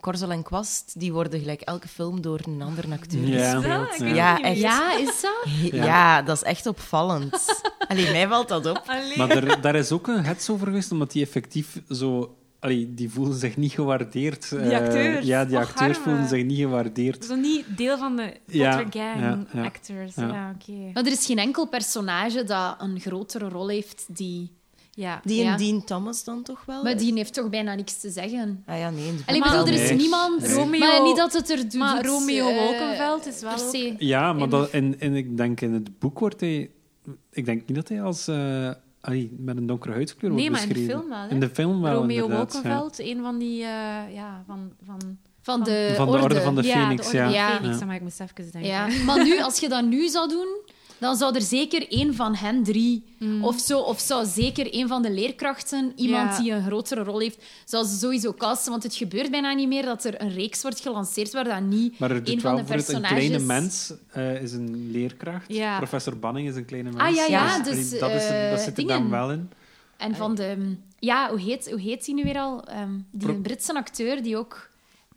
S4: Korzel en Kwast, die worden gelijk elke film door een andere acteur.
S3: Ja,
S2: Wel,
S3: ja.
S2: ik weet
S4: Ja,
S2: het niet
S4: echt.
S1: Ja, is dat?
S4: He- Ja. dat is echt opvallend. Allee, mij valt dat op.
S2: Allee.
S3: Maar daar, daar is ook een hets over geweest, omdat die effectief zo... Allee, die voelen zich niet gewaardeerd.
S2: Die acteurs. Oh,
S3: Eh, ja, die
S2: Och,
S3: acteurs
S2: arme.
S3: voelen zich niet gewaardeerd.
S2: Zo niet deel van de
S3: Ja,
S2: Potter gang
S3: ja, ja.
S2: actors. Ja,
S3: Ja.
S2: oké.
S1: Maar er is geen enkel personage dat een grotere rol heeft die.
S2: Ja.
S4: Die
S1: Ja.
S4: en Dean Thomas dan toch
S2: Oh.
S4: wel?
S1: Maar die heeft toch bijna niks te zeggen.
S4: Ah ja, nee. in de
S1: Allee, ik
S4: boek
S1: bedoel,
S4: wel,
S1: er is
S4: nee.
S3: Nee.
S1: niemand.
S3: Nee.
S2: Romeo-
S1: maar niet dat het er doet.
S2: Maar Dus Romeo
S1: eh,
S2: Wolkenveld is wel
S1: per
S2: ook-
S1: se.
S3: Ja,
S2: In
S3: maar
S2: de-
S3: dat, en, en ik denk in het boek wordt hij... Ik denk niet dat hij als... eh, allee, met een donkere huidskleur
S2: Nee,
S3: wordt
S2: maar in de
S3: beschreven.
S2: film wel, hè?
S3: In de film wel,
S2: Romeo
S3: inderdaad, ja.
S2: Wolkenveld, een van die... eh, ja, van... van
S1: Van de,
S3: Van de Orde van de Phoenix,
S2: de Orde
S1: ja.
S2: Phoenix,
S3: Ja.
S2: dan mag ik moest even denken.
S1: Ja. Maar nu, als je dat nu zou doen, dan zou er zeker één van hen drie of zo, of zou zeker één van de leerkrachten, iemand
S2: Mm. Ja.
S1: die een grotere rol heeft, zou ze sowieso casten. Want het gebeurt bijna niet meer dat er een reeks wordt gelanceerd waar dat niet
S3: Maar er doet
S1: één van
S3: wel
S1: de
S3: voor het een
S1: personages...
S3: kleine mens eh, is een leerkracht.
S2: Ja.
S3: Professor Banning is een kleine mens.
S1: Ah, ja, ja,
S3: allee,
S1: dus,
S3: dat, is,
S1: eh,
S3: dat zit er
S1: dingen.
S3: dan wel in.
S1: En van de... Ja, hoe heet, hoe heet die nu weer al? Ehm, die
S3: Pro-
S1: een Britse acteur die ook...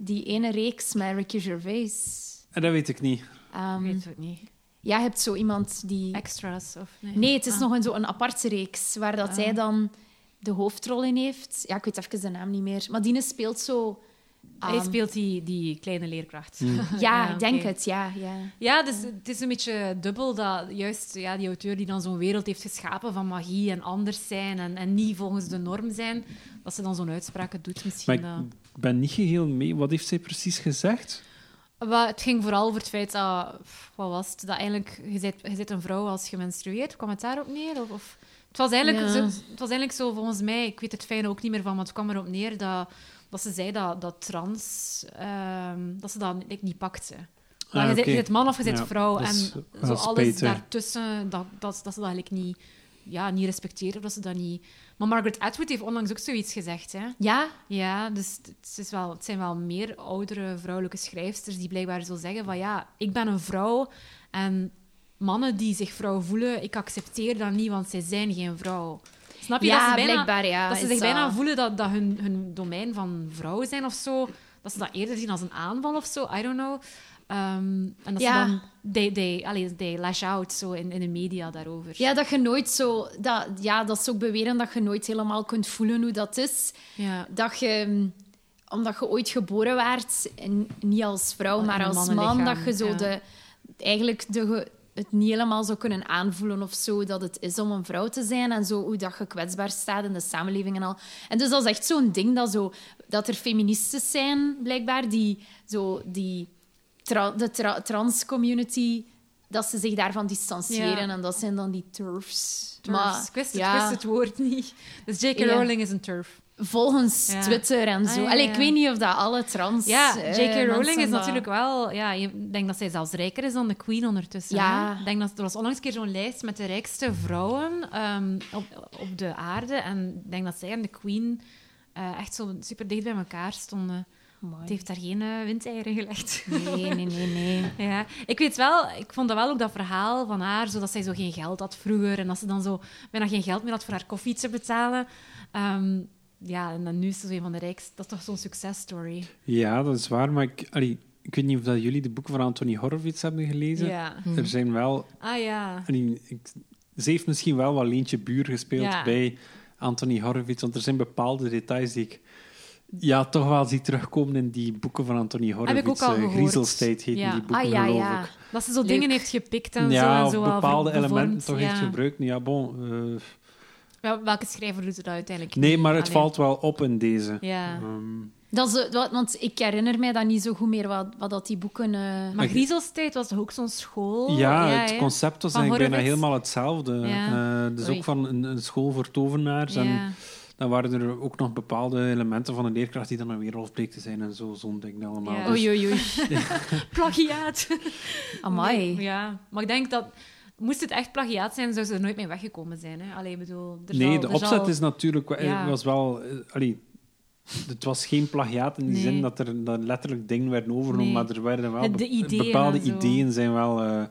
S1: Die ene reeks met Ricky Gervais.
S3: En dat weet ik niet.
S1: Ehm,
S2: weet het niet.
S1: ja, je hebt zo iemand die...
S2: Extras of nee?
S1: Nee, het is
S2: Ah.
S1: nog een, zo een aparte reeks waar dat hij dan de hoofdrol in heeft. Ja, ik weet even de naam niet meer. Maar Dine speelt zo...
S2: Hij
S1: ehm,
S2: speelt die, die kleine leerkracht.
S3: Mm.
S1: Ja, ik denk
S2: Ah, oké.
S1: het. Ja, ja.
S2: Ja, dus het is een beetje dubbel dat juist ja, die auteur die dan zo'n wereld heeft geschapen van magie en anders zijn en, en niet volgens de norm zijn, dat ze dan zo'n uitspraken doet
S3: Maar
S2: misschien. eh.
S3: ik ben niet geheel mee. Wat heeft zij precies gezegd?
S2: Wel, het ging vooral over het feit dat, pff, wat was het, dat eigenlijk, je bent, je bent een vrouw als je menstrueert. Kwam het daarop neer? Of, of, het, was eigenlijk
S1: Ja.
S2: zo, het was eigenlijk zo, volgens mij, ik weet het fijne ook niet meer van, maar het kwam erop neer dat, dat ze zei dat, dat trans, ehm, dat ze dat like, niet pakte.
S3: Ah,
S2: Maar je, bent,
S3: oké.
S2: je bent man of je bent
S3: Ja,
S2: vrouw.
S3: dat
S2: En
S3: is
S2: zo
S3: wel
S2: alles
S3: spijtig.
S2: daartussen, dat, dat, dat ze dat eigenlijk niet, ja, niet respecteren. Of dat ze dat niet... Maar Margaret Atwood heeft onlangs ook zoiets gezegd, hè?
S1: Ja,
S2: Ja, dus het- het, is wel, het zijn wel meer oudere vrouwelijke schrijfsters die blijkbaar zo zeggen van ja, ik ben een vrouw en mannen die zich vrouw voelen, ik accepteer dat niet, want zij zijn geen vrouw. Snap je? dat
S1: ja
S2: ze bijna,
S1: blijkbaar. Ja,
S2: dat ze
S1: Ah, is
S2: zich bijna
S1: dat.
S2: voelen dat, dat hun, hun domein van vrouw zijn of zo, dat ze dat eerder zien als een aanval of zo, I don't know. Ehm, en dat
S1: Ja.
S2: ze dan, they, they, allee, they lash out zo in, in de media daarover.
S1: Ja, dat je nooit zo... Dat, ja, dat is ook beweren dat je nooit helemaal kunt voelen hoe dat is.
S2: ja.
S1: Dat je, mm, omdat je ooit geboren werd, en niet als vrouw,
S2: In
S1: maar
S2: een
S1: als man,
S2: mannenlichaam,
S1: dat je zo
S2: ja.
S1: de, eigenlijk de, ge- het niet helemaal zou kunnen aanvoelen of zo, dat het is om een vrouw te zijn en zo, hoe dat je kwetsbaar staat in de samenleving en al. En dus dat is echt zo'n ding dat, zo, dat er feministen zijn, blijkbaar, die zo die tra- de tra- trans-community, dat ze zich daarvan distancieren.
S2: Ja.
S1: En dat zijn dan die turfs.
S2: Turfs.
S1: Maar,
S2: ik, wist het,
S1: ja.
S2: ik wist het woord niet. Dus J.K.
S1: Ja.
S2: Rowling is een turf.
S1: Volgens
S2: Ja.
S1: Twitter en zo.
S2: Ah, ja,
S1: Allee,
S2: ja.
S1: ik weet niet of dat alle trans.
S2: Ja,
S1: eh,
S2: J.K. Rowling
S1: mensen
S2: is
S1: dat-
S2: natuurlijk wel... Ja, je- ik denk dat zij zelfs rijker is dan de Queen ondertussen.
S1: Ja.
S2: hè. Ik denk dat er was onlangs een keer zo'n lijst met de rijkste vrouwen ehm, op, op de aarde. En ik denk dat zij en de Queen eh, echt zo super dicht bij elkaar stonden.
S1: Amai.
S2: Het heeft daar geen eh, windeieren gelegd.
S1: Nee, nee, nee, nee.
S2: Ja, ik weet wel, ik vond dat wel ook dat verhaal van haar, zo dat zij zo geen geld had vroeger en dat ze dan zo bijna geen geld meer had voor haar koffie te betalen. Ehm, ja, en dan nu is ze zo een van de rijkste. Dat is toch zo'n successtory.
S3: Ja, dat is waar. Maar ik, allee, ik weet niet of dat jullie de boeken van Anthony Horowitz hebben gelezen.
S2: Ja.
S3: Er zijn wel...
S2: Ah ja.
S3: allee, ik- ze heeft misschien wel wat Leentje Buur gespeeld
S2: Ja.
S3: bij Anthony Horowitz. Want er zijn bepaalde details die ik... Ja, toch wel zie terugkomen in die boeken van Anthony Horowitz.
S2: ik ook al
S3: Eh,
S2: gehoord.
S3: Griezelstijd heet
S2: Ja.
S3: die boeken,
S1: ah ja,
S3: geloof
S1: ja.
S3: ik.
S2: Dat ze zo
S1: Leuk.
S2: dingen heeft gepikt en zo.
S3: ja,
S2: en
S3: of
S2: zo wel
S3: bepaalde
S2: bevormd,
S3: elementen toch
S2: ja.
S3: heeft gebruikt. Ja, bon. eh,
S2: Wel, welke schrijver doet dat uiteindelijk?
S3: nee,
S2: niet?
S3: maar het
S2: Allee.
S3: valt wel op in deze.
S2: Ja.
S3: Ehm,
S1: Dat is, eh, wat- want ik herinner mij dat niet zo goed meer wat, wat dat die boeken. eh,
S2: Maar Griezelstijd was toch ook zo'n school?
S3: ja, het
S2: Oh, hè?
S3: concept was
S2: Van
S3: eigenlijk bijna
S2: Horowitz.
S3: helemaal hetzelfde.
S2: Ja.
S3: Eh, dus
S1: Oei.
S3: ook van een, een school voor tovenaars. En
S2: Ja.
S3: dan waren er ook nog bepaalde elementen van een leerkracht die dan een weerwolf bleek te zijn en zo, zo'n ding allemaal.
S2: Ja. Oh,
S3: Dus-
S1: Oei, oei, oei.
S2: Plagiaat. Nee,
S1: Amai.
S2: Ja, maar ik denk dat... Moest het echt plagiaat zijn, zou ze er nooit mee weggekomen zijn. Hè? Allee, ik bedoel, er
S3: nee,
S2: zal-
S3: de
S2: er
S3: opzet
S2: zal-
S3: is natuurlijk... wel-
S2: Ja.
S3: was wel eh, allee, het was geen plagiaat in die
S2: Nee.
S3: zin dat er dat letterlijk dingen werden overgenomen,
S2: Nee.
S3: maar er werden wel
S2: Het- de
S3: be-
S2: ideeën
S3: bepaalde
S2: en zo.
S3: ideeën zijn wel, eh,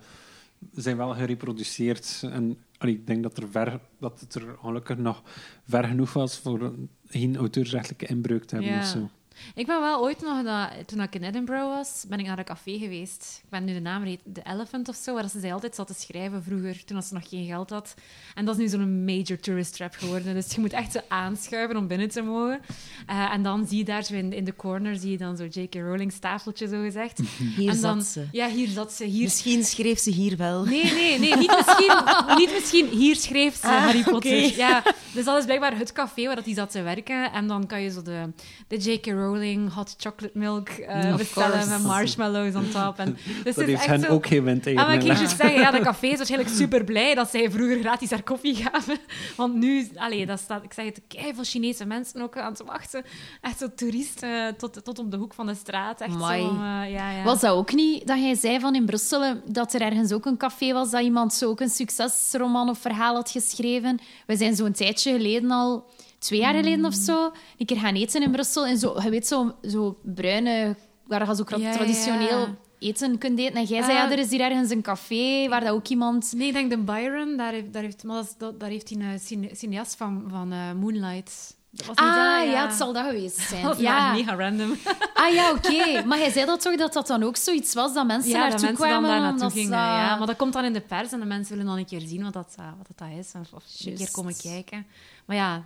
S3: zijn wel gereproduceerd. En allee, ik denk dat, er ver, dat het er gelukkig nog ver genoeg was voor een- geen auteursrechtelijke inbreuk te hebben
S2: Ja.
S3: of zo.
S2: Ik ben wel ooit nog, na- toen ik in Edinburgh was, ben ik naar een café geweest. Ik ben nu de naam reed, The Elephant of zo, waar ze zij altijd zat te schrijven vroeger, toen als ze nog geen geld had. En dat is nu zo'n major tourist trap geworden. Dus je moet echt zo aanschuiven om binnen te mogen. Eh, en dan zie je daar zo in, in de corner, zie je dan zo J.K. Rowling's tafeltje, zo gezegd.
S4: Hier
S2: en dan,
S4: zat ze. Dus
S2: Ja, hier zat ze. Hier
S4: Misschien schreef ze hier wel.
S2: Nee, nee, nee, niet misschien. niet misschien. Hier schreef ze
S4: Ah,
S2: Harry Potter.
S4: oké.
S2: Ja, dus dat is blijkbaar het café waar dat die zat te werken. En dan kan je zo de, de J.K. Rowling hot chocolate milk eh,
S1: Of
S2: bestellen
S1: course.
S2: met marshmallows on top. En, dus het is
S3: Dat heeft
S2: echt
S3: hen
S2: zo...
S3: ook geen wind
S2: Ah, maar
S3: tegen.
S2: ik kan je zeggen, ja, dat café is waarschijnlijk super blij dat zij vroeger gratis haar koffie gaven. Want nu, allee, dat staat, ik zeg het, veel Chinese mensen ook aan te wachten. Echt zo toeristen tot, tot op de hoek van de straat. Echt
S1: Amai.
S2: zo, eh, ja, ja.
S1: Was dat ook niet dat jij zei van in Brussel eh, dat er ergens ook een café was dat iemand zo ook een succesroman of verhaal had geschreven? We zijn zo'n tijdje geleden al, twee jaar geleden
S2: Hmm.
S1: of zo, een keer gaan eten in Brussel. En zo, je weet, zo, zo bruine, waar je zo kra-
S2: Ja, ja, ja.
S1: traditioneel eten kunt eten. En jij zei,
S2: Ah.
S1: ja, er is hier ergens een café waar dat ook iemand...
S2: Nee, ik denk de Byron, daar heeft, daar heeft, maar dat is- dat- daar heeft hij een cine- cineast van, van eh, Moonlight. Dat was
S1: Ah,
S2: niet dat,
S1: ja. het zal dat geweest
S2: Dat
S1: zijn.
S2: was ja.
S1: Ja.
S2: mega random.
S1: Ah ja, oké. Maar jij zei dat toch dat dat dan ook zoiets was dat mensen
S2: Ja, dat
S1: naartoe
S2: mensen dan
S1: kwamen?
S2: daar naartoe
S1: omdat ze
S2: gingen.
S1: dat-
S2: Ja, maar dat komt dan in de pers en de mensen willen dan een keer zien wat dat, eh, wat dat, dat is. Of, of een keer
S1: Juist.
S2: komen kijken. Maar ja,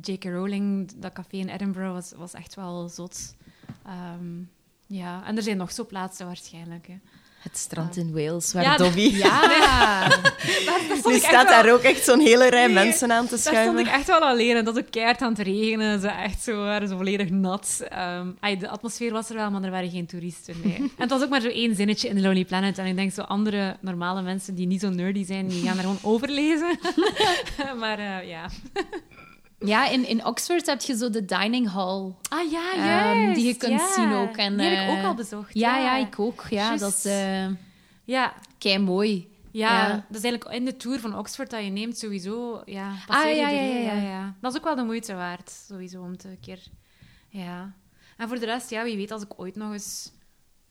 S2: J.K. Rowling, dat café in Edinburgh, was, was echt wel zot. Ehm, ja, en er zijn nog zo plaatsen waarschijnlijk. Hè.
S4: Het strand in Wales, waar
S2: Ja, dat-
S4: Dobby...
S1: Ja.
S4: Nu
S2: ik echt
S4: staat
S2: wel-
S4: daar ook echt zo'n hele rij
S2: Nee,
S4: mensen aan te
S2: Daar stond
S4: schuiven.
S2: ik echt wel alleen en dat was ook keihard aan het regenen. Ze echt zo, waren zo volledig nat. Ehm, ai, de atmosfeer was er wel, maar er waren geen toeristen. Nee. en het was ook maar zo één zinnetje in The Lonely Planet. En ik denk zo andere normale mensen die niet zo nerdy zijn, die gaan er gewoon overlezen. maar eh, ja.
S1: ja, in, in Oxford heb je zo de dining hall.
S2: Ah ja,
S1: Ehm, juist, die je kunt ja. zien ook en,
S2: die heb ik ook
S1: eh,
S2: al bezocht.
S1: Ja, ja, ik ook. Ja,
S2: Juist.
S1: dat is eh
S2: Ja,
S1: kei mooi.
S2: Ja,
S1: Ja.
S2: dat is eigenlijk in de tour van Oxford dat je neemt sowieso. Ja,
S1: Ah,
S2: passeer je
S1: ja, ja,
S2: die heel,
S1: ja, ja.
S2: Dat is ook wel de moeite waard, sowieso, om te een keer... Ja. En voor de rest, ja, wie weet, als ik ooit nog eens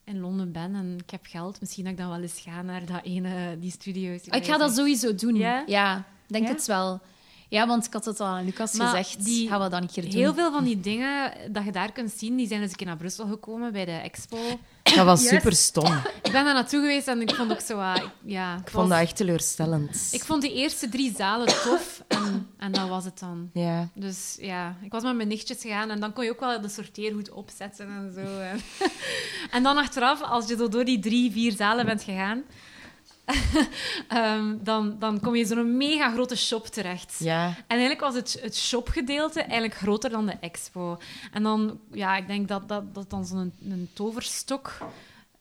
S2: in Londen ben en ik heb geld, misschien dat ik dan wel eens ga naar dat ene, die studio's. die
S1: Ah, Ik
S2: wij
S1: ga dat
S2: zijn.
S1: sowieso doen.
S2: Ja?
S1: Ja, denk
S2: Ja?
S1: het wel. Ja, want ik had het al aan Lucas
S2: Maar
S1: gezegd.
S2: die-
S1: Gaan we dat een keer doen?
S2: Heel veel van die dingen dat je daar kunt zien, die zijn dus een keer naar Brussel gekomen bij de expo.
S4: Dat was
S2: Yes.
S4: super stom.
S2: Ik ben daar naartoe geweest en ik vond ook zo... ah, ik- ja,
S4: Ik vond dat echt teleurstellend.
S2: Ik vond die eerste drie zalen tof en, en dat was het dan.
S4: Ja.
S2: Dus ja, ik was met mijn nichtjes gegaan en dan kon je ook wel de sorteerhoed opzetten en zo. En, en dan achteraf, als je zo door die drie, vier zalen bent gegaan, ehm, dan, dan kom je in zo'n mega grote shop terecht.
S4: Ja.
S2: En eigenlijk was het, het shopgedeelte eigenlijk groter dan de expo. En dan, ja, ik denk dat, dat, dat dan zo'n een toverstok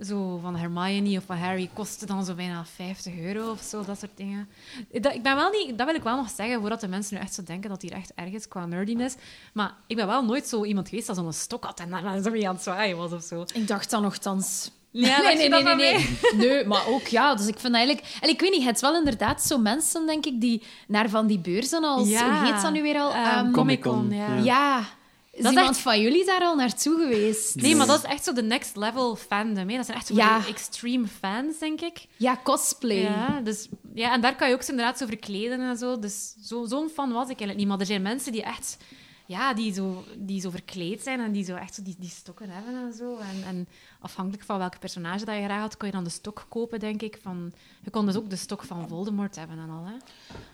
S2: zo van Hermione of van Harry kostte dan zo bijna 50 euro of zo, dat soort dingen. Dat, ik ben wel niet, dat wil ik wel nog zeggen, voordat de mensen nu echt zo denken dat hier echt erg is qua nerdiness. Maar ik ben wel nooit zo iemand geweest dat zo'n stok had en daar zo mee aan het zwaaien was of zo.
S1: Ik dacht dan nogthans.
S2: Ja, dacht je dat van
S1: nee. Nee, maar ook ja. Dus ik vind eigenlijk. En ik weet niet, het is wel inderdaad zo mensen, denk ik, die naar van die beurzen als.
S2: Ja.
S1: Hoe heet dat nu weer al? Ehm,
S3: Comic-Con,
S2: Comic-Con,
S3: ja.
S1: ja. Is
S2: Dat is
S1: iemand
S2: echt-
S1: van jullie daar al naartoe geweest?
S2: Nee, maar dat is echt zo de next level fandom. Hè. Dat zijn echt zo van
S1: Ja.
S2: die extreme fans, denk ik.
S1: Ja, cosplay.
S2: Ja, dus, ja, en daar kan je ook zo inderdaad zo verkleden en zo. Dus zo- zo'n fan was ik eigenlijk niet. Maar er zijn mensen die echt... Ja, die zo, die zo verkleed zijn en die zo echt zo die, die stokken hebben en zo. En, en afhankelijk van welke personage dat je graag had, kon je dan de stok kopen, denk ik. Van, je kon dus ook de stok van Voldemort hebben en al, hè.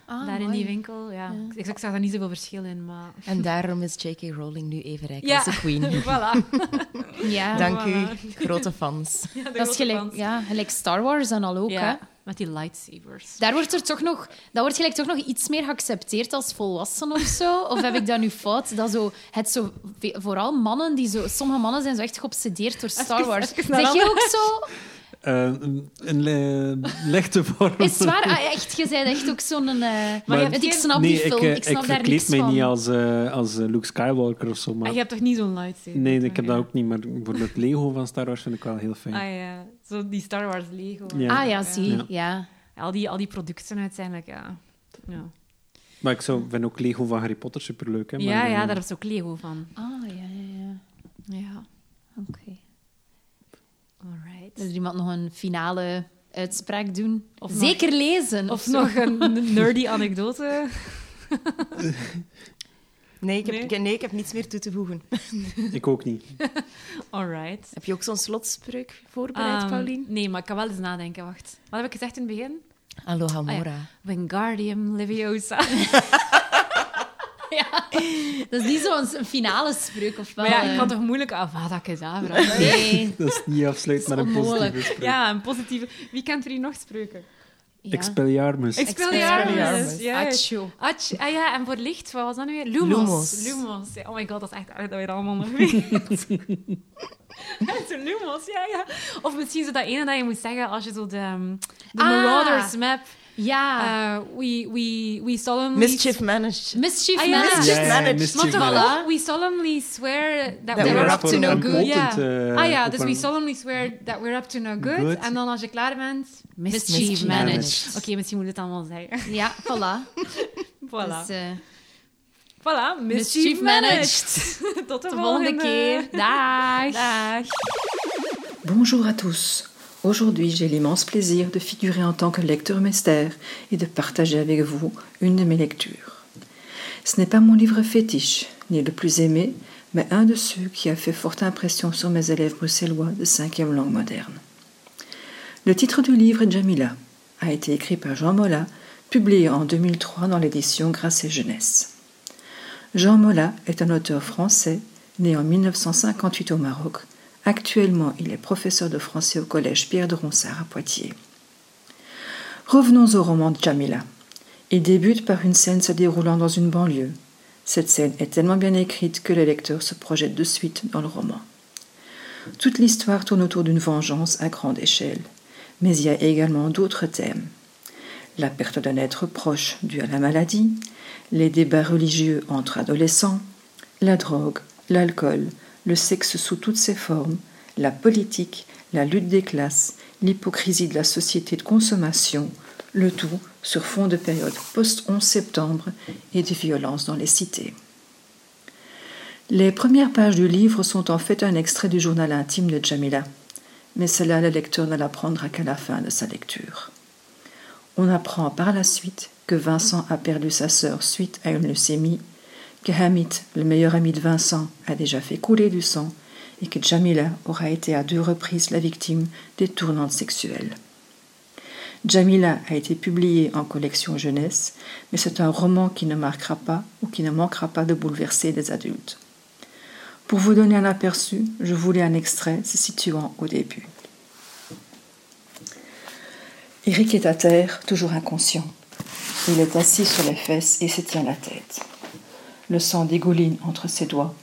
S1: Ah,
S2: daar in
S1: mooi.
S2: die winkel, ja. Ik, ik zag daar niet zoveel verschil in, maar...
S4: En daarom is J.K. Rowling nu even rijk
S2: Ja.
S4: als de queen.
S2: voilà.
S1: Ja,
S4: Dank u,
S2: Voilà.
S4: grote fans.
S2: Ja, de
S1: dat
S2: grote
S1: is gelijk,
S2: fans.
S1: ja, gelijk Star Wars en al ook.
S2: Ja,
S1: Hè?
S2: met die lightsabers.
S1: Daar wordt er toch nog, dat wordt gelijk toch nog iets meer geaccepteerd als volwassen of zo. Of heb ik dat nu fout? Dat zo, het zo, ve- vooral mannen die zo, sommige mannen zijn zo echt geobsedeerd door Star Wars.
S2: even naar
S1: zeg je ook zo?
S3: Eh, een- een le- lichte vorm.
S1: Is het waar? Ah, echt, je bent echt ook zo'n. eh,
S3: Maar
S1: want ik snap
S3: nee,
S1: die film,
S3: ik,
S1: ik,
S3: eh,
S1: snap
S3: ik
S1: daar niks
S3: verkleed mij
S1: van.
S3: niet als, eh, als eh, Luke Skywalker of zo.
S2: En
S3: Maar...
S2: Ah, je hebt toch niet zo'n lightsaber?
S3: Nee,
S2: toch,
S3: ik heb
S2: Ah, ja?
S3: dat ook niet. Maar bijvoorbeeld Lego van Star Wars vind ik wel heel fijn.
S2: Ah ja, zo die Star Wars Lego.
S3: Ja.
S1: Ah ja, zie,
S3: Ja.
S1: ja.
S2: Al die, al die producten uiteindelijk, ja. Ja,
S3: Maar ik zou, vind ook Lego van Harry Potter superleuk. Hè, maar,
S2: ja, ja
S3: eh,
S2: daar is ook Lego van.
S1: Ah ja, ja, ja.
S2: Ja,
S1: Oké. Wil
S2: alright.
S1: er iemand nog een finale uitspraak doen?
S2: Of nog-
S1: Zeker lezen.
S2: Of
S1: zo.
S2: nog een n- nerdy anekdote.
S4: Nee ik, heb,
S2: Nee.
S4: ik- nee, ik heb niets meer toe te voegen.
S3: Ik ook niet.
S2: Alright.
S4: Heb je ook zo'n slotspreuk voorbereid,
S2: Ehm,
S4: Paulien?
S2: Nee, maar ik kan wel eens nadenken, wacht. Wat heb ik gezegd in het begin?
S4: Aloha
S2: ja.
S4: Mora.
S2: Wingardium Leviosa.
S1: Ja. Dat is niet zo'n finale spreuk of wel?
S2: Maar ja, ik
S1: eh?
S2: kan toch moeilijk Ah, Avada Kedavra?
S1: Nee.
S3: Dat is niet afsluit met een
S1: onmogelijk.
S3: positieve spreuk.
S2: Ja, een positieve... Wie kent er hier nog spreuken?
S1: Ja.
S3: Expelliarmus.
S2: Expelliarmus.
S4: Expelliarmus.
S2: Juist. Atje, ah ja, en voor licht, wat was dat nu weer? Lumos.
S4: Lumos.
S2: Lumos. Ja, Oh my god, dat is echt uit dat we dat allemaal nog weten. Echt zo Lumos, ja, ja. Of misschien zo dat ene dat je moet zeggen als je zo de, ehm, de
S1: Ah.
S2: Marauders map...
S1: Ja.
S2: eh, we, we, we solemnly...
S4: Mischief managed.
S1: mischief
S2: Ah, ja.
S1: managed.
S3: Ja, ja,
S4: managed.
S3: mischief
S2: Maar toch
S3: managed.
S2: ook, we solemnly swear that,
S3: Ja,
S4: we were
S2: we're
S4: up
S2: up
S4: to
S3: voor
S4: no
S3: een
S4: good.
S3: open,
S2: Ja.
S3: eh,
S2: ah ja,
S3: op
S2: dus
S3: een-
S2: we solemnly swear that we're up to no good.
S3: Good.
S2: En dan als je klaar bent... Mischief,
S4: Mischief
S2: managed.
S3: managed.
S2: Oké, misschien moet ik het allemaal zeggen.
S1: Ja, voilà.
S2: Voilà.
S1: Dus, eh,
S2: voilà, mischief
S1: mischief
S2: managed. Tot de,
S1: de volgende keer. Dag.
S2: Dag.
S5: Bonjour à tous. Aujourd'hui, j'ai l'immense plaisir de figurer en tant que lecteur mystère et de partager avec vous une de mes lectures. Ce n'est pas mon livre fétiche, ni le plus aimé, mais un de ceux qui a fait forte impression sur mes élèves bruxellois de cinquième langue moderne. Le titre du livre est Jamila, a été écrit par Jean Mola, publié en 2003 dans l'édition Grâce et Jeunesse. Jean Mola est un auteur français, né en 1958 au Maroc. Actuellement, il est professeur de français au collège Pierre de Ronsard à Poitiers. Revenons au roman de Jamila. Il débute par une scène se déroulant dans une banlieue. Cette scène est tellement bien écrite que le lecteur se projette de suite dans le roman. Toute l'histoire tourne autour d'une vengeance à grande échelle, mais il y a également d'autres thèmes. La perte d'un être proche dû à la maladie, les débats religieux entre adolescents, la drogue, l'alcool, le sexe sous toutes ses formes, la politique, la lutte des classes, l'hypocrisie de la société de consommation, le tout sur fond de période post-11 septembre et des violences dans les cités. Les premières pages du livre sont en fait un extrait du journal intime de Jamila, mais cela le lecteur ne l'apprendra qu'à la fin de sa lecture. On apprend par la suite que Vincent a perdu sa sœur suite à une leucémie, que Hamid, le meilleur ami de Vincent, a déjà fait couler du sang et que Jamila aura été à deux reprises la victime des tournantes sexuelles. Jamila a été publié en collection jeunesse, mais c'est un roman qui ne marquera pas ou qui ne manquera pas de bouleverser des adultes. Pour vous donner un aperçu, je voulais un extrait se situant au début. Eric est à terre, toujours inconscient. Il est assis sur les fesses et se tient la tête. Le sang dégouline entre ses doigts.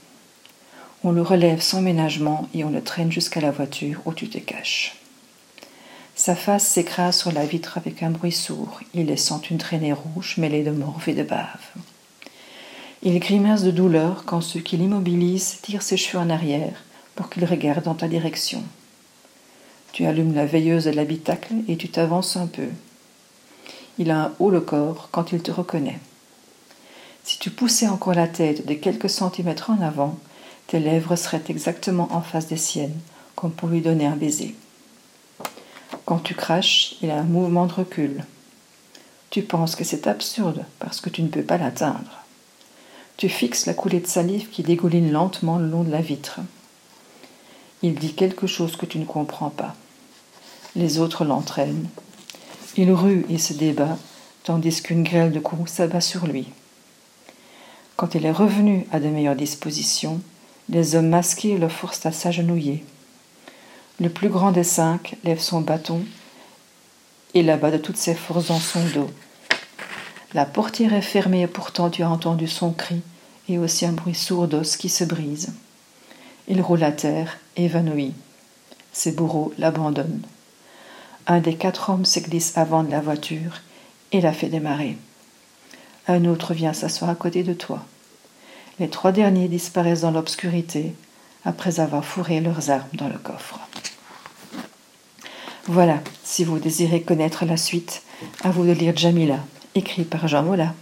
S5: On le relève sans ménagement et on le traîne jusqu'à la voiture où tu te caches. Sa face s'écrase sur la vitre avec un bruit sourd, il laissant une traînée rouge mêlée de morve et de bave. Il grimace de douleur quand ceux qui l'immobilisent tirent ses cheveux en arrière pour qu'il regarde dans ta direction. Tu allumes la veilleuse de l'habitacle et tu t'avances un peu. Il a un haut le corps quand il te reconnaît. Si tu poussais encore la tête de quelques centimètres en avant, tes lèvres seraient exactement en face des siennes, comme pour lui donner un baiser. Quand tu craches, il a un mouvement de recul. Tu penses que c'est absurde parce que tu ne peux pas l'atteindre. Tu fixes la coulée de salive qui dégouline lentement le long de la vitre. Il dit quelque chose que tu ne comprends pas. Les autres l'entraînent. Il rue et se débat, tandis qu'une grêle de coups s'abat sur lui. Quand il est revenu à de meilleures dispositions, les hommes masqués le forcent à s'agenouiller. Le plus grand des cinq lève son bâton et l'abat de toutes ses forces dans son dos. La portière est fermée et pourtant tu as entendu son cri et aussi un bruit sourd d'os qui se brise. Il roule à terre, évanoui. Ses bourreaux l'abandonnent. Un des quatre hommes se glisse avant de la voiture et la fait démarrer. Un autre vient s'asseoir à côté de toi. Les trois derniers disparaissent dans l'obscurité après avoir fourré leurs armes dans le coffre. Voilà, si vous désirez connaître la suite, à vous de lire Jamila, écrit par Jean Mola.